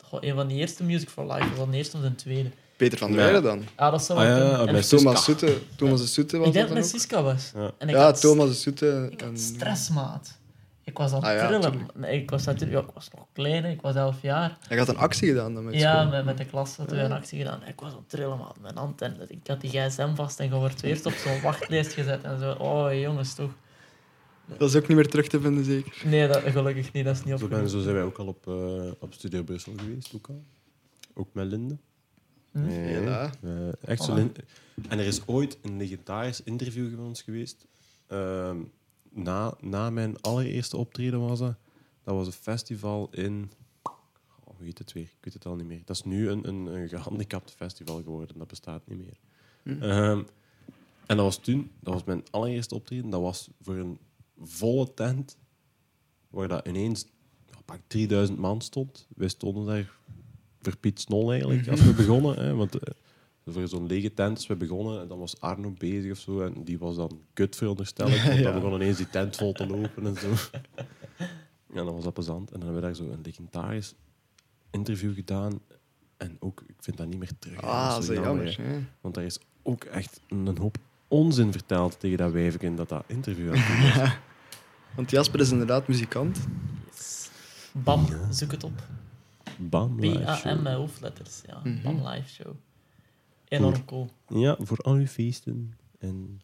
Speaker 2: Goh, een van de eerste Music for Life. Dat was de eerste of de tweede.
Speaker 1: Peter van der
Speaker 5: Ja.
Speaker 1: Weijden dan.
Speaker 2: Ah, dat zou
Speaker 5: Ah,
Speaker 2: wel
Speaker 5: ja,
Speaker 2: kunnen.
Speaker 5: ja,
Speaker 2: En
Speaker 5: met
Speaker 2: ik
Speaker 5: Siska.
Speaker 1: Thomas Soete. Thomas de Soete was dat
Speaker 2: denk dat
Speaker 1: dan
Speaker 2: het met
Speaker 1: ook?
Speaker 2: Siska was.
Speaker 5: Ja.
Speaker 2: En ik
Speaker 1: Ja,
Speaker 2: had,
Speaker 1: Thomas de Soete.
Speaker 2: ik
Speaker 1: en-
Speaker 2: had stress, maat. Ik was aan het
Speaker 1: Ah, ja,
Speaker 2: trillen.
Speaker 1: tuurlijk.
Speaker 2: Nee, ik was natuurlijk... Ja, ik was nog klein, hè. ik was elf jaar.
Speaker 1: Hij had een actie gedaan dan met
Speaker 2: Ja,
Speaker 1: school.
Speaker 2: met, met de klas hadden we een actie gedaan. Ik was aan het trillen, man. Mijn hand en ik had die gsm vast en je wordt eerst op zo'n wachtlijst gezet en zo. Oh, jongens, toch.
Speaker 1: Dat is ook niet meer terug te vinden, zeker.
Speaker 2: Nee, dat, gelukkig niet. Dat is niet
Speaker 5: Zo, ben,
Speaker 2: opgelost.
Speaker 5: zo zijn wij ook al op, eh, op Studio Brussel geweest. Ook, al. ook met Linde.
Speaker 2: Hm?
Speaker 5: Nee,
Speaker 1: Ja.
Speaker 5: eh, echt zo
Speaker 2: Voilà.
Speaker 5: Lin- En er is ooit een legendarisch interview van ons geweest. Ehm, na, na mijn allereerste optreden was dat. Dat was een festival in... Oh, hoe heet het weer? Ik weet het al niet meer. Dat is nu een, een, een gehandicapt festival geworden. Dat bestaat niet meer.
Speaker 1: Hm.
Speaker 5: Ehm, en dat was toen... Dat was mijn allereerste optreden. Dat was voor een volle tent. Waar dat ineens ja, pak 3000 man stond. Wij stonden daar voor Piet Snol eigenlijk, als we begonnen. Hè, want eh, voor zo'n lege tent is we begonnen en dan was Arno bezig of zo. En die was dan kut veronderstel ik, want dan begon ineens die tent vol te lopen en zo. *laughs* En dan was dat plezant. En dan hebben we daar zo een legendarisch interview gedaan. En ook, ik vind dat niet meer terug.
Speaker 1: Ah,
Speaker 5: Dat
Speaker 1: dat
Speaker 5: is
Speaker 1: is
Speaker 5: zo
Speaker 1: jammer. hè.
Speaker 5: Want daar is ook echt een hoop onzin verteld tegen dat wijfje dat dat interview had.
Speaker 1: Want Jasper is inderdaad muzikant.
Speaker 2: Bam, zoek het op.
Speaker 5: Bam, live show.
Speaker 2: B-A-M met hoofdletters. Ja.
Speaker 1: Mhm.
Speaker 2: Bam Live Show. Enorm cool.
Speaker 5: Ja, voor al uw feesten en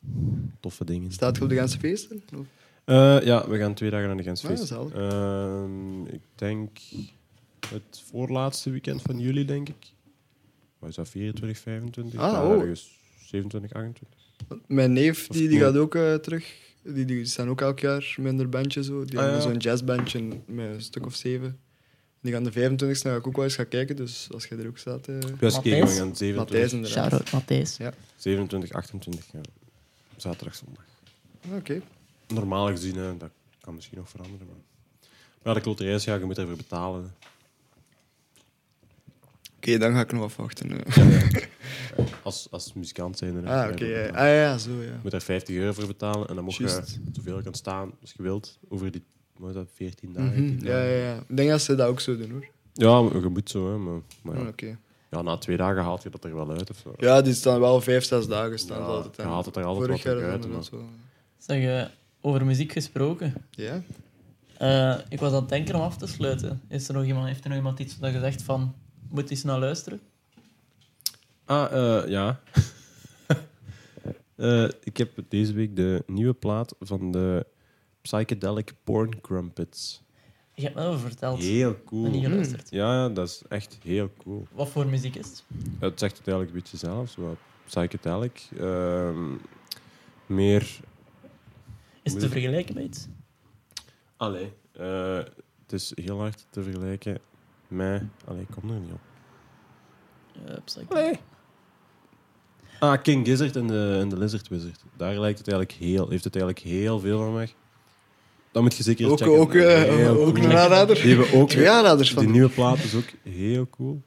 Speaker 5: toffe dingen.
Speaker 1: Staat je op de ganse feesten? Of-
Speaker 5: Eh, ja, we gaan twee dagen naar de Gens
Speaker 1: Ah,
Speaker 5: feesten.
Speaker 1: zalig.
Speaker 5: Ehm, ik denk het voorlaatste weekend van juli, denk ik. Wat is dat, 24, 25?
Speaker 1: Ah,
Speaker 5: Ja,
Speaker 1: oh.
Speaker 5: ergens 27, 28.
Speaker 1: Mijn neef
Speaker 5: Dat is
Speaker 1: die, die
Speaker 5: cool.
Speaker 1: gaat ook eh, terug. Die, die staan ook elk jaar met hun bandje zo. Die
Speaker 5: Ah,
Speaker 1: hebben
Speaker 5: ja.
Speaker 1: zo'n jazzbandje met een stuk of zeven. Die gaan de 25 e ga ik ook wel eens gaan kijken, dus als jij er ook staat. eh
Speaker 5: Ik was
Speaker 2: Matthijs?
Speaker 5: kijken, we gaan
Speaker 1: Matthijs
Speaker 5: 27,
Speaker 1: inderdaad.
Speaker 2: Shout-out Matthijs.
Speaker 1: Ja.
Speaker 5: 27 28. Ja. Zaterdag, zondag.
Speaker 1: Ah, Oké.
Speaker 5: Normaal gezien, hè, dat kan misschien nog veranderen. Maar, maar ja, de kloterij is, ja, je moet ervoor betalen.
Speaker 1: Oké, dan ga ik nog afwachten. eh.
Speaker 5: Als, als muzikant zijn.
Speaker 1: Ah, oké. ja. Ah ja, zo ja.
Speaker 5: Je moet daar 50 euro voor betalen en dan mocht
Speaker 1: Juist.
Speaker 5: je zoveel kan staan als je wilt over die wat is dat, 14 dagen.
Speaker 1: Mhm,
Speaker 5: 10 dagen.
Speaker 1: Ja, ja, ja. Ik denk dat ze dat ook zo doen hoor.
Speaker 5: Ja, maar je moet zo, hè, maar, maar
Speaker 1: Ah,
Speaker 5: ja.
Speaker 1: Oké.
Speaker 5: Ja, na twee dagen haalt je dat er wel uit of zo.
Speaker 1: Ja, die staan wel vijf, zes dagen staan
Speaker 5: Ja,
Speaker 1: ze altijd. hè.
Speaker 5: je haalt het er altijd
Speaker 1: Vorig
Speaker 5: wel
Speaker 1: jaar
Speaker 5: terug uit,
Speaker 1: hadden we dat zo.
Speaker 2: Zeg, eh, over muziek gesproken.
Speaker 1: Ja?
Speaker 2: Eh, ik was aan het denken om af te sluiten. Is er nog iemand, heeft er nog iemand iets dat je zegt van... Moet eens naar luisteren?
Speaker 5: Ah, eh, ja. *laughs* Eh, ik heb deze week de nieuwe plaat van de Psychedelic Porn Crumpets.
Speaker 2: Je hebt me over verteld.
Speaker 5: Heel
Speaker 2: Maar niet
Speaker 5: cool.
Speaker 2: geluisterd.
Speaker 5: Ja, ja, dat is echt heel cool.
Speaker 2: Wat voor muziek is het?
Speaker 5: Het zegt het eigenlijk een beetje zelf, zo wat psychedelic. Ehm, meer
Speaker 2: Is het te vergelijken met iets?
Speaker 5: Allee. eh, het is heel hard te vergelijken met... Allee, ik kom er niet op.
Speaker 2: Eh, psych-
Speaker 5: Ah, King Gizzard en de, en de Lizard Wizard. Daar lijkt het eigenlijk heel, heeft het eigenlijk heel veel van weg. Dat moet je zeker
Speaker 1: Ook,
Speaker 5: checken.
Speaker 1: ook, eh,
Speaker 5: Heel
Speaker 1: ook
Speaker 5: cool.
Speaker 1: een aanrader.
Speaker 5: Die hebben ook...
Speaker 1: Twee aanraders van.
Speaker 5: Die nieuwe plaat is ook heel cool.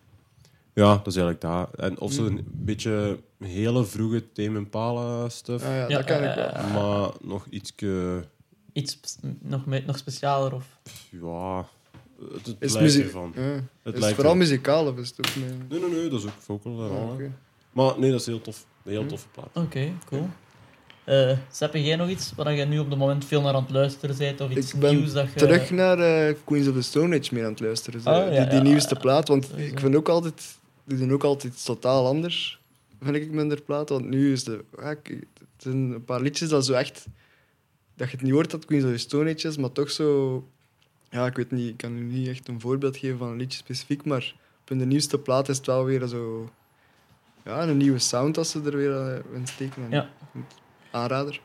Speaker 5: Ja, dat is eigenlijk daar. En of ze
Speaker 1: Mm.
Speaker 5: een beetje hele vroege Tame Impala stuff,
Speaker 1: Ah, ja,
Speaker 2: Ja,
Speaker 1: dat kan
Speaker 2: eh,
Speaker 1: ik wel.
Speaker 5: maar nog ietske...
Speaker 2: Iets pst- nog, me- nog specialer of...
Speaker 5: Ja, het, het
Speaker 1: Is
Speaker 5: lijkt
Speaker 1: muziek.
Speaker 5: ervan.
Speaker 1: Ja.
Speaker 5: Het
Speaker 1: is het
Speaker 5: lijkt
Speaker 1: vooral
Speaker 5: er-
Speaker 1: muzikaal of is het ook meer-
Speaker 5: Nee, nee, nee, dat is ook vocal. daar
Speaker 1: Ah,
Speaker 5: al, hè.
Speaker 1: oké.
Speaker 5: Maar nee, dat is heel tof. Een
Speaker 2: Hm.
Speaker 5: heel toffe plaat.
Speaker 2: Oké, cool. Eh Sepp, heb jij nog iets waar je nu op het moment veel naar aan het luisteren bent? Of iets
Speaker 1: Ik ben
Speaker 2: nieuws dat je...
Speaker 1: Terug naar eh, Queens of the Stone Age meer aan het luisteren. zo.
Speaker 2: Ah, ja,
Speaker 1: die die
Speaker 2: ja,
Speaker 1: nieuwste
Speaker 2: ja.
Speaker 1: plaat. Want
Speaker 2: Sowieso.
Speaker 1: ik vind ook altijd... Die doen ook altijd iets totaal anders. Vind ik minder plaat. Want nu is de... ja, ik- het zijn een paar liedjes dat zo echt... Dat je het niet hoort dat Queens of the Stone Age is, maar toch zo... Ja, ik weet niet... Ik kan nu niet echt een voorbeeld geven van een liedje specifiek, maar op de nieuwste plaat is het wel weer zo... Ja, een nieuwe sound als ze er weer eh, in steken. En
Speaker 2: Ja.
Speaker 1: Aanrader.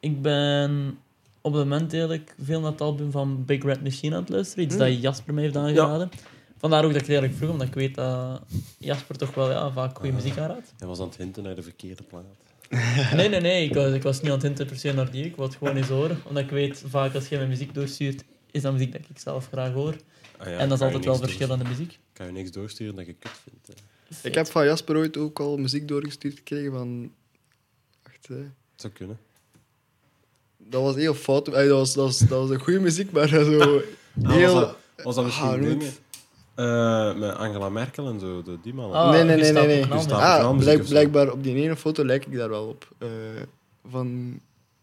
Speaker 2: Ik ben op het moment eigenlijk veel naar het album van Big Red Machine aan het luisteren. Iets
Speaker 1: Hmm.
Speaker 2: dat Jasper mij heeft aangeraden. Vandaar ook dat ik het eigenlijk vroeg, omdat ik weet dat Jasper toch wel ja, vaak goede muziek aanraadt.
Speaker 5: Hij was aan het hinten naar de verkeerde plaat.
Speaker 2: Nee, nee, nee. Ik was, ik was niet aan het hinten per se naar die. Ik wil het gewoon eens horen. Omdat ik weet, vaak als jij mijn muziek doorstuurt, is dat muziek dat ik zelf graag hoor. en dat is altijd wel verschillende muziek.
Speaker 5: Kan je niks doorsturen dat je kut vindt. Hè.
Speaker 1: Ik heb van Jasper ooit ook al muziek doorgestuurd gekregen van... Wacht, hè.
Speaker 5: Het zou kunnen.
Speaker 1: dat was heel fout. Ey, dat, was, dat, was, dat was een goede muziek, maar
Speaker 5: *laughs*
Speaker 1: zo heel...
Speaker 5: Ah, was, dat, was dat misschien
Speaker 1: Ah,
Speaker 5: dingen?
Speaker 1: goed.
Speaker 5: Eh, met Angela Merkel en zo, de, die mannen.
Speaker 2: Ah,
Speaker 1: nee, nee, nee,
Speaker 2: Gustavo
Speaker 1: nee. nee.
Speaker 2: Knal,
Speaker 5: Gustavo Knal
Speaker 1: Ah,
Speaker 5: muziek
Speaker 1: blijk-
Speaker 5: of zo.
Speaker 1: blijkbaar op die ene foto lijk ik daar wel op. eh, van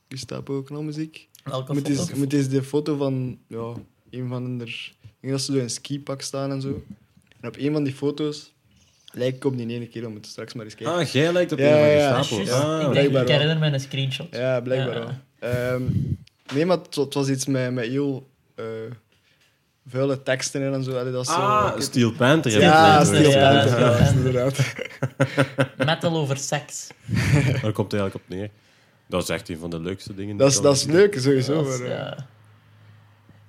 Speaker 1: Gustavo Knalmuziek.
Speaker 2: Welke
Speaker 1: Moet
Speaker 2: foto?
Speaker 1: eens, moet eens de foto van ja, een van de... Ik denk dat ze zo in een skipak staan en zo. En op een van die foto's lijk ik op die ene keer. We moeten straks maar eens kijken.
Speaker 5: Ah, jij lijkt op
Speaker 1: Ja,
Speaker 5: een van
Speaker 1: ja, ja.
Speaker 2: Ah,
Speaker 5: Gestapo.
Speaker 2: juist.
Speaker 5: Ah,
Speaker 2: ik, denk,
Speaker 1: blijkbaar
Speaker 2: ik
Speaker 1: wel.
Speaker 2: herinner me een screenshot.
Speaker 1: Ja, blijkbaar
Speaker 2: Ja.
Speaker 1: wel. Ehm, nee, maar het, het was iets met, met heel eh, vuile teksten en zo. Allee, dat is zo
Speaker 5: Ah, Steel Panther. heb ik
Speaker 1: ja,
Speaker 5: net
Speaker 1: Steel
Speaker 5: gehoord.
Speaker 2: Ja,
Speaker 1: Panther,
Speaker 2: Steel
Speaker 1: ja,
Speaker 2: Panther.
Speaker 1: inderdaad.
Speaker 2: Metal over seks.
Speaker 5: Daar komt het eigenlijk op neer. Dat is echt een van de leukste dingen. die
Speaker 1: *laughs* Dat is,
Speaker 5: ik
Speaker 1: dat is
Speaker 5: al-
Speaker 1: leuk, sowieso.
Speaker 2: Dat is,
Speaker 1: maar, eh,
Speaker 2: ja.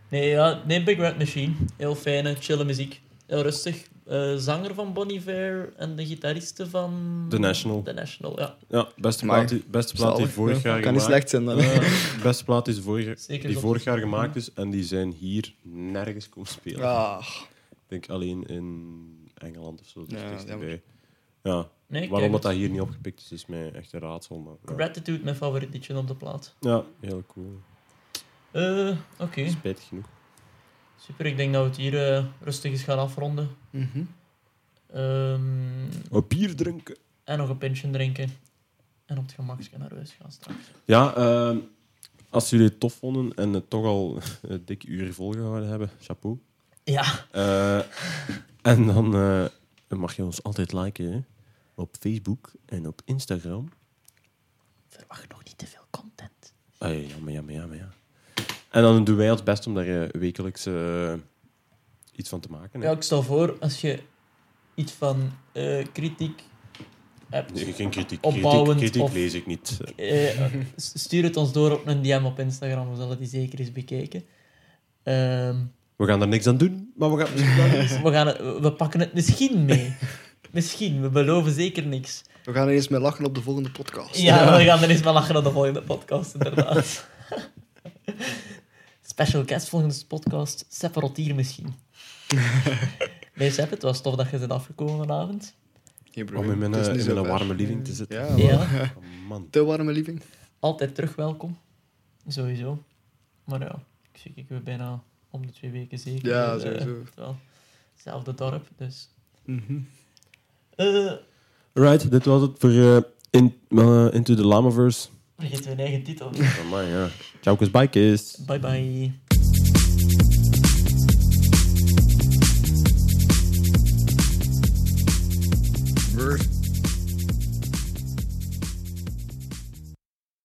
Speaker 2: Nee, ja, nee, Big Red Machine. Heel fijne, chille muziek. Heel rustig. Eh, zanger van Bon Iver en de gitariste van...
Speaker 5: The National.
Speaker 2: The National, ja.
Speaker 5: Ja, beste
Speaker 1: Maar-
Speaker 5: plaat die, beste plaat die
Speaker 1: zalig,
Speaker 5: vorig
Speaker 1: ja.
Speaker 5: jaar
Speaker 1: Kan niet
Speaker 5: gemaakt-
Speaker 1: slecht zijn dan.
Speaker 5: Eh, *laughs* beste plaat die, ze vorig,
Speaker 2: Zeker Mhm.
Speaker 5: die
Speaker 2: zo.
Speaker 5: vorig jaar gemaakt is en die zijn hier nergens komen spelen.
Speaker 1: Ah,
Speaker 5: Ik denk alleen in Engeland of zo. Dus
Speaker 1: Ja,
Speaker 5: het is
Speaker 1: jammer.
Speaker 5: erbij. Ja,
Speaker 2: Nee,
Speaker 5: waarom
Speaker 2: kijk,
Speaker 5: dat, dat hier niet opgepikt is, is mij echt een raadsel. Maar, ja.
Speaker 2: Gratitude, mijn favoriet liedje op de plaat.
Speaker 5: ja, heel cool.
Speaker 2: Eh, Oké,
Speaker 5: Spijtig genoeg.
Speaker 2: super. Ik denk dat we het hier eh, rustig eens gaan afronden.
Speaker 1: mhm.
Speaker 2: Ehm,
Speaker 5: Oh, bier drinken.
Speaker 2: en nog een pintje drinken. En op het gemakje naar huis gaan straks.
Speaker 5: Ja, ehm, als jullie het tof vonden en het toch al *laughs* een dikke uur volgehouden hebben, chapeau.
Speaker 2: Ja,
Speaker 5: Eh, en dan eh, mag je ons altijd liken hè? op Facebook en op Instagram.
Speaker 2: verwacht nog niet te veel content.
Speaker 5: Ah, ja, ja, maar ja, maar ja, maar ja. En dan doen wij ons best om daar eh, wekelijks eh, iets van te maken. hè.
Speaker 2: Ja, ik stel voor, als je iets van eh, kritiek hebt,
Speaker 5: Nee, Dus geen kritiek.
Speaker 2: Opbouwend
Speaker 5: Kritiek, kritiek
Speaker 2: of-
Speaker 5: lees ik niet.
Speaker 2: eh, s- stuur het ons door op een DM op Instagram. We zullen die zeker eens bekijken. Ehm, dus
Speaker 5: We gaan er niks aan doen, maar we gaan misschien wel eens-
Speaker 2: we, gaan het- we pakken het misschien mee. Misschien, we beloven zeker niks.
Speaker 1: We gaan er eens mee lachen op de volgende podcast.
Speaker 2: Ja, we gaan er eens wel lachen op de volgende podcast, *laughs* inderdaad. Special guest volgende podcast, Sepp Rotier *laughs* misschien. Nee, Sepp, het was tof dat je bent afgekomen vanavond.
Speaker 1: Geen probleem.
Speaker 5: om in mijn,
Speaker 1: Het is
Speaker 5: eh,
Speaker 1: niet
Speaker 5: in
Speaker 1: zo
Speaker 5: mijn
Speaker 1: ver.
Speaker 5: warme living te zitten.
Speaker 1: Ja,
Speaker 2: Ja.
Speaker 5: Oh, man.
Speaker 1: Te warme living.
Speaker 2: Ah, *laughs* Altijd terug welkom, sowieso. Maar ja, ik zie ik weer bijna om de twee weken zeker.
Speaker 1: Ja,
Speaker 2: eh,
Speaker 1: sowieso.
Speaker 2: het wel hetzelfde dorp, dus...
Speaker 1: Mhm.
Speaker 2: Eh,
Speaker 5: Right, dit was het voor eh, in, eh, Into the Lamaverse.
Speaker 2: vergeet mijn eigen titel.
Speaker 5: Amai, ja. Ciao, kus, bye, kus.
Speaker 2: Bye bye.
Speaker 1: Brr.